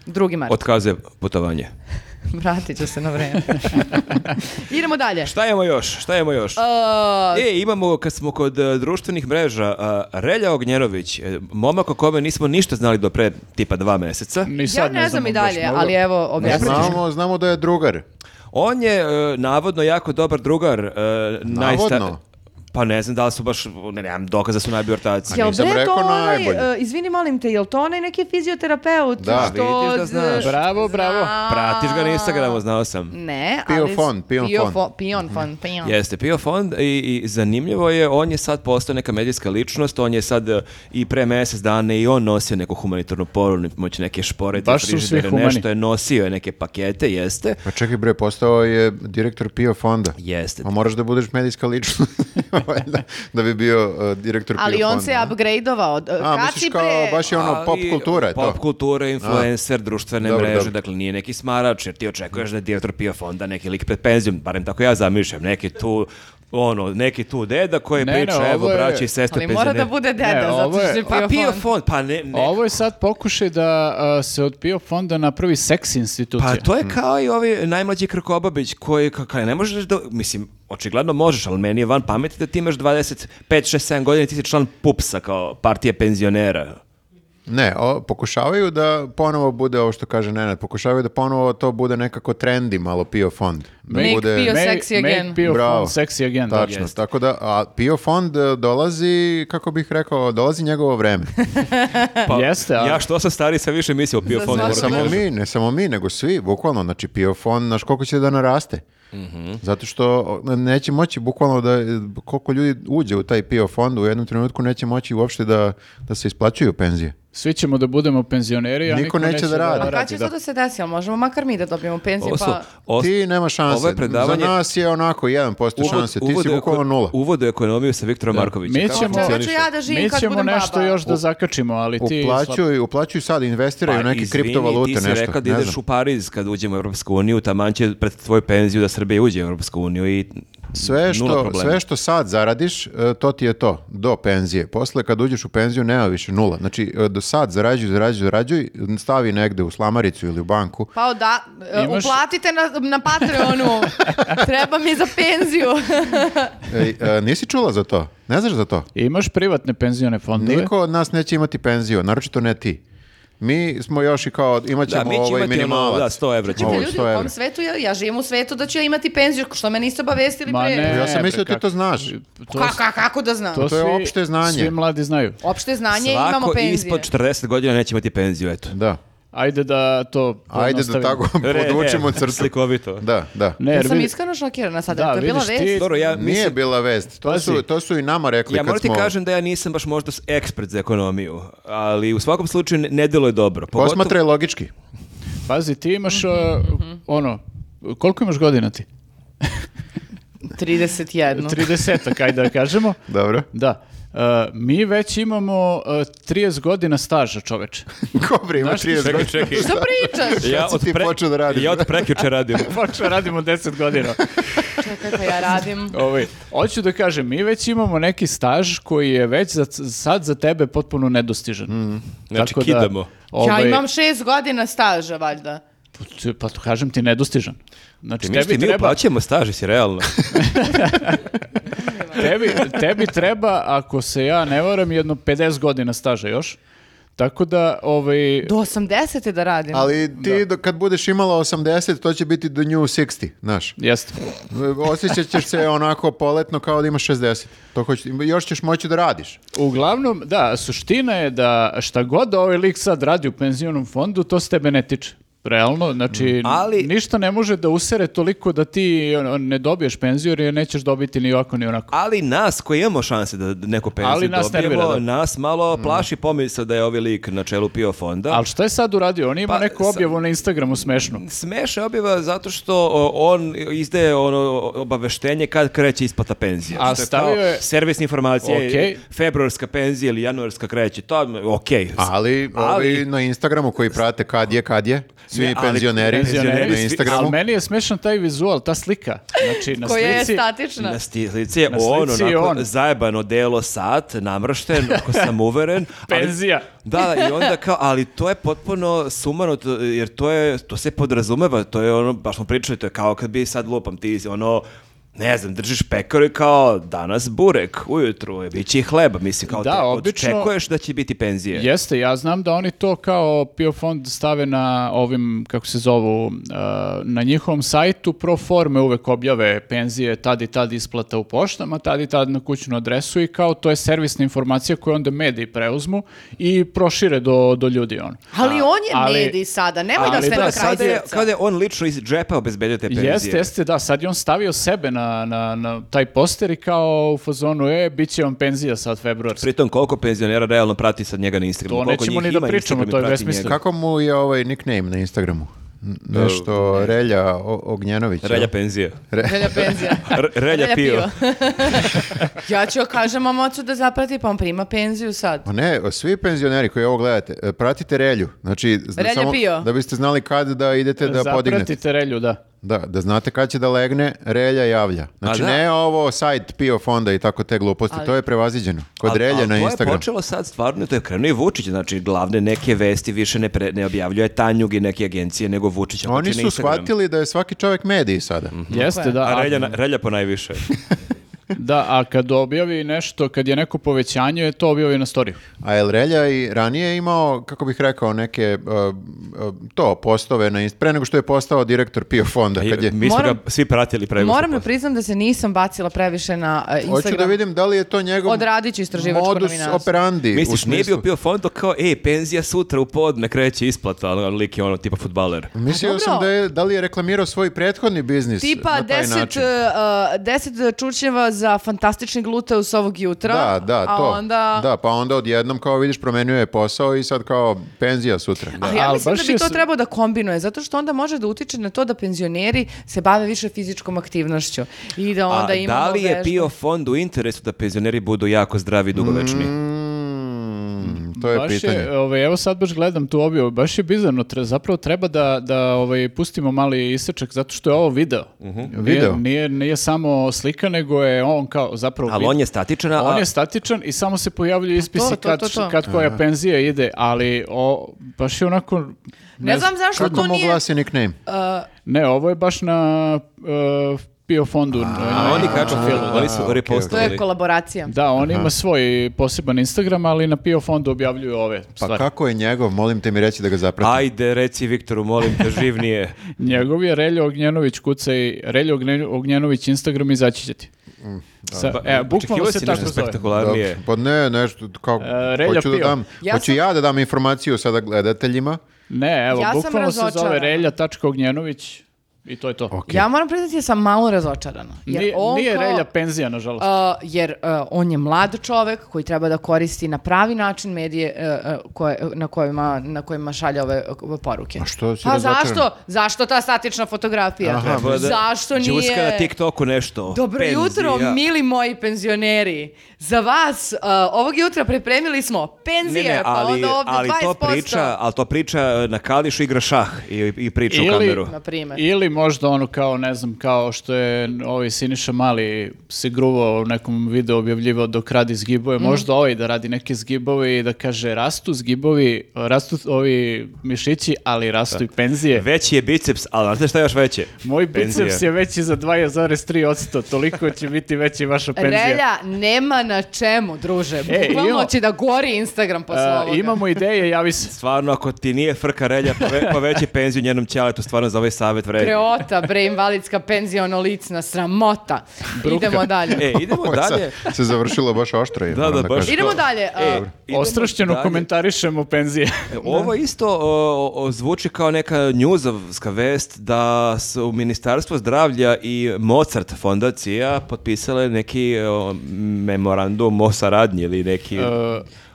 Drugi mart,
Otkazuje putovanje.
vratit ću se na vreme. Idemo dalje.
Šta imamo još? Šta imamo još?
Uh,
E, imamo, kad smo kod e, društvenih mreža, e, Relja Ognjenović, e, momak o kome nismo ništa znali do pre tipa dva meseca.
Ni
ja
sad
ne znam
znamo
i
baš
dalje,
mnogo.
ali evo objasnit ću.
Znamo, znamo da je drugar.
On je e, navodno jako dobar drugar. e, najsta- Pa ne znam da li su baš, ne nemam dokaza da su najbolji ortaci.
Ja-
Jel
nisam
bre to
rekao
onaj,
najbolje.
e, izvini molim te, jel to onaj neki fizioterapeut?
Da.
što
Vidiš da
z-
znaš.
Bravo, bravo.
Zna-
Pratiš ga na Instagramu, znao sam.
Ne,
Pio
ali...
fon, Pio fon.
fon, Pion fon, Pion.
Jeste, Pio Fond i, i zanimljivo je, on je sad postao neka medijska ličnost, on je sad e, i pre mjesec dana i on nosio neku humanitarnu poru, moći neke špore,
Baš su svi humani.
nešto je nosio, je neke pakete, jeste.
Pa čekaj bre, postao je direktor PIO fonda.
Jeste.
Pa moraš da budeš medijska ličnost valjda, da bi bio uh, direktor
Ali
PIO
on
fonda,
se
ne?
upgradeovao.
A,
Kad si
misliš kao
pre...
baš je ono
Ali
pop kultura, je to?
Pop kultura, influencer, društvene
Dobro,
mreže,
dobro.
dakle nije neki smarač, jer ti očekuješ da je direktor PIO fonda neki lik pred penzijom, barem tako ja zamišljam, neki tu ono, neki tu deda koji
Ne, ne,
priča, evo,
ovo je-
braći i sestre,
Ali mora da
penzioneri.
bude deda,
Ne,
zato
ovo je-
što je
Pa
pio
PIO
fond.
fond, pa ne, ne.
Ovo je sad pokušaj da a, se od PIO fonda napravi seks institucija.
Pa to je kao i ovi najmlađi Krkobabić koji ka- ka- ne možeš da, mislim, očigledno možeš, ali meni je van pameti da ti imaš 25, 6, 7 godina i ti si član PUPS-a kao partije penzionera.
Ne, o, pokušavaju da ponovo bude ovo što kaže Nenad, pokušavaju da ponovo to bude nekako trendy, malo PIO fond. Da
Make
bude...
PIO sexy
make
again.
PIO
Bravo.
fond sexy again. da.
Tačno, tako da, a PIO fond e, dolazi, kako bih rekao, dolazi njegovo vreme.
Pa,
Jeste, ali-
Ja što sam stari, sam više mislio o PIO fondu.
Ne
moram da
samo
kažem.
mi, ne samo mi, nego svi, bukvalno, znači PIO fond, znaš koliko će da naraste.
Mhm.
Zato što o, neće moći bukvalno da, e, koliko ljudi uđe u taj PIO fond, u jednom trenutku neće moći uopšte da, da se isplaćuju penzije.
Svi ćemo da budemo penzioneri, a
Niko
niko,
neće da radi.
Pa
A kada
radi,
će
da.
to da se desi, ali možemo makar mi da dobijemo penziju,
Ovo su-
pa...
ovo su-
Ti nema šanse.
Ovo je predavanje-
Za nas je onako 1%
uvod-
šanse, ti si
uvod u
bukvalno
eko-
nula.
Uvod u ekonomiju sa Viktorom Markovićem.
Mi
Kako
ćemo,
funkcioniše?
Čekaj, ću ja da živim
mi
kad
ćemo
budem baba.
nešto još da zakačimo, ali ti...
Uplaćuju, uplaćuju sad, investiraju u
Pa,
neke
izvini,
kriptovalute,
ti si
nešto.
rekao da
ne
ideš
znam.
u Pariz kad uđemo u Europsku uniju, taman će pred tvoju penziju da Srbija uđe u Europsku uniju i
Sve
nula
što,
problema.
sve što sad zaradiš, e, to ti je to, do penzije. Posle kad uđeš u penziju nema više nula. Znači, e, do sad zarađuj, zarađuj, zarađuj, stavi negde u slamaricu ili u banku.
Pa da, e,
Imaš-
uplatite na, na Patreonu, treba mi za penziju.
E, e, nisi čula za to? Ne znaš za to?
Imaš privatne penzione fondove?
Niko od nas neće imati penziju, naročito ne ti. Mi smo još i kao, imat ćemo
Da, mi će
ovaj
imati ono, da,
minimalac.
100 evra ćemo.
Ovo,
Čekajte,
Ovo,
ljudi, u
100
kom
evra.
svetu ja, ja živim u svetu da ću ja imati penziju, što me niste obavestili
Ma
pre.
ne,
Ja sam
bre,
mislio da ti
kako-
to znaš.
To,
Ka- ka- kako da znam?
to je
svi-
opšte znanje.
Svi mladi znaju.
Opšte znanje imamo
Svako
penzije.
ispod 40 godina neće imati penziju, eto.
Da.
Ajde da to
Ajde da
pojednostavimo.
tako podvučemo crtu.
Slikovito.
Da, da.
Ne,
Ja
jer
sam
vidi-
iskreno šokirana sada,
Da,
to je bila
vidiš
vest.
ti-
Dobro, ja
Nije
mislim,
bila vest. To
Pazi.
su, to su i nama rekli
ja
kad
moram ti
smo...
kažem da ja nisam baš možda s- ekspert za ekonomiju, ali u svakom slučaju ne, ne delo je dobro. Pogotovo-
Posmatraj logički.
Pazi, ti imaš uh, ono, koliko imaš godina ti?
31.
30, ajde da kažemo.
Dobro.
Da. Uh, mi već imamo uh, 30 godina staža, čoveče.
Kobra ima 30
Čekaj,
godina.
čekaj.
Šta pričaš?
Ja
Kad si ti počeo da radiš?
Ja od prekjuče radim.
Počeo radimo 10 godina.
Čekaj, pa ja radim.
Ovaj, hoću da kažem, mi već imamo neki staž koji je već za, sad za tebe potpuno nedostižan.
Znači, kidamo.
Ja
ovaj,
imam šest godina staža, valjda.
Ti- Pa to kažem ti, nedostižan. Znači,
Mi
tebi
mi
treba,
uplaćujemo staž, si realno.
tebi, tebi treba, ako se ja ne varam, jedno 50 godina staža još. Tako da, ovaj...
Do 80. da radim.
Ali ti do- kad budeš imala 80, to će biti do new 60, znaš.
Jeste.
Osjećat ćeš se onako poletno kao da imaš 60. To hoće, još ćeš moći da radiš.
Uglavnom, da, suština je da šta god da ovaj lik sad radi u penzionom fondu, to se tebe ne tiče. Realno, znači,
Mm. Ali-
ništa ne može da usere toliko da ti ono, ne dobiješ penziju jer je nećeš dobiti ni ovako ni onako.
Ali nas koji imamo šanse da neku penziju
Ali nas
dobijemo,
nervira, da. Mm.
nas malo plaši pomisao da je ovi lik na čelu PIO fonda.
Ali šta je sad uradio? On ima
Pa,
neku
sa-
objavu na Instagramu smešnu.
Smeša je objava zato što o, on izdaje ono obaveštenje kad kreće isplata penzije.
A
Što je
stavio
kao
je-
servisne informacije,
Okej.
februarska penzija ili januarska kreće, to ok.
Ali,
Ali-
ovi na Instagramu koji prate kad je, kad je, svi
Ne, ali-
penzioneri,
penzioneri
na
svi-
Instagramu.
Ali meni je smešan taj vizual, ta slika. Znači, na
Koja je
slici,
statična.
Na sti- slici je
Na
on,
slici je
onako,
on.
zajebano delo sat, namršten, ako sam uveren. ali-
Penzija.
da, da, i onda kao, ali to je potpuno sumano, to- jer to je, to se podrazumeva, to je ono, baš smo pričali, to je kao kad bi sad lupam, ti ono, ne znam, držiš pekar i kao danas burek ujutru, je, bit će i hleba, mislim, kao
Da,
te
obično-
očekuješ da će biti penzije.
Jeste, ja znam da oni to kao PIO fond stave na ovim, kako se zovu, uh, na njihovom sajtu pro forme uvek objave penzije, tad i tad isplata u poštama, tad i tad na kućnu adresu i kao to je servisna informacija koju onda mediji preuzmu i prošire do, do ljudi ono.
Ali on je
ali-
medij sada, nemoj da
ali
sve
da,
na kraju
Sada je,
djevca.
kao da je on lično iz džepa obezbedio te penzije.
Jeste, jeste, da, sad je on stavio sebe na, na, na taj poster i kao u fazonu, e, bit će vam penzija sad februarski.
Pritom, koliko penzionera realno prati sad njega na Instagramu?
To
koliko
nećemo
njih
ni da
ima
pričamo,
Instagram i
to je
prati
besmisleno.
njega?
Kako mu je ovaj nickname na Instagramu? N- Nešto Relja O- Ognjenović.
Relja
jel?
penzije.
Relja penzija.
R- relja pio.
ja ću joj kažem mom ocu da zaprati, pa on prima penziju sad.
Pa ne, svi penzioneri koji ovo gledate, e, pratite Relju. Znači, zna-
Relja
samo
pio.
da biste znali kad da idete da podignete.
Zapratite relju, da.
Da, da znate kad će da legne, relja javlja. Znači
A da.
ne ovo sajt PIO fonda i tako te gluposti, to je prevaziđeno. Kod
Al-
relje
al
na
To je
Instagram.
počelo sad stvarno, to je krenuo i Vučić, znači glavne neke vesti više ne, pre- ne objavljuje Tanjug i neke agencije, nego Vučić.
Oni su shvatili da je svaki čovjek mediji sada.
Mhm.
Jeste, da.
A
a-
relja, na- relja po najviše.
Da, a kad objavi nešto, kad je neko povećanje, je to objavi na storiju.
A El Relja i ranije imao, kako bih rekao, neke uh, uh, to postove na Instagram, pre nego što je postao direktor PIO fonda. Kad je,
Pa Mi smo
Moram-
ga svi pratili prego.
Moram da priznam da se nisam bacila previše na e, Instagram.
Hoću da vidim da li je to njegov
Odradit ću istraživačko
modus
novinarstvo.
operandi. u
Misliš, nije
smislu-
bio pio fond, to kao, e, penzija sutra u podne kreće isplata, ali on lik je ono tipa futbaler.
Mislio
Pa dobro.
sam da, je, da li je reklamirao svoj prethodni biznis
Tipa
na taj
10,
način.
uh, 10 čučnjeva za fantastični gluteus ovog jutra.
Da, da, to.
A onda...
Da, pa onda odjednom kao vidiš promenio je posao i sad kao penzija sutra.
Ali ja
Ali
mislim da
baš
bi
je
to
s-
trebao da kombinuje, zato što onda može da utiče na to da penzioneri se bave više fizičkom aktivnošću i da onda
A
imamo
da li je
vežbe.
pio fond u interesu da penzioneri budu jako zdravi i dugovečni?
Mm, to je
baš
pitanje.
e,
Je, ovaj, evo sad baš gledam tu objavu, baš je bizarno, tre- zapravo treba da, da ovaj, pustimo mali isečak, zato što je ovo video.
Mhm.
Nije,
Video.
Nije, nije samo slika, nego je on kao zapravo
Ali
vid-
on je statičan, a...
On je statičan i samo se pojavljuju ispisi
Pa to, to,
kad,
to, to.
kad koja penzija ide, ali o, baš je onako...
Ne znam zašto
Kako
to
mu
nije...
glasi nickname? Pa
Ne, ovo je baš na uh, PIO fondu.
a oni
na-
kažu, oni su
To
repostovali.
je kolaboracija.
Da, on ima svoj poseban Instagram, ali na PIO fondu objavljuju ove
Pa
stvari.
kako je njegov? Molim te mi reći da ga zapratim.
Ajde, reci Viktoru, molim te, živnije.
Njegov je Reljo Ognjenović kucaj Reljo Ogne- Ognjenović Instagram izaći će ti.
Mm,
Sa, e,
Pa
bukvalno
Očekivao
se
si
tako
nešto
zove.
Dobro,
spektakularnije.
Pa ne, nešto, kao,
E,
Relja
hoću da
Pio.
dam,
Ja
hoću
sam-
ja da dam informaciju sada gledateljima.
Ne, evo,
Ja sam
bukvalno se
razočarana.
zove Relja.Ognjenović i to je to.
Ok.
Ja moram priznati da sam malo razočarana. Jer
Nije,
on
nije
kao-
Relja penzija, nažalost.
Uh, jer uh, on je mlad čovek koji treba da koristi na pravi način medije uh, uh, koje, na, kojima, na kojima šalje ove uh, poruke. A
što si
Pa
razočaran?
zašto? Zašto ta statična fotografija?
Trebalo pa da
zašto nije...
đuska na TikToku nešto.
Dobro
Penzija.
jutro, mili moji penzioneri. Za vas uh, ovog jutra pripremili smo
Ne,
penzije,
ne,
pa
ali,
onda ovde
ali
20%.
to priča, ali to priča e, na Kališu igra šah i, i priča u
Ili-
kameru.
Na primjer.
Ili možda ono kao, ne znam, kao što je ovaj Siniša Mali se gruvao u nekom videu objavljivao dok radi zgibove,
Mhm.
možda ovaj da radi neke zgibove i da kaže rastu zgibovi, rastu ovi mišići, ali rastu i penzije.
Veći je biceps, ali znate šta je još veće?
Moj
Penzija.
biceps je veći za 2,3%, toliko će biti veći vaša penzija.
Relja nema na čemu, druže. Bukvalno
imamo-
će da gori Instagram posle
A,
ovoga.
E, imamo ideje, javi se.
Stvarno, ako ti nije frka relja, pove, poveći penziju njenom ćaletu, stvarno za ovaj savjet vredi.
Preota, bre, invalidska penzija, ono licna sramota. Idemo dalje.
E, idemo
Ovo je
dalje.
sad se završilo baš oštro. je,
Da,
moram
da, baš.
kažem.
Idemo
to-
dalje.
E,
uh,
idemo
Ostrašćeno
dalje.
komentarišemo penzije.
E, Ovo isto o, o, zvuči kao neka njuzovska vest da su Ministarstvo zdravlja i Mozart fondacija potpisale neki o, memorandum o saradnji ili neki...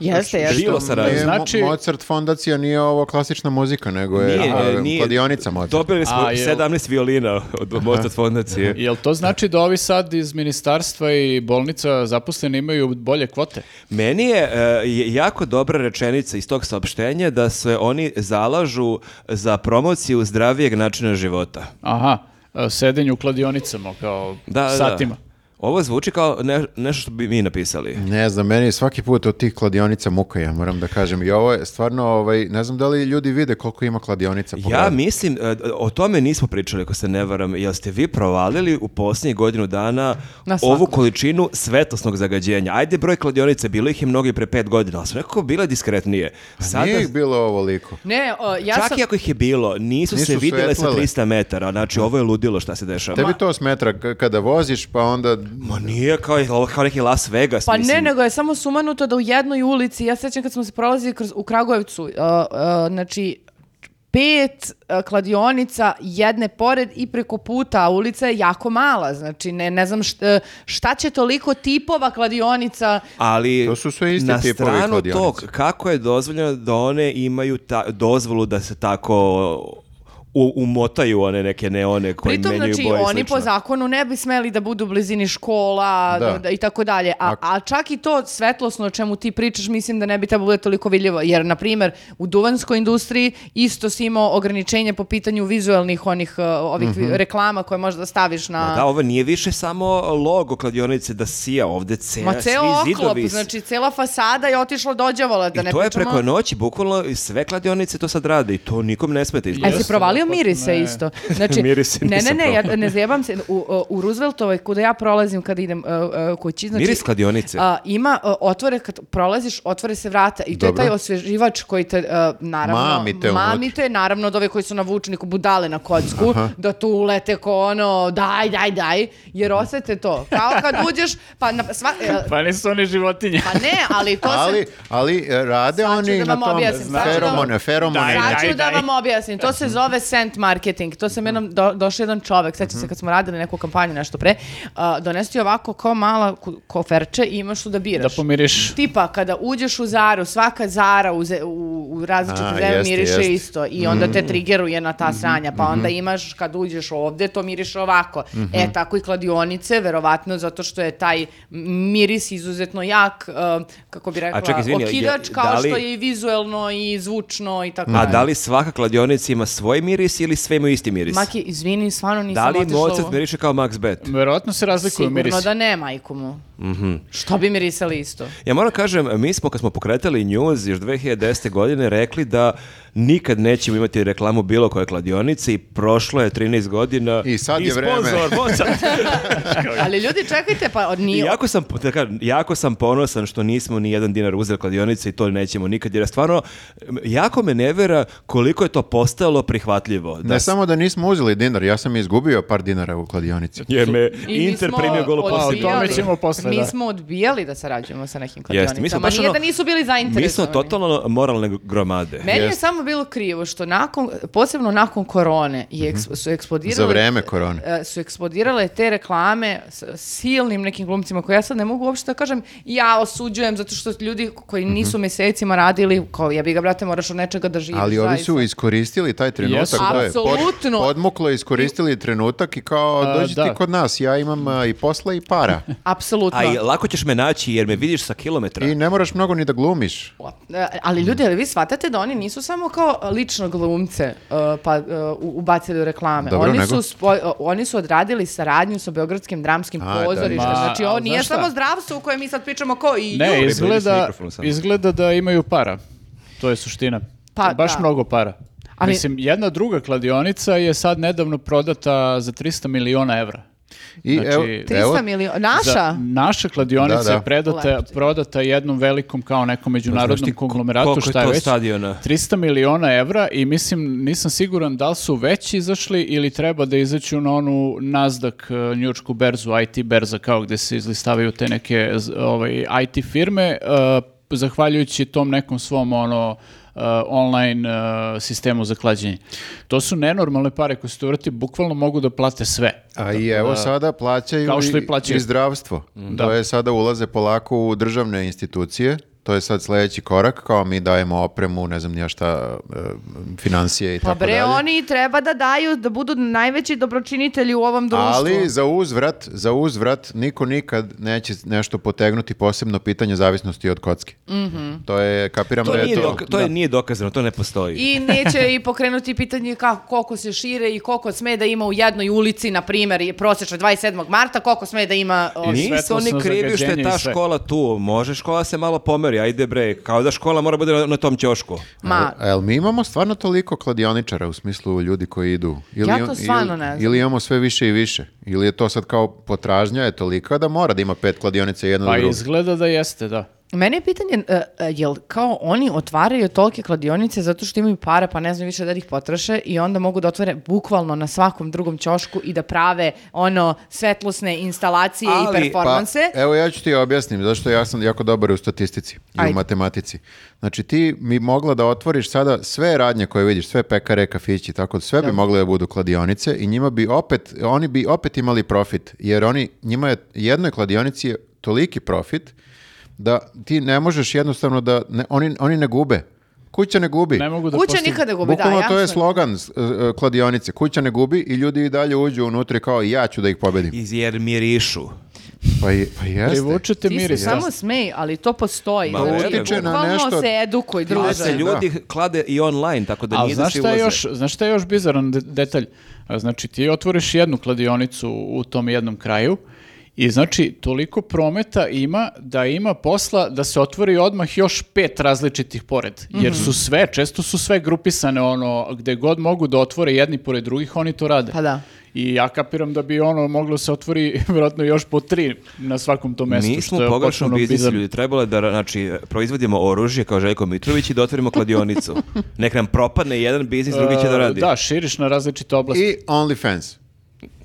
jeste, jeste.
bilo saradnje.
Nije Mo-
Znači-
Mozart fondacija nije ovo klasična muzika, nego je E, a, kladionica Mozart.
e, Dobili smo
A, jel-
17 violina od Mozart fondacije.
Jel to znači da ovi sad iz ministarstva i bolnica zaposleni imaju bolje kvote?
Meni je e, je jako dobra rečenica iz tog saopštenja da se oni zalažu za promociju zdravijeg načina života.
Aha, a, sedenje u kladionicama kao
Da, da, da.
satima.
Ovo zvuči kao ne- nešto što bi mi napisali.
Ne znam, meni je svaki put od tih kladionica muka, ja moram da kažem. I ovo je stvarno, ovaj, ne znam da li ljudi vide koliko ima kladionica. po
Ja
gradu.
mislim, e, o tome nismo pričali, ako se ne varam, jel ste vi provalili u posljednjih godinu dana
Na
ovu
svakom.
količinu svetlosnog zagađenja? Ajde broj kladionice, bilo ih je mnogi pre pet godina, ali su nekako bile diskretnije. Sada,
Pa Nije ih bilo ovoliko.
Ne, o, ja
čak
sam...
i ako ih je bilo, nisu,
Nisu
se vidjele sa
svetlele.
300 metara, znači ovo je ludilo šta se dešava.
Tebi to smetra k- kada voziš, pa onda...
Ma nije kao, ovo je kao neki Las Vegas,
Pa
mislim.
ne, nego je samo sumanuto da u jednoj ulici, ja sećam kad smo se prolazili kroz, u Kragujevcu, uh, uh, znači pet uh, kladionica jedne pored i preko puta, a ulica je jako mala, znači ne, ne znam št- uh, šta će toliko tipova kladionica
Ali
To su sve isti tipovi
Na stranu
kladionice.
tog, kako je dozvoljeno da one imaju ta, dozvolu da se tako u- umotaju one neke neone koji
Pritom,
menjaju
znači,
boje i
oni
slično.
po zakonu ne bi smeli da budu u blizini škola
Da.
da- i tako dalje. A,
Ako-
a čak i to svetlosno o čemu ti pričaš, mislim da ne bi trebalo da bude toliko vidljivo. Jer, na primjer, u duvanskoj industriji isto si imao ograničenje po pitanju vizualnih onih uh, ovih vi- reklama koje možeš da staviš na...
Mhm. Ma Da, ovo nije više samo logo kladionice da sija ovde cea,
Ma
svi
ceo oklop,
zidovi. s-
znači cela fasada je otišla dođavola, da
I
ne
to je
pričamo-
preko noći, bukvalno i sve kladionice to sad rade i to nikom ne smeta
A
izgleda.
jesi
Jeste,
provalio
da,
mirise
potpuno je.
isto? Znači,
Mirise
ne, ne,
nisam
ne, ja
probao.
ne zjebam se. U, u Rooseveltovoj, kuda ja prolazim kada idem uh, uh, kući, znači...
Miris kladionice.
a, ima, uh, otvore, kad prolaziš, otvore se vrata i to
Dobro.
je taj osvježivač koji te, uh, naravno...
Mami te
mami
unutra.
te, naravno, od ove koji su navučeni ko budale na kocku, da tu ulete ko ono, daj, daj, daj, jer osete to. Kao kad uđeš, pa... Na, sva, e,
Pa nisu oni životinje.
pa ne, ali to se...
Ali, ali e, rade
Sad ću
oni
da
na
vam
tom
objasnim, sad ću da-
feromone, feromone.
Daj,
Sad
daj.
ću da vam objasnim, to se zove scent marketing. To sam jednom, do, došao jedan čovek, sećam se kad smo radili neku kampanju nešto pre, uh, donesti ovako kao mala ku- koferče i imaš tu da
Da
biraš.
pomiriš.
Tipa, kada uđeš u Zaru, svaka Zara u, ze- u, u različite
A,
zemlje
jeste,
miriše
jeste.
isto i onda
Mm.
te trigeruje na
Mm-hmm,
ta sranja, pa onda imaš, kad uđeš ovde, to miriše ovako.
Mm-hmm.
E, tako i kladionice, verovatno zato što je taj miris izuzetno jak, uh, kako bi rekla,
čekaj, izvini, je-
okidač,
da
kao
li-
što je i vizuelno i zvučno i tako
A
dalje.
da li svaka kladionica ima svoj miris ili sve imaju isti miris?
Maki, izvini, stvarno nisam
da li
otišla u...
Mozart miriše kao Max Bet?
Verovatno se razlikuju
Sigurno
mirisi.
da ne, majku mu.
Mhm.
Što bi mirisali isto?
Ja moram kažem, mi smo kad smo pokretali news još 2010. godine rekli da nikad nećemo imati reklamu bilo koje kladionice i prošlo je 13 godina.
I sad je vreme.
sponsor, Mozart.
Ali ljudi, čekajte, pa od
I
nije...
jako sam, da kažem, jako sam ponosan što nismo ni jedan dinar uzeli kladionice i to nećemo nikad, jer stvarno jako me ne vera koliko je to postalo prihvatljivo. Da
Ne samo da nismo uzeli dinar, ja sam izgubio par dinara u kladionici.
Jer me
I mi
Inter
smo
primio gol u
odbijali-
posljednjoj
Pa, o tome ćemo posle,
Mi
da.
smo odbijali da sarađujemo sa nekim
Jeste, mi smo
kladionicama.
baš
Nije da
ono-
nisu bili
Mi smo
zainteresovani.
totalno moralne gromade.
Meni je
Jeste.
samo bilo krivo što nakon, posebno nakon korone,
Mhm.
je eks- su eksplodirale...
Za vreme korone.
e, su eksplodirale te reklame s silnim nekim glumcima koje ja sad ne mogu uopšte da kažem ja osuđujem zato što ljudi koji nisu
Mhm.
mesecima radili kao jebi ga brate moraš od nečega da živiš
Ali ovi
zaista.
su iskoristili taj
Jesu.
trenutak. to je pod-
Apsolutno.
podmuklo iskoristili trenutak i kao
A,
dođi ti
da.
kod nas, ja imam a, i posla i para.
apsolutno
A i lako ćeš me naći jer me vidiš sa kilometra.
I ne moraš mnogo ni da glumiš.
E, Ali ljudi, ali vi shvatate da oni nisu samo kao lično glumce e, pa e, u- ubacili u reklame.
Dobro,
oni,
nego?
su spo- e, oni su odradili saradnju sa Beogradskim dramskim
A, da.
pozorištem.
Ma,
znači, ovo
ali
nije
znaš šta?
samo zdravstvo u kojem mi sad pričamo ko i ju.
Ne,
sa
izgleda,
mikrofonom samo.
izgleda da imaju para. To je suština.
Pa,
Baš
da.
mnogo para.
Ali-
Mislim, jedna druga kladionica je sad nedavno prodata za 300 miliona evra.
I
Znači,
evo,
300
evo,
miliona.
Za-
Naša?
naša kladionica
Da, da.
je predata,
Lepo.
prodata jednom velikom kao nekom međunarodnom
ti ko-
konglomeratu,
koliko je
šta je
to
već,
stadiona?
300 miliona evra i mislim, nisam siguran da li su već izašli ili treba da izaću na onu Nasdaq e, njurčku berzu, IT berza, kao gde se izlistavaju te neke z- ovaj, IT firme, e, zahvaljujući tom nekom svom ono, e, online e, sistemu za klađenje. To su nenormalne pare koje se tu vrti, bukvalno mogu da plate sve.
a i evo sada plaćaju,
Kao što i
i-
plaćaju. Mm.
i zdravstvo. To je sada ulaze polako u državne institucije. To je sad sljedeći korak, kao mi dajemo opremu, ne znam ni ja šta, e, financije i
Pa
tako
bre,
dalje.
oni treba da daju, da budu najveći dobročinitelji u ovom društvu.
Ali za uzvrat, za uzvrat niko nikad neće nešto potegnuti posebno pitanje zavisnosti od kocke.
Mhm.
To je, kapiram
To,
da je
nije,
to...
doka- to je- nije dokazano, to ne postoji.
I neće i pokrenuti pitanje kako, koliko se šire i koliko sme da ima u jednoj ulici, na primjer, je prosečno 27. marta, koliko sme da ima... o,
Nisu oni
svetlosno
krivi što je
zagađenje
ta
i sve.
škola tu. Može škola se malo pomeri, ajde bre. Kao da škola mora bude na, na tom ćošku.
Ma,
A jel mi imamo stvarno toliko kladioničara u smislu ljudi koji idu? Ili,
Ja to stvarno ne znam.
Ili imamo sve više i više? Ili je to sad kao potražnja je tolika da mora da ima pet kladionica i jedna
Pa
do druge?
izgleda da jeste, da.
Mene je pitanje, e, e, jel kao oni otvaraju tolike kladionice zato što imaju para pa ne znaju više da ih potroše i onda mogu da otvore bukvalno na svakom drugom ćošku i da prave ono svetlosne instalacije
Ali,
i performanse.
Pa, evo ja ću ti objasnim, zašto ja sam jako dobar u statistici i
Ajde.
u matematici. Znači ti mi mogla da otvoriš sada sve radnje koje vidiš, sve pekare, kafići, tako da sve bi mogle da budu kladionice i njima bi opet, oni bi opet imali profit, jer oni, njima je jednoj kladionici je toliki profit da ti ne možeš jednostavno da, ne, oni, oni ne gube. Kuća ne gubi.
Ne mogu da
Kuća
postignu.
nikada gubi, da,
Bukvalno to je
jasno.
slogan s- e, e, kladionice. Kuća ne gubi i ljudi i dalje uđu unutra i kao ja ću da ih pobedim.
Iz jer mirišu.
Pa, je- pa jeste.
Privučete
Ti se
miris. da.
samo smej, ali to postoji.
Ma,
Znači,
utiče
na
bukvalno
nešto-
se edukuj, druže.
Ali se ljudi klade i online, tako da
Ali
nije
znaš
znaš
šta, je još, znaš šta je još bizaran de- detalj? A, Znači ti otvoriš jednu kladionicu u tom jednom kraju i znači toliko prometa ima da ima posla da se otvori odmah još pet različitih pored. Jer
Mhm.
su sve, često su sve grupisane ono, gde god mogu da otvore jedni pored drugih, oni to rade.
Pa da.
I ja kapiram da bi ono moglo se otvori vjerojatno još po tri na svakom tom mestu.
Mi
što
smo
je
pogrešno
potpuno
biznis
bizarno.
ljudi. Trebalo je da znači, proizvodimo oružje kao Željko Mitrović i da otvorimo kladionicu. Nek nam propadne jedan biznis, drugi će da
E,
radi.
Da, širiš na različite oblasti.
I OnlyFans.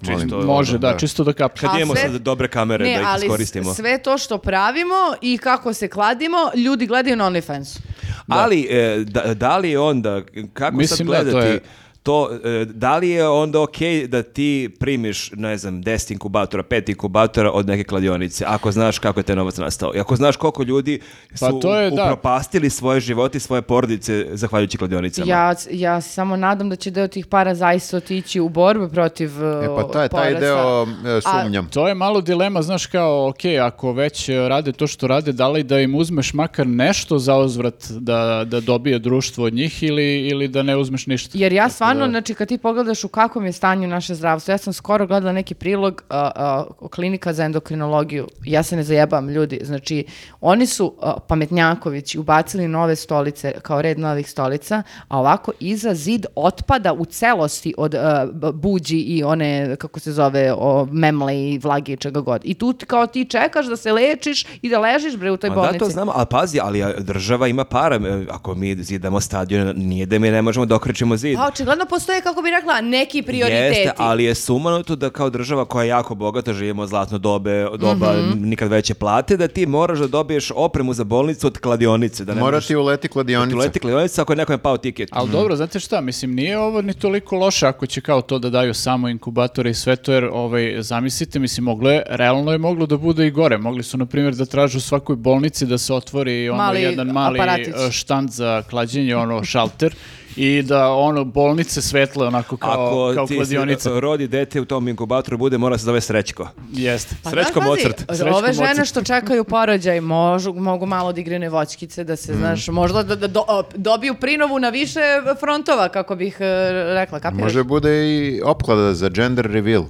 Molim.
Čisto,
Može, da,
da.
čisto da kapne.
Kad
Ali
imamo
sve-
sad dobre kamere
Ne,
da ih
ali
iskoristimo.
s- sve to što pravimo i kako se kladimo, ljudi gledaju na OnlyFans.
Ali, e, da, da li je onda, kako
Mislim da,
sad
to
gledati,
je-
to, e, da li je onda okej da ti primiš, ne znam, 10 inkubatora, 5 inkubatora od neke kladionice, ako znaš kako je taj novac nastao i ako znaš koliko ljudi su
Pa to je, da.
upropastili svoje živote i svoje porodice zahvaljujući kladionicama.
Ja, ja se samo nadam da će deo tih para zaista otići u borbe protiv
E pa taj, taj deo e, sumnjam.
To je malo dilema, znaš kao, ok, ako već e, rade to što rade, da li da im uzmeš makar nešto za uzvrat da, da dobije društvo od njih ili, ili da ne uzmeš ništa?
Jer ja stvarno, znači kad ti pogledaš u kakvom je stanju naše zdravstvo, ja sam skoro gledala neki prilog a, a, o klinika za endokrinologiju, ja se ne zajebam ljudi, znači oni su a, pametnjakovići ubacili nove stolice kao red novih stolica, a ovako iza zid otpada u celosti od a, b- buđi i one, kako se zove, o, memle i vlage i čega god. I tu ti- kao ti čekaš da se lečiš i da ležiš bre u toj
Ma
bolnici.
da, to znamo, ali pazi, ali a, država ima para. e, Ako mi zidamo stadion, nije da mi ne možemo da okrećemo zid.
Pa očigledno postoje, kako bi rekla, neki prioriteti.
Jeste, ali je sumanuto da kao država koja je jako bogata, živimo zlatno dobe, doba,
Mhm.
nikad veće plate, da ti moraš da dobiješ opremu za bolnicu od kladionice. Da ne
Mora
možeš-
ti uleti kladionica.
Leti kladionica ako je nekome pao tiket.
Ali dobro, znate šta, mislim, nije ovo ni toliko loše ako će kao to da daju samo inkubatore i sve to, jer ovaj, zamislite, mislim, moglo je, realno je moglo da bude i gore. Mogli su, na primjer, da tražu u svakoj bolnici da se otvori ono
Mali
jedan mali
aparatić.
e, štand za klađenje, ono šalter, i da ono bolnice svetle onako kao,
Ako
kao
ti
kladionica.
se rodi dete u tom inkubatoru, bude, mora se zove Srećko.
Jeste.
Pa
Srećko
da, pazi,
Mozart.
Srećko
Ove žene
Mozart.
što čekaju porođaj možu, mogu malo da igraju voćkice, da se, znaš, možda da, da do- op- dobiju prinovu na više frontova, kako bih e, rekla, kapiraš?
Može bude i opklada za gender reveal.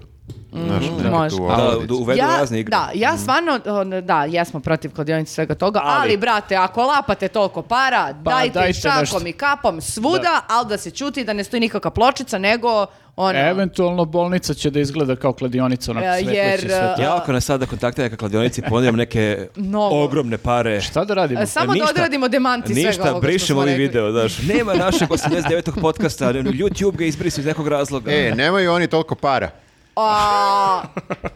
Mhm,
Znaš, neka
može.
tu
Da,
oladica.
da uvedu
ja,
razne igre.
Da, ja stvarno, o, da, jesmo protiv kladionice i svega toga, ali, brate, ako lapate toliko para,
Pa,
dajte,
dajte
šakom
nešto.
i kapom svuda, ali da se čuti, da ne stoji nikakva pločica, nego ono...
Eventualno bolnica će da izgleda kao kladionica onako
E,
svetleći
jer,
i sve to.
Ja
a-
ako nas sada kontaktira ka kladionici, ponudim neke
Novo.
ogromne pare.
Šta da radimo?
E, Samo da
Ništa.
odradimo demanti svega
Ništa,
ovoga što
brišemo
smo
ovaj
rekli.
video, znaš. Nema našeg 89. podcasta, YouTube ga izbrisao iz nekog razloga.
E, nemaju oni toliko para.
A,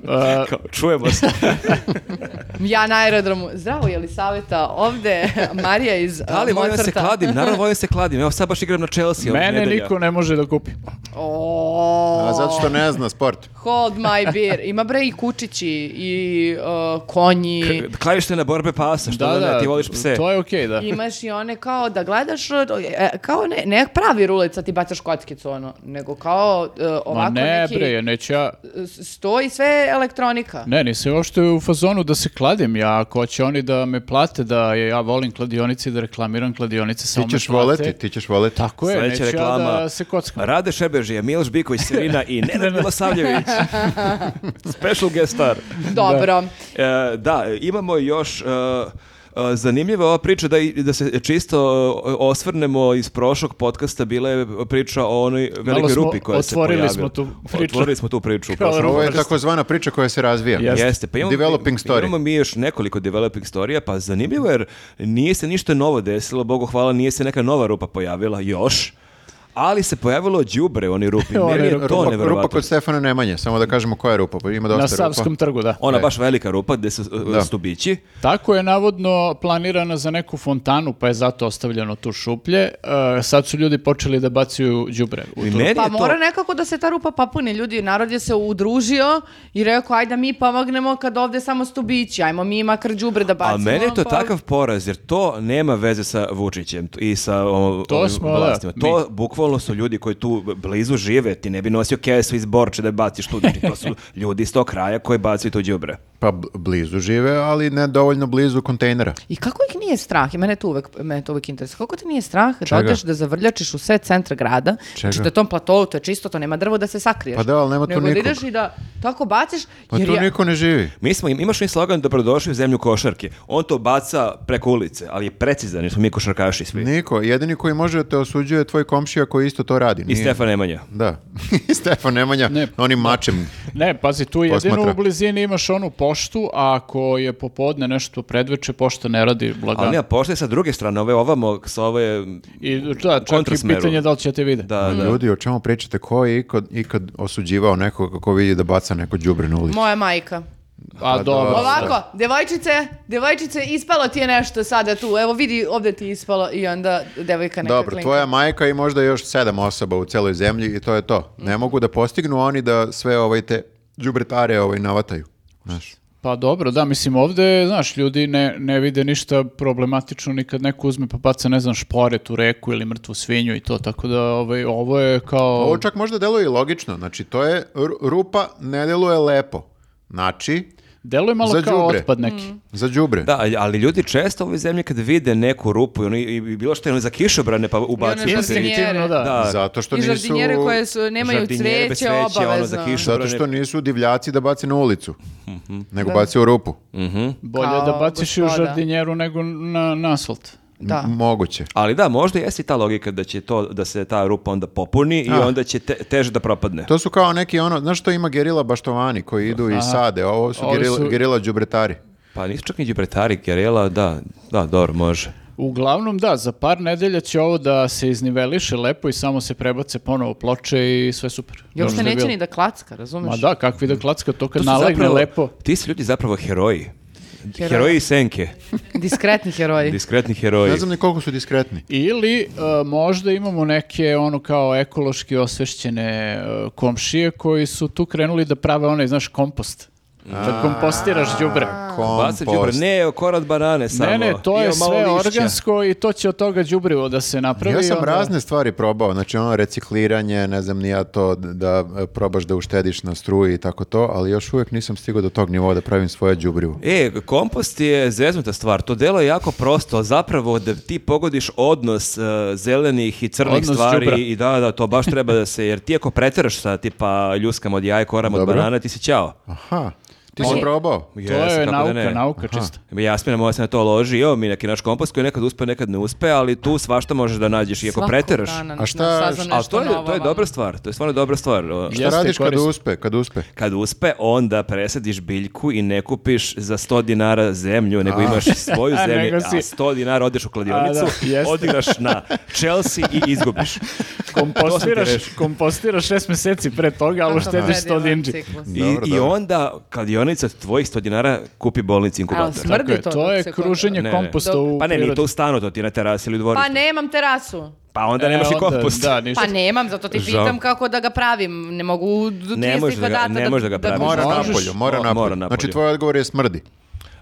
E,
Kao, čujemo se.
Ja na aerodromu. Zdravo, je li saveta ovde? Marija iz
Da li
uh,
volim da se
Mozarta.
kladim? Naravno volim da se kladim. Evo sad baš igram na Chelsea. ovih
Mene
nedelja.
niko ne može da kupi.
O,
A zato što ne zna sport.
Hold my beer. Ima bre i kučići i uh, konji.
K- Klavišne borbe pasa, što da, ne, ti voliš pse.
To je okej, da.
Imaš i one kao da gledaš, uh, e, kao ne, ne pravi rulica ti bacaš kockicu ono, nego kao uh,
Ma
ovako
ne
neki
bre, neću ja...
s- stoji sve elektronika.
Ne, nisam uopšte u fazonu da se kladim ja, ako će oni da me plate da je- ja volim kladionice i da reklamiram kladionice, samo
Ti
me
ćeš
plate.
voleti, ti ćeš voleti.
Tako je,
Sledeća
neću ja
reklama.
da se kockam.
Rade Šebežija, Miloš Biković, Serina i Nenad Milosavljević. Special guest star.
Dobro.
E, da, imamo još... e, e, zanimljiva ova priča da, i- da se čisto e, osvrnemo iz prošlog podcasta bila je priča o onoj velikoj
smo-
rupi koja se
otvorili
pojavila.
smo tu priču.
Otvorili smo tu priču. u
Kao
prošlom
Ovo je
Vrsta.
takozvana priča koja se razvija.
Jeste.
Jeste, pa imamo,
Developing
mi-
story.
imamo mi još nekoliko developing storija, pa zanimljivo jer nije se ništa novo desilo, Bogu hvala, nije se neka nova rupa pojavila još, ali se pojavilo đubre u onoj rupi.
Ona
Meni je
rupa-
to
Rupa, rupa
neverovatno.
kod Stefana Nemanje, samo da kažemo koja je rupa, pa ima dosta
Na
rupa.
Savskom trgu, da.
Ona baš velika rupa gde su uh,
Da.
stubići.
Tako je navodno planirana za neku fontanu, pa je zato ostavljeno tu šuplje. E, sad su ljudi počeli da bacuju đubre u
I
tu.
meni
Pa
je to...
mora nekako da se ta rupa papuni, ljudi, narod je se udružio i rekao, ajde da mi pomognemo kad ovde samo stubići, ajmo mi makar đubre da bacimo.
Ali meni je to
pa-
takav poraz, jer to nema veze sa Vučićem i sa o,
To
ovim
smo, da,
vlastima.
mi.
To bukvalno su ljudi koji tu blizu žive. Ti ne bi nosio kesu iz Borče da baciš tu. Znači, to su ljudi iz tog kraja koji bacaju tu đubre.
Pa bl- blizu žive, ali ne dovoljno blizu kontejnera.
I kako ih nije strah? I mene to uvek, mene to uvek interesuje. Kako te nije strah
Čega?
da odeš da zavrljačiš u sve centra grada? Znači na tom platou, to je čisto, to nema drvo da se sakriješ.
Pa da, ali nema tu
Nego da
nikog.
ideš i da tako baciš,
Pa
jer
tu
je-
niko ne živi.
Mi smo, imaš mi slogan dobrodošli u zemlju košarke. On to baca preko ulice, ali je precizan, jer smo mi košarkaši svi.
Niko. Jedini koji može da te osuđuje je tvoj komšija koji isto to radi.
I
Nije-
Stefan Nemanja.
Da. Stefan Nemanja,
Ne.
onim mačem.
Ne, pazi, tu jedino
Posmatra.
u blizini imaš onu poštu, a ako je popodne nešto predveče, pošta ne radi
Ali ne,
blagano.
pošle sa druge strane, ove ovamo, sa ove...
I da, čak i
kontrasmeru.
pitanje da li će te vide.
Da, da.
Ljudi, o čemu pričate? Ko je ikad, ikad osuđivao nekoga kako vidi da baca neko đubre na ulicu?
moja majka.
A Pa dobro.
dobro.
Ovako, devojčice, devojčice, ispalo ti je nešto sada tu. Evo vidi, ovdje ti je ispalo i onda devojka neka
Dobro,
klinka.
tvoja majka i možda još sedam osoba u celoj zemlji i to je to. Ne mogu da postignu oni da sve ovaj te đubretare ovaj navataju. Znaš.
Pa dobro, da, mislim ovde, znaš, ljudi ne, ne vide ništa problematično ni kad neko uzme pa baca, ne znam, šporet u reku ili mrtvu svinju i to, tako da ovaj, ovo je kao...
Ovo čak možda deluje i logično. Znači, to je ru- rupa, ne deluje lepo. Znači,
Deluje malo
za
kao
đubre.
otpad neki.
Mm.
za đubre.
Da, ali- ali ljudi često u ovoj zemlji kad vide neku rupu i, oni, i bilo što ono za kišobrane pa ubacuju.
I one
pa se-
žardinjere.
Instinktivno, da.
Da.
Zato što
I
nisu...
žardinjere koje su, nemaju
Žardinjere
cveće,
bez cveća, ono, za
obavezno.
kišu.
Zato što nisu divljaci da bace na ulicu,
Mhm.
nego bace u rupu.
Bolje
Kao
da baciš i u
gospoda.
žardinjeru nego na, na asfalt.
Da.
M- Moguće.
Ali da, možda jeste i ta logika da će to, da se ta rupa onda popuni i
Ah.
onda će te, teže da propadne.
To su kao neki ono, znaš što ima gerila baštovani koji idu i sade, ovo su
Ovi
gerila,
su-
gerila đubretari.
Pa nisu čak ni džibretari, gerela, da, da, dobro, može.
Uglavnom da, za par nedelja će ovo da se izniveliše lepo i samo se prebace ponovo ploče i sve super.
I uopšte
Dobro
neće
je bilo.
ni da klacka, razumeš?
Ma da, kakvi da klacka, to
To
kad
su
nalegne
zapravo-
lepo.
Ti su ljudi zapravo heroji.
Heroji.
Heroji senke.
Diskretni heroji.
Diskretni heroji.
Ne znam ni koliko su diskretni.
Ili e, možda imamo neke ono kao ekološki osvešćene e, komšije koji su tu krenuli da prave onaj, znaš, kompost. Da kompostiraš đubre.
Bacaj đubre,
Kompost.
ne, korad banane samo.
Ne, ne, to
I
je
evo malo
sve
lišća.
organsko i to će od toga đubrivo da se napravi.
Ja
i
sam
onda-
razne stvari probao, znači ono recikliranje, ne znam ni ja to, d- da e, probaš da uštediš na struji i tako to, ali još uvijek nisam stigao do tog nivoa da pravim svoje đubrivo.
E, kompost je zeznuta stvar. To delo je jako prosto, ali zapravo da ti pogodiš odnos e, zelenih i crnih
Odnos
stvari
đubra.
i da, da, to baš treba da se, jer ti ako preteraš sa tipa ljuskama od jaja, koram od
Dobro.
banana, ti si ćao.
Aha, ti si probao?
To Znači, je nauka, nauka čista.
Jasmina moja se na to loži, evo mi neki naš kompost koji nekad uspe, nekad ne uspe, ali tu svašta možeš da nađeš i ako
Svakog
preteraš.
dana
A šta-
saznam
Ali
nešto
to je, to
novo,
je
ono.
dobra stvar, to je stvarno dobra stvar. O,
Šta
Jeste,
radiš kad
korisno.
uspe, kad uspe?
Kad uspe, onda presadiš biljku i ne kupiš za 100 dinara zemlju, nego imaš svoju
A,
zemlju,
nego
a
si-
100 dinara odeš u kladionicu,
A, da, jeste.
odigraš na Chelsea i izgubiš. To sam ti
Kompostiraš,
rešio.
kompostiraš šest meseci pre toga, ali
Kako
štediš sto
ono,
predivan
dinđi.
ciklus.
I,
Dobro,
I
dobro.
onda kladionica tvojih 100 dinara kupi bolnici
Ali
inkubator.
Tako
smrdi
je,
to.
to
dok
je
se
kruženje
Ne, ne.
komposta u
Pa ne, nije to
prirodi.
u stanu, to ti je na terasi ili u
koga- Pa
dvorištu.
nemam terasu.
Pa onda nemaš
E,
i
onda,
kompost.
Da, ništa.
Pa nemam, zato ti
Žao.
pitam kako da ga pravim. Ne mogu do
Ne
30
možeš da ga-
kvadrata
ne možeš da ga praviš.
Mora
Možeš-
napolju, mora
mo-
napolju.
mora napolju.
Znači tvoj odgovor je smrdi.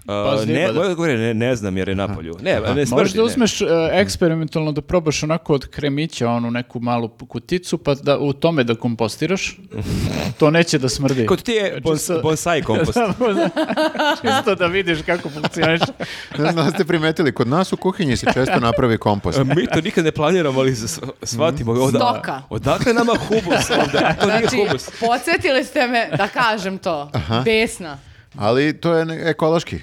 A,
Pa
ne,
zliba, da.
moj odgovor je ne, ne znam jer je napolju. Ne, ne smrdi.
Možeš da
ne.
uzmeš e, eksperimentalno da probaš onako od kremića onu neku malu kuticu pa da u tome da kompostiraš. To neće da smrdi.
Kod ti je bons,
Čisto-
bonsai kompost.
Samo da- Čisto da vidiš kako funkcioniš.
Ne znam da li ste primetili, kod nas u kuhinji se često napravi kompost.
E, Mi to nikad ne planiramo, ali s- shvatimo. Oda,
Mm. Stoka.
Odakle nama humus ovde? To nije
Znači,
humus.
podsjetili ste me da kažem to. Besna.
Ali to je ne- ekološki.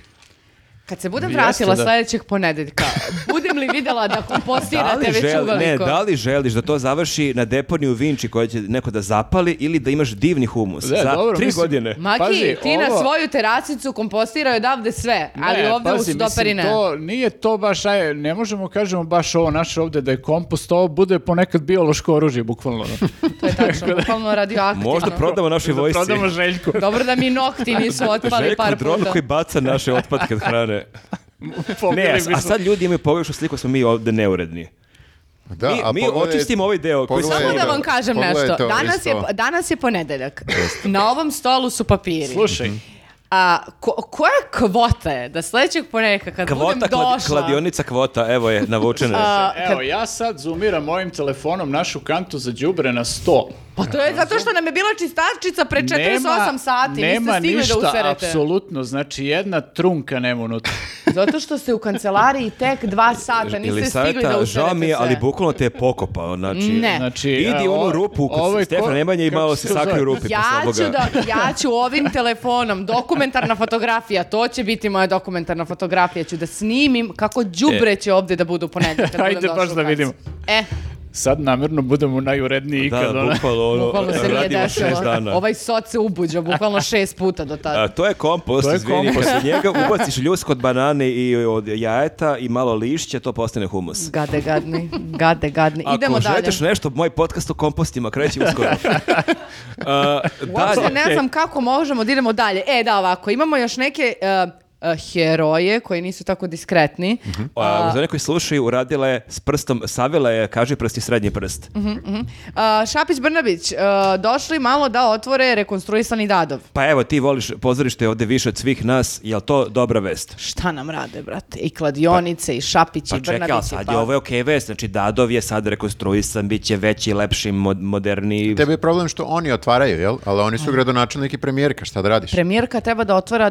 Kad se budem
Jeste,
vratila
da.
sljedećeg ponedeljka, budem nisam li videla da
Da li,
kompostirate već
žel- ne,
uveliko?
da li želiš da to završi na deponiju Vinči koja će neko da zapali ili da imaš divni humus
Da,
za
dobro,
tri
mislim-
godine?
Maki,
Pazi,
ti na
ovo-
svoju teracicu kompostiraju odavde sve, ali
Ne,
ovde
pazi,
u Sudoperi
mislim,
ne.
To, nije to baš, aj, ne možemo kažemo baš ovo naše ovde da je kompost, ovo bude ponekad biološko oružje, bukvalno. ono.
To je tačno, bukvalno radioaktivno.
Možda prodamo našoj
da
vojsci.
prodamo željku.
Dobro da mi nokti nisu otpali
Željko
par
dron
puta.
koji baca naše otpadke od hrane.
Pobili
ne, a-
bismo.
a sad ljudi imaju pogrešnu sliku, smo mi ovdje neuredni.
Da,
mi
a
mi
pogledaj-
očistimo ovaj deo koji
pogledaj-
Samo da vam kažem
Pogledaj
nešto.
to,
Danas je, pa-
isto.
danas je ponedeljak. Na ovom stolu su papiri.
Slušaj,
A ko- koja kvota je da sledećeg ponedeljka kad budem
Kvota, kladi-
došla...
kladionica kvota, evo je, navučena.
a, kad-
evo, ja sad zoomiram mojim telefonom našu kantu za đubre na 100.
pa to je zato što nam je bila čistačica pre 48 sati. Niste
Nema
stigli
ništa,
da userete.
apsolutno, znači jedna trunka nema unutra.
Zato što ste u kancelariji tek dva sata. pa Niste stigli da
Elisaveta,
userete
žao mi je,
sve.
ali bukvalno te je pokopao, znači...
Ne.
Znači,
Idi u
evo,
onu rupu kod
ovaj ko-
Stefana Nemanja i
kako
malo
se to
se sakri
zove?
u rupi
Ja
posle
ću,
ovoga.
da, ja ću ovim telefonom, dokumentarna fotografija, to će biti moja dokumentarna fotografija, ću da snimim kako
E.
đubre će ovdje da budu ponedjeljak. kad budem
Ajde
došla
baš
u
da
kacu.
vidimo.
E,
Sad namjerno budemo najuredniji
Da,
ikad.
da,
ono.
bukvalno ono,
bukvalno se nije
radimo šest dana.
desilo. Ovaj soc se ubuđa, bukvalno šest puta do
A,
tada.
to je kompost,
To je
izvini,
kompost.
posle njega ubaciš ljusk od banane i od jajeta i malo lišće, to postane humus.
Gade gadni, gade gadni. Idemo
Ako
dalje.
želiš nešto, moj podcast o kompostima kreće uskoro. A,
Uopšte
dalje.
ne znam kako možemo da idemo dalje. E, da, ovako, imamo još neke e, e, heroje koji nisu tako diskretni.
Mhm. A, za one koji slušaju, uradila je s prstom, savila je, kaže prst i srednji prst.
Mhm. A, Eh, Šapić Brnabić, e, došli malo da otvore rekonstruisani dadov.
Pa evo, ti voliš pozorište ovde više od svih nas, jel to dobra vest?
Šta nam rade, brate? I kladionice, i Šapić,
Pa
i
čekaj,
Brnabić.
ali sad je ovo je okej vest, znači Dadov je sad rekonstruisan, bit će veći, lepši, mod, moderniji.
Tebi je problem što oni otvaraju, jel? Ali oni su gradonačelnik i premijerka, šta da radiš?
Premijerka treba da otvara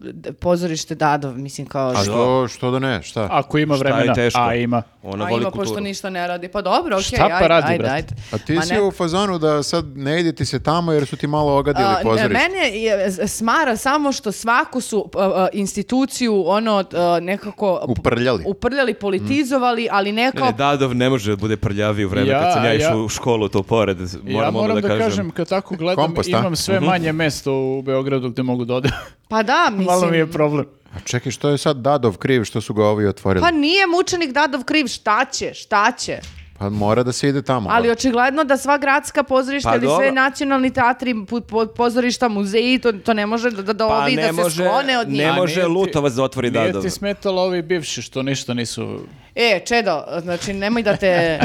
e, e, d- pozorište Dadov, mislim kao...
A što, što da ne, šta?
Ako ima
Šta je
vremena,
teško?
a ima.
Ona
A
voli
ima
kulturu.
pošto ništa ne radi. Pa dobro, okej,
Šta pa
ajde,
radi,
ajde,
brate?
ajde.
A ti
Ma
si
ne.
u fazonu da sad ne idite se tamo jer su ti malo ogadili
A, ne,
pozorište.
mene je z- smara samo što svaku su a, a, instituciju ono a, nekako
Uprljali.
uprljali, politizovali, ali ne
Ne,
kao
ne, Dadov ne može da bude prljavi u vreme
Ja,
kad sam ja išao
ja-
u školu, to pored. Moram,
ja moram
odmah
da, kažem, kad tako gledam,
Kompost, a?
imam
Mhm.
sve manje mesto u Beogradu gde mogu da odem.
pa da, mislim.
Malo mi je problem.
A čekaj, što je sad Dadov kriv što su ga ovi otvorili?
Pa
Pa,
nije mučenik Dadov kriv, šta će, šta će?
Pa mora da se ide tamo.
Ali
ali-
očigledno da sva gradska pozorišta
Pa
ili
dobro.
sve nacionalni teatri, pu- po- pozorišta, muzeji, to, to ne može da, da, da ovi da se sklone od njih.
ne
A
Pa može
nije ti-
Lutovac da otvori
Nije
Dadov.
ti smetalo ovi bivši što ništa nisu...
E, Čedo, znači nemoj da te...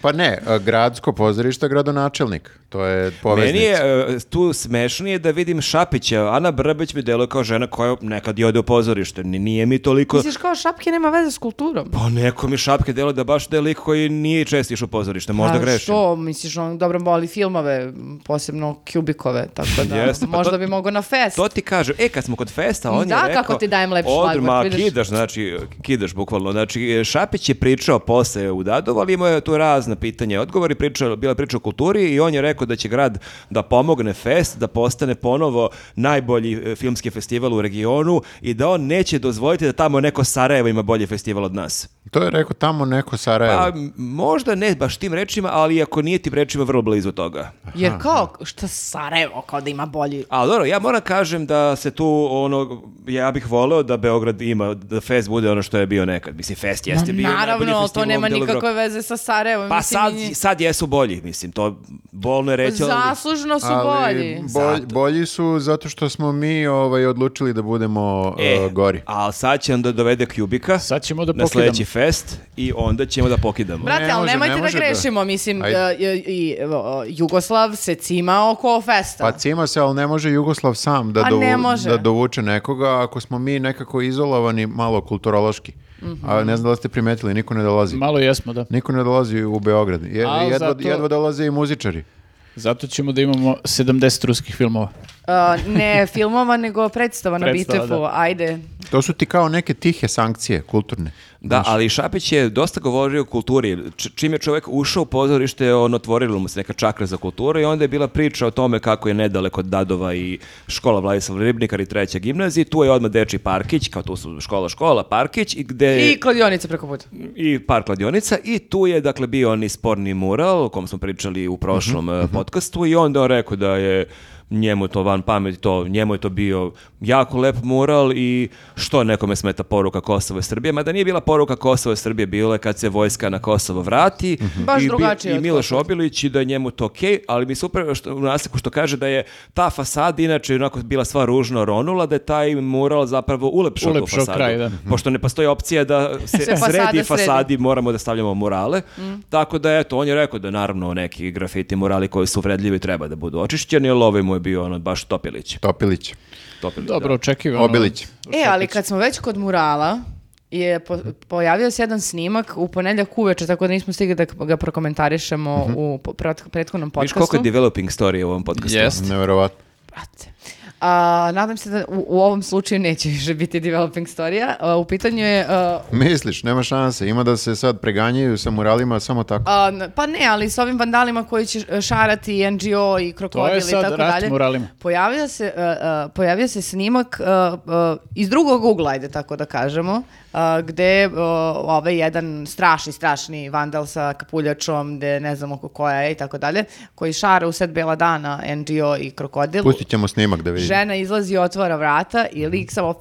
Pa ne, a, gradsko pozorište, gradonačelnik. To je poveznica.
Meni je e, tu smešnije da vidim Šapića. Ana Brbić mi deluje kao žena koja nekad i ode u pozorište. Ni- Nije mi toliko...
Misliš kao šapke nema veze s kulturom?
Pa neko mi šapke deluje da baš da je lik koji nije često išao u pozorište. Možda
A
grešim.
Pa Što, misliš, on dobro voli filmove, posebno kubikove, tako da
Jeste, pa
možda
to-
bi mogao na fest.
To ti kažem, e kad smo kod festa, on
Da,
je rekao...
kako ti dajem lep šlagvort,
Odmah
vidiš.
kidaš, znači, kidaš bukvalno. Znači, Šapić je pričao posle u Dadovu, ali imao je tu razna pitanja i odgovori, pričao, bila je priča o kulturi i on je rekao da će grad da pomogne fest, da postane ponovo najbolji e, filmski festival u regionu i da on neće dozvoliti da tamo neko Sarajevo ima bolji festival od nas.
To je rekao tamo neko Sarajevo.
Pa m- možda ne baš tim rečima, ali ako nije tim rečima, vrlo blizu toga.
Jer kao, šta Sarajevo, kao da ima bolji...
Ali dobro, ja moram kažem da se tu ono, ja bih voleo da Beograd ima, da fest bude ono što je bio nekad. Mislim, fest jeste bio najbolji
Naravno, to
festival
nema
u delu
nikakve
Evrope.
veze sa Sarajevom.
Pa
mislim,
sad,
i-
sad jesu bolji, mislim, to bolno je reći, ali...
Zaslužno Pa, su
Ali
bolji.
bolj- bolji su zato što smo mi ovaj, odlučili da budemo e, gori.
ali sad će onda dovede Kubika
Sad ćemo da
na sledeći
pokidamo.
fest i onda ćemo da pokidamo.
Brate,
Ne
ali
može,
nemojte
ne može
da
da-
grešimo, mislim,
Ajde.
e, i, i, evo, Jugoslav se cima oko festa.
Pa cima se, ali ne može Jugoslav sam da,
A ne
dovu-
može.
da dovuče nekoga ako smo mi nekako izolovani malo kulturološki.
Mhm.
A ne znam da li ste primetili, niko ne dolazi.
Malo jesmo, da.
Niko ne dolazi u Beograd. Je,
Ali
jedva,
zato-
jedva dolaze i muzičari.
Zato ćemo da imamo 70 ruskih filmova.
Uh, ne filmova, nego predstava na
Predstava,
Bitefu.
da.
Ajde.
To su ti kao neke tihe sankcije kulturne.
Da, ali Šapić je dosta govorio o kulturi. Č- čim je čovjek ušao u pozorište, on otvorilo mu se neka čakra za kulturu i onda je bila priča o tome kako je nedaleko od Dadova i škola Vladislav Ribnikar i treća gimnazija. Tu je odmah Deči Parkić, kao tu su škola, škola, Parkić i
E-
gde...
I kladionica preko puta.
i par kladionica i tu je dakle bio onaj sporni mural o kom smo pričali u prošlom
Mhm,
eh, podcastu i onda on rekao da je njemu to van pamet, to, njemu je to bio jako lep mural i što nekome smeta poruka Kosova i Srbije, mada nije bila poruka Kosova i Srbije, bila je kad se vojska na Kosovo vrati
Mhm.
Baš
i,
drugačije
i
od
Miloš
Kosova.
Obilić i da je njemu to okej, ali mi se upravo što, u nastavku što kaže da je ta fasada inače onako bila sva ružno ronula, da je taj mural zapravo ulepšao,
Ulepšao
tu fasadu.
kraj, da.
Pošto ne postoji opcija da se
Se fasada
sredi
sredi. Mm.
fasadi moramo da stavljamo murale. Tako da eto, on je rekao da naravno neki grafiti murali koji su vredljivi treba da budu očišćeni, ali ovaj mu je bio ono baš Topilić.
Topilić.
Topilić
Dobro,
da.
očekivano.
Obilić.
E, ali kad smo već kod murala, je po- pojavio se jedan snimak u ponedjeljak uveče, tako da nismo stigli da ga prokomentarišemo
Mhm.
u po- prat- prethodnom
Viš
podcastu.
koliko je developing story u ovom podcastu?
Jest.
Neverovatno.
Brate. A, nadam se da u, u ovom slučaju neće više biti developing storija. A, u pitanju je... e, a,
Misliš, nema šanse. Ima da se sad preganjaju sa muralima samo tako.
a, n- pa ne, ali s ovim vandalima koji će š- šarati i NGO i krokodil i
sad
tako
rat
dalje.
muralima.
Pojavio se, a, a, pojavio se snimak a, a, iz drugog ugla, ajde tako da kažemo, a, gde a, ovaj jedan strašni, strašni vandal sa kapuljačom, gde ne znam oko koja je i tako dalje, koji šara u sred bela dana NGO i krokodil.
Pustit ćemo snimak da vidimo.
Žena izlazi i otvara vrata i
Mhm.
lik samo...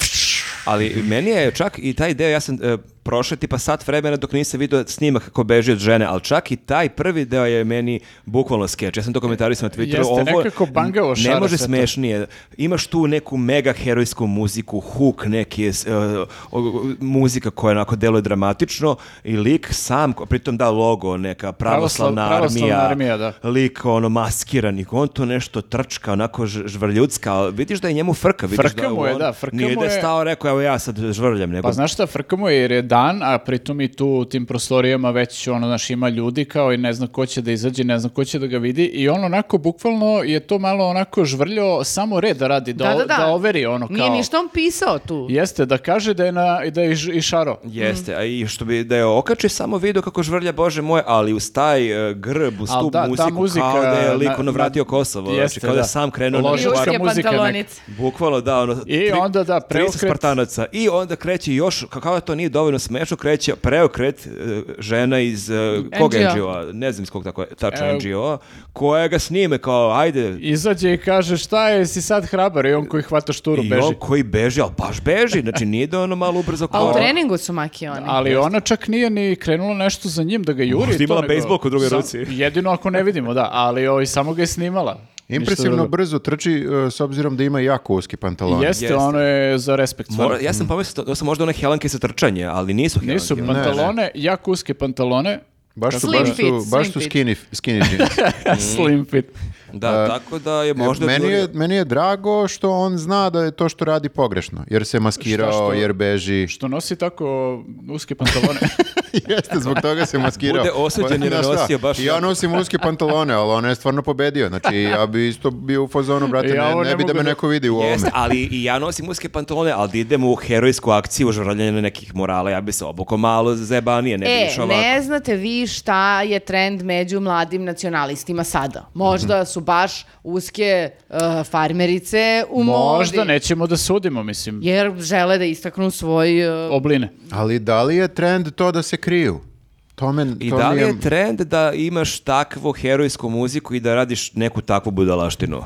Ali meni je čak i taj deo, ja sam e, prošao tipa sat vremena dok nisam vidio snimak kako beži od žene, ali čak i taj prvi deo je meni bukvalno skeč. Ja sam to komentarisao na Twitteru.
Jeste, nekako bangavo
Ne
šara
može
se to.
smešnije. Imaš tu neku mega herojsku muziku, hook neki, e, o- o- muzika koja onako deluje dramatično i lik sam, ko- pritom da logo neka pravoslavna,
Pravoslav- pravoslavna
armija,
armija, da.
lik ono maskirani, on tu nešto trčka, onako ž- žvrljucka, ali vidiš da je njemu frka. Vidiš
Frka
da
mu je,
on
da, frka
nije
mu
da je
je.
stao, rekao, evo ja sad žvrljam, nego
Pa znaš šta, frkamo je jer je dan, a pritom i tu u tim prostorijama već ono, znaš, ima ljudi kao i ne zna ko će da izađe, ne zna ko će da ga vidi i on onako, bukvalno je to malo onako žvrljao samo reda radi, da,
Da, da,
o-
da.
da overi ono kao.
Nije ništa on pisao tu.
Jeste, da kaže da je, na, da je i, ž- i šaro.
Jeste, a i što bi da je okači samo video kako žvrlja, bože moj, ali uz taj e, grb, uz
Al
tu
da, ta
muziku, kao
muzika
da je lik
na-
ono
na-
vratio Kosovo, znači
Jeste,
kao da, je
da.
sam krenuo na
Loš-
Nevaru.
Juške
Loška muzika neka.
pantalonice.
Bukvalno da, ono,
I onda, da,
300
preokret.
Spartanaca. I onda kreće još, ka- kao da to nije dovoljno smešno, kreće preokret e, žena iz e, kog
NGO?
NGO-a, ne znam iz kog tako je, tačno
E,
NGO-a, koja ga snime kao, ajde,
Izađe i kaže šta je, si sad hrabar i on koji hvata šturu
I
beži.
on koji beži, ali baš beži, znači nije da ono malo ubrzo
A u
korak.
treningu su maki oni.
Ali ona čak nije ni krenula nešto za njim da ga juri.
Možda
to
imala
nego-
bejsbolku u drugoj
Sa-
ruci.
Jedino ako ne vidimo, da, ali ovaj, samo ga je snimala. Ništa
Impresivno
drugo.
brzo trči e, s obzirom da ima jako uski pantalon.
Jeste,
Jeste.
ono je za respekt.
Mora,
stvarno.
ja sam pomislio, to su možda one helanke sa trčanje, ali nisu helanke.
Nisu pantalone, jako uske pantalone,
Mm.
Baš su,
Slim
baš su,
fit,
baš su
slim fit.
skinny, skinny jeans.
slim fit.
Da, tako da je
E,
možda...
meni,
bilo-
je, meni je drago što on zna da je to što radi pogrešno, jer se maskirao,
Šta što-
jer beži.
Što nosi tako uske pantalone.
Jeste, zbog toga se maskirao.
Bude osuđen jer je
Znaš šta,
nosio baš
Ja
tako.
nosim uske pantalone, ali on je stvarno pobedio. Znači, ja bi isto bio u fazonu, brate,
Ja
ne,
ovo
ne
ne
bi da
mogu
me
da-
neko vidi u ovome.
Jeste, ali i ja nosim uske pantalone, ali da idem u herojsku akciju žrljanja nekih morala, ja bi se obuko malo zebanije, ne bi
E,
išao ovako.
ne znate vi šta je trend među mladim nacionalistima sada. Možda su baš uske uh, farmerice u modi.
Možda nećemo da sudimo, mislim.
Jer žele da istaknu svoj... uh,
Obline.
Ali da li je trend to da se kriju? To me,
I
to
da
mi
li
je-
je trend da imaš takvu herojsku muziku i da radiš neku takvu budalaštinu?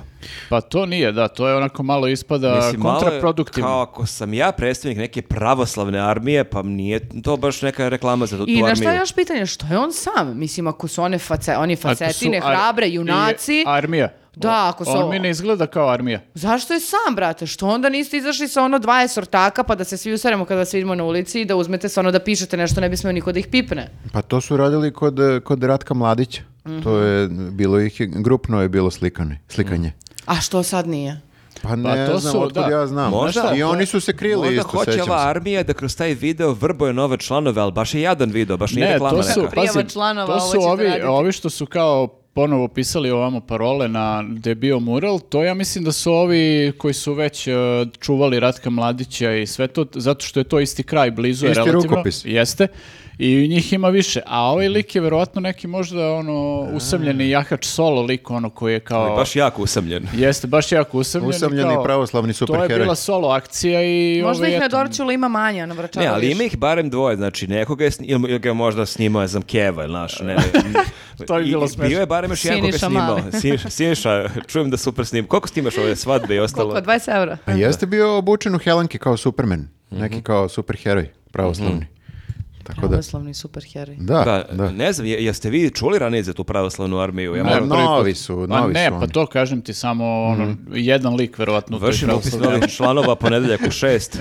Pa to nije, da, to je onako malo ispada
malo je
E, kontraproduktivno.
Kao ako sam ja predstavnik neke pravoslavne armije, pa nije to baš neka reklama za tu,
I
tu armiju.
na šta je još pitanje? Što je on sam? Mislim, ako su one face, oni
Ako su
facetine,
ar-
hrabre,
i
junaci...
Armija.
Da, ako su
On
ovo-
mi ne izgleda kao armija.
Zašto je sam, brate? Što onda niste izašli sa ono 20 sortaka pa da se svi usaremo kada se vidimo na ulici i da uzmete sa ono da pišete nešto, ne bi smeo niko da ih pipne.
Pa to su radili kod, eh, kod Ratka Mladića.
Mhm.
To je bilo ih, je- grupno je bilo slikanje. slikanje.
Mhm.
A što sad nije?
Pa ne
to
znam,
su,
otkud
da.
ja znam.
Možda-
I oni su se krili
Možda
isto,
hoće
sećam
ova
se.
armija da kroz taj video vrbuje nove članove, ali baš je jadan video, baš nije reklama
to su,
neka.
Prijava
pazi,
članova,
to
ovo
su
ćete
ovi,
raditi.
ovi što su kao ponovo pisali ovamo parole na gde je bio mural, to ja mislim da su ovi koji su već e, čuvali Ratka Mladića i sve to, zato što je to isti kraj, blizu je
Isti
relativno.
rukopis. Mhm.
Jeste. I njih ima više. A ovaj lik je verovatno neki možda ono usamljeni jahač solo lik, ono koji je kao...
Ali baš jako usamljen.
Jeste, baš jako usamljen.
Usamljeni
kao-
pravoslavni
To
superheroj.
je bila solo akcija i...
Možda
ovaj,
ih na
eto,
Dorčulu ima ono, manja na Vračaru.
Ne, ali
više.
ima ih barem dvoje, znači nekoga je sni- ili ga je možda snimao, ja znam, Keva, ili naš, ne.
To bi
I-
bilo
i
smešno.
Bio je barem još jedan koga je
Siniša
snimao.
Mali.
Siniša, Siniša, čujem da super snim. Koliko snimaš ove svadbe i ostalo?
Koliko, 20 evra?
A Pa jeste bio obučen u Helanki kao Superman,
Mhm.
neki kao superheroj pravoslavni. Tako da,
Pravoslavni superheroj.
da,
Da,
da.
ne znam, je- jeste vi čuli ranije za tu pravoslavnu armiju? Ja
Ma,
moram-
prvi
novi su,
E, Pa
novi
ne,
su oni.
pa to kažem ti samo ono, jedan lik verovatno. u toj
Vršim upis
pravoslavnoj
novih članova ponedeljak u šest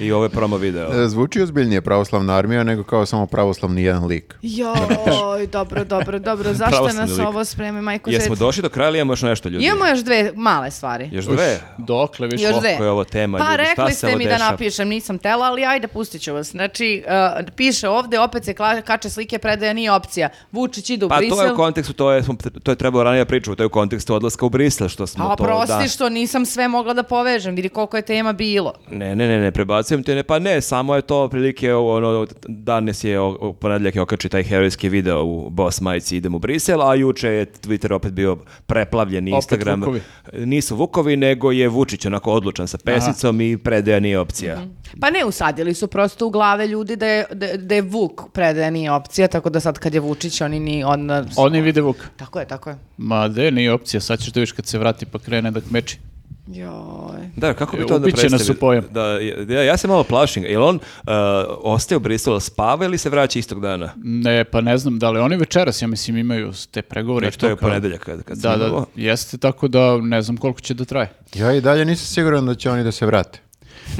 i ovo je promo video.
E, Zvuči ozbiljnije pravoslavna armija nego kao samo pravoslavni jedan lik.
Joj, dobro, dobro, dobro. Zašto
Pravoslavni
nas
lik.
ovo spremi, majko
Jesmo
Žetica?
došli do kraja ili imamo još nešto, ljudi?
Imamo još dve male stvari.
Još dve?
Dokle više?
Još
Koliko
dve.
je ovo tema,
pa
ljudi, šta
rekli
se ovo
ste mi
dešava?
da napišem, nisam tela, ali ajde pustit ću vas. Znači, uh, piše ovde, opet se kla- kače slike, predaja nije opcija. Vučić ide u
Pa
Brisel.
to je u kontekstu, to je, to je trebalo ranije pričati, to je u kontekstu odlaska u Brisel, što smo
A
to...
prosti
da.
Pa, što nisam sve mogla da povežem, vidi koliko je tema bilo.
Ne, ne, ne, ne, prebacujem te, ne, pa ne, samo je to prilike, ono, danas je, o- o- ponedjeljak je okači taj herojski video u Boss majici Idem u Brisel, a juče je Twitter opet bio preplavljen,
Opet
Instagram.
Vukovi.
Nisu Vukovi, nego je Vučić onako odlučan sa pesnicom i predaja nije opcija.
Pa ne, usadili su prosto u glave ljudi da je, da, da je Vuk predaja nije opcija, tako da sad kad je Vučić, oni ni... Onda...
Oni vide Vuka.
Tako je, tako je.
Ma de, nije opcija, sad ćeš da vidiš kad se vrati pa krene da kmeči.
Joj.
Da, kako bi
E,
to onda
ubiće nas
predstavio?
u pojam.
Da, ja, ja se malo plašim. Jel on uh, ostaje u Briselu, spava ili se vraća istog dana?
Ne, pa ne znam da li oni večeras, ja mislim, imaju te pregovore. i
Znači, to je u
kao-
ponedeljak kad, kad
Da, da,
snimamo.
jeste tako da ne znam koliko će da traje.
Ja i dalje nisam siguran da će oni da se vrate.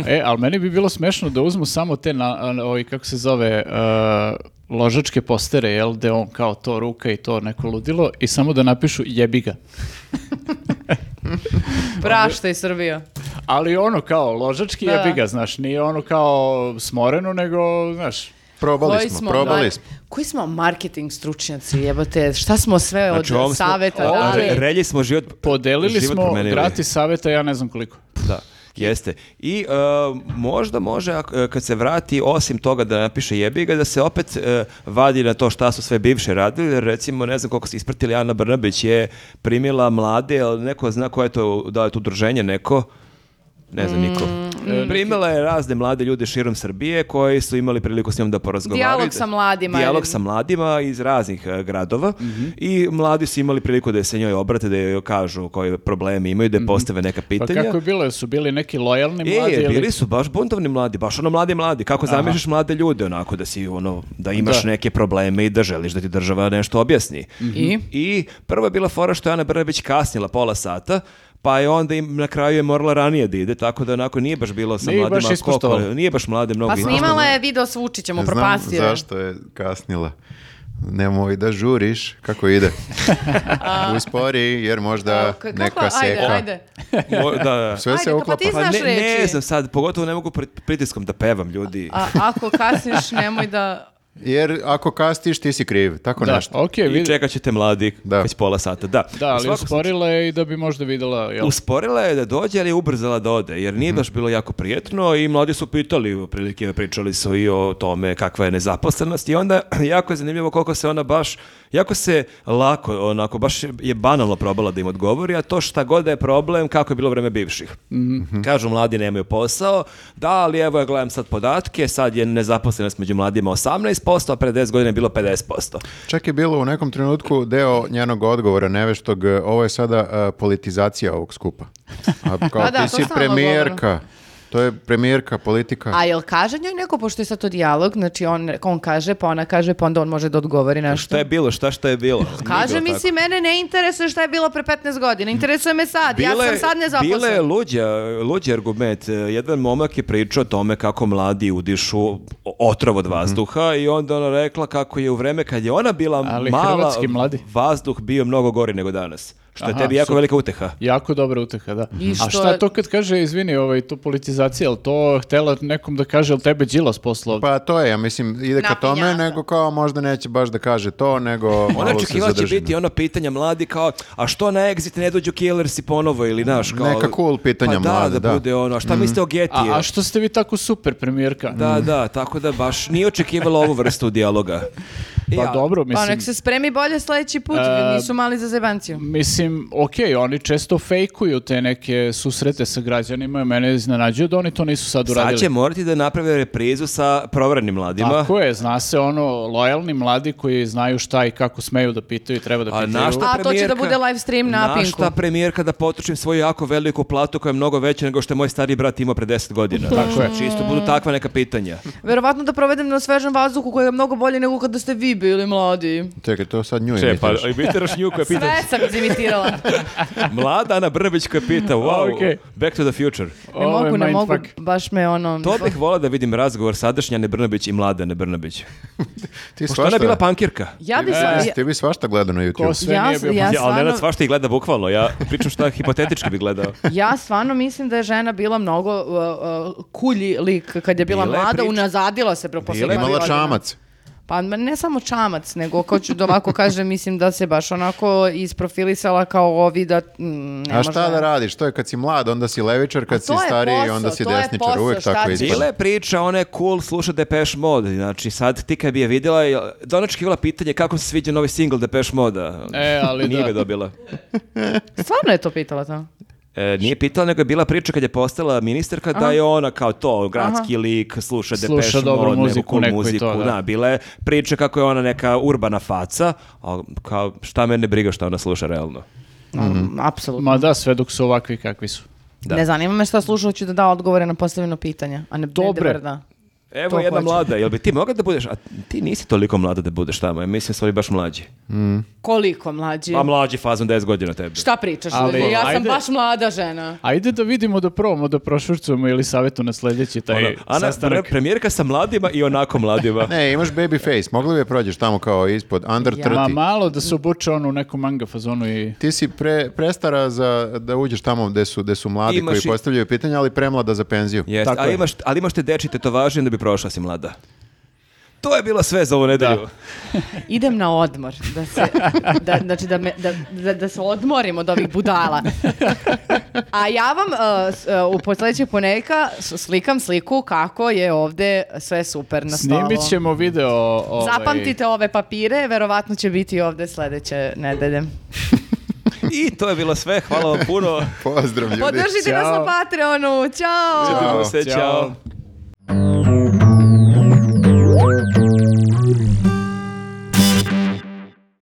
E, ali meni bi bilo smešno da uzmu samo te, na, a, ovi, kako se zove, uh, ložačke postere, jel, gde on kao to ruka i to neko ludilo i samo da napišu jebi ga.
Prašta i Srbija.
Ali ono kao ložački
Da.
jebi ga, znaš, nije ono kao smoreno, nego, znaš,
Probali
Koji
smo, probali
mar-
smo.
Koji smo marketing stručnjaci, jebote, šta smo sve od
Znači, ovom smo-
saveta
o,
dali?
re- relji smo život
podelili
život
smo
promenili.
gratis saveta, ja ne znam koliko. Pa
Da, jeste. I e, možda može, ak- e, kad se vrati, osim toga da napiše jebi ga, da se opet e, vadi na to šta su sve bivše radili. jer Recimo, ne znam koliko ste ispratili, Ana Brnabić je primila mlade, ali neko zna koje je to, da li je to udruženje neko, ne znam niko.
Mm,
E, Primila je razne mlade ljude širom Srbije koji su imali priliku s njom da porazgovaraju.
Dijalog sa mladima. Mhm.
Dijalog sa mladima iz raznih e, gradova i mladi su imali priliku da se njoj obrate, da joj kažu koje probleme imaju,
Mhm.
da je postave neka
Pa
pitanja.
kako je bilo, su bili neki lojalni mladi?
E,
ili-
bili su baš buntovni mladi, baš ono mladi mladi. Kako zamišljaš mlade ljude onako da si ono da imaš
Da. Mhm.
neke probleme i da želiš da ti država nešto objasni.
I?
I prva je bila fora što je Ana Brnabić kasnila pola sata, pa je onda im na kraju je morala ranije da ide, tako da onako nije baš bilo sa
Nije ih
mladima.
baš ispoštovala.
koliko- nije baš mlade mnogo.
Pa snimala
ispoštovala.
je video s Vučićem,
Ne
upropastio
Znam
je.
zašto je kasnila. Nemoj da žuriš, kako ide. Uspori, jer možda
Kako- kako-
neka
ajde,
seka.
ajde.
Mo- da, da.
Sve
Ajde,
se
kako
uklapa.
ti
Pa
znaš
ne, ne
reči.
znam sad, pogotovo ne mogu pod pritiskom da pevam ljudi.
A, ako kasniš, nemoj da...
Jer ako kastiš, ti si kriv. Tako
Da,
nešto.
okej,
I
vidi-
čekat ćete mladi
Da.
već pola sata. Da,
Da,
U
ali
svakom
usporila je i da bi možda videla, jel?
Usporila je da dođe, ali je ubrzala da ode, jer
Mhm.
nije baš bilo jako prijetno i mladi su pitali, otprilike pričali su i o tome kakva je nezaposlenost i onda jako je zanimljivo koliko se ona baš, jako se lako, onako, baš je banalno probala da im odgovori, a to šta god da je problem, kako je bilo vreme bivših.
Mhm.
Kažu, mladi nemaju posao, da, ali evo ja gledam sad podatke, sad je nezaposlenost među mladima 18%, a pre 10 godina je bilo 50%.
Čak je bilo u nekom trenutku deo njenog odgovora neveštog, e, ovo je sada e, politizacija ovog skupa. A kao
Pa da,
ti
to
si
stalno
premijerka. To je premijerka, politika.
A jel kaže njoj neko, pošto je sad to dijalog, znači on, on kaže, pa ona kaže, pa onda on može da odgovori nešto.
Šta je bilo, šta šta je bilo?
Kaže,
Nije bilo tako.
mislim, mene ne interesuje šta je bilo pre 15 godina, interesuje me sad, ja sam sad nezaposlen.
Bila je luđa, luđi argument. E, Jedan momak je pričao o tome kako mladi udišu otrov od vazduha i onda ona rekla kako je u vreme kad je ona bila
Ali
mala,
hrvatski mladi.
vazduh bio mnogo gori nego danas. Što je
Aha,
tebi jako
super.
velika uteha.
Jako dobra uteha, da.
I što-
A šta to kad kaže, izvini, ovaj, to politizacija, jel to htela nekom da kaže, jel tebe Đilas poslao?
Pa to je, ja mislim, ide ka
Napinjava.
tome, nego kao možda neće baš da kaže to, nego
Ona
malo se
očekivala će
zadrži.
biti ono pitanja mladi kao, a što na exit ne dođu Killers i ponovo ili naš kao...
Neka cool pitanja
pa da,
mlade,
da.
da.
bude ono, a šta mislite o
a,
Getiju?
a što ste vi tako super, premijerka?
Da, da, tako da baš nije očekivala ovu vrstu dijaloga. I
Pa
ja-
dobro,
Pa
mislim...
nek se spremi bolje sledeći put,
E,
nisu mali za zebanciju.
Mislim, okej, oni često fejkuju te neke susrete sa građanima i mene iznenađuje da oni to nisu sad uradili.
Sad će morati da naprave reprizu sa provrenim mladima.
Tako je, zna se ono, lojalni mladi koji znaju šta i kako smeju da pitaju i treba da
A
pitaju.
na šta
A, to će da
premijerka-
bude live stream na Pinku.
šta premijerka da potrošim svoju jako veliku platu koja je mnogo veća nego što je moj stari brat imao pre 10 godina.
Tako je.
Čisto budu takva neka pitanja.
Verovatno da provedem na svežem vazduhu koji je mnogo bolje nego kada ste vi bili mladi.
Čekaj, to sad nju
Če, pa
imitiraš.
imitiraš nju koja pita,
Sve sam izimitirala.
mlada Ana Brbić koja pita, wow,
Okej.
back to the future.
Ne
Ovo je
mogu, ne mogu,
Ovaj mindfuck.
baš me ono...
To bih volao da vidim razgovor sadašnjane Brnabić i mladane Brnabić.
Ti
Pošto ona
svašta,
je bila pankirka.
Ja bi
ti
sam...
si- ti bi svašta gledao na
Ko
YouTube.
sve
Ja
nije
s-
bio
ja
Ja, ali
stvarno-
Nenad svašta i gleda bukvalno, ja pričam šta hipotetički bi gledao.
Ja stvarno mislim da je žena bila mnogo uh, uh, kulji lik kad je bila
Bila je
mlada,
priča-
unazadila se preko
Bila je
par
Imala
godina.
čamac.
Pa ma ne samo čamac, nego ko ću da ovako kažem, mislim da se baš onako isprofilisala kao ovi da mm, ne
A
može-
šta da radiš? To je kad si mlad, onda si levičar, kad si
to je
stariji,
posao,
onda si
to je
desničar.
posao,
Uvijek
šta
tako
ćeš?
Bila
ispada.
je priča, ona je cool, sluša Depeche Mode, znači sad ti kad bi je vidjela, jel- da ona očekivala pitanje kako se sviđa novi single Depeche Moda.
E, ali
Nije
da.
ga dobila.
Stvarno je to pitala to?
E, nije pitala, nego je bila priča kad je postala ministarka da je ona kao to, gradski lik, sluša
Sluša
Depeche
dobru
Mode,
muziku,
neku cool
neku i
muziku.
to, da.
da. bila je priča kako je ona neka urbana faca, a kao šta mene briga šta ona sluša realno.
Mm, Apsolutno.
Ma da, sve dok su ovakvi kakvi su.
Da.
Ne zanima me šta slušao, ću da da odgovore na postavljeno pitanje, a ne ne
Dobre.
debrda.
Evo
To
jedna
hoće.
mlada, jel bi ti mogla da budeš, a ti nisi toliko mlada da budeš tamo, ja mislim da su oni baš mlađi.
Koliko mlađi?
Pa mlađi fazom 10 godina tebe.
Šta pričaš?
Ali-
ljudi? ja sam
Ajde.
baš mlada žena.
Ajde da vidimo da probamo da prošvrcujemo ili savjetu na sljedeći taj
Ono, Ana,
sastanak.
pre- premijerka sa mladima i onako mladima.
Ne, imaš baby face. Mogli bi je prođeš tamo kao ispod, under
Ja.
30.
Ma malo da se obuče ono u neku manga fazonu i...
Ti si pre, prestara za, da uđeš tamo gde su, gde su mladi
Imaš
koji
i-
postavljaju pitanja, ali premlada za penziju.
Jest,
Tako
a
je.
imaš, ali imaš te deči tetovaže da bi prošla si mlada. To je bilo sve za ovu nedelju.
Idem na odmor, da se, da, znači da, me, da, da, da se odmorim od ovih budala. A ja vam uh, s- uh, u po- sledećeg ponedjeljka s- slikam sliku kako je ovde sve super na stolu.
Snimit ćemo video... Ovaj...
Zapamtite ove papire, verovatno će biti ovde sledeće nedelje.
I to je bilo sve, hvala vam puno.
Pa
Pozdrav ljudi.
Podržite nas
Ćao.
na Patreonu, Ćao!
Čujemo se,
Ćao.
čao.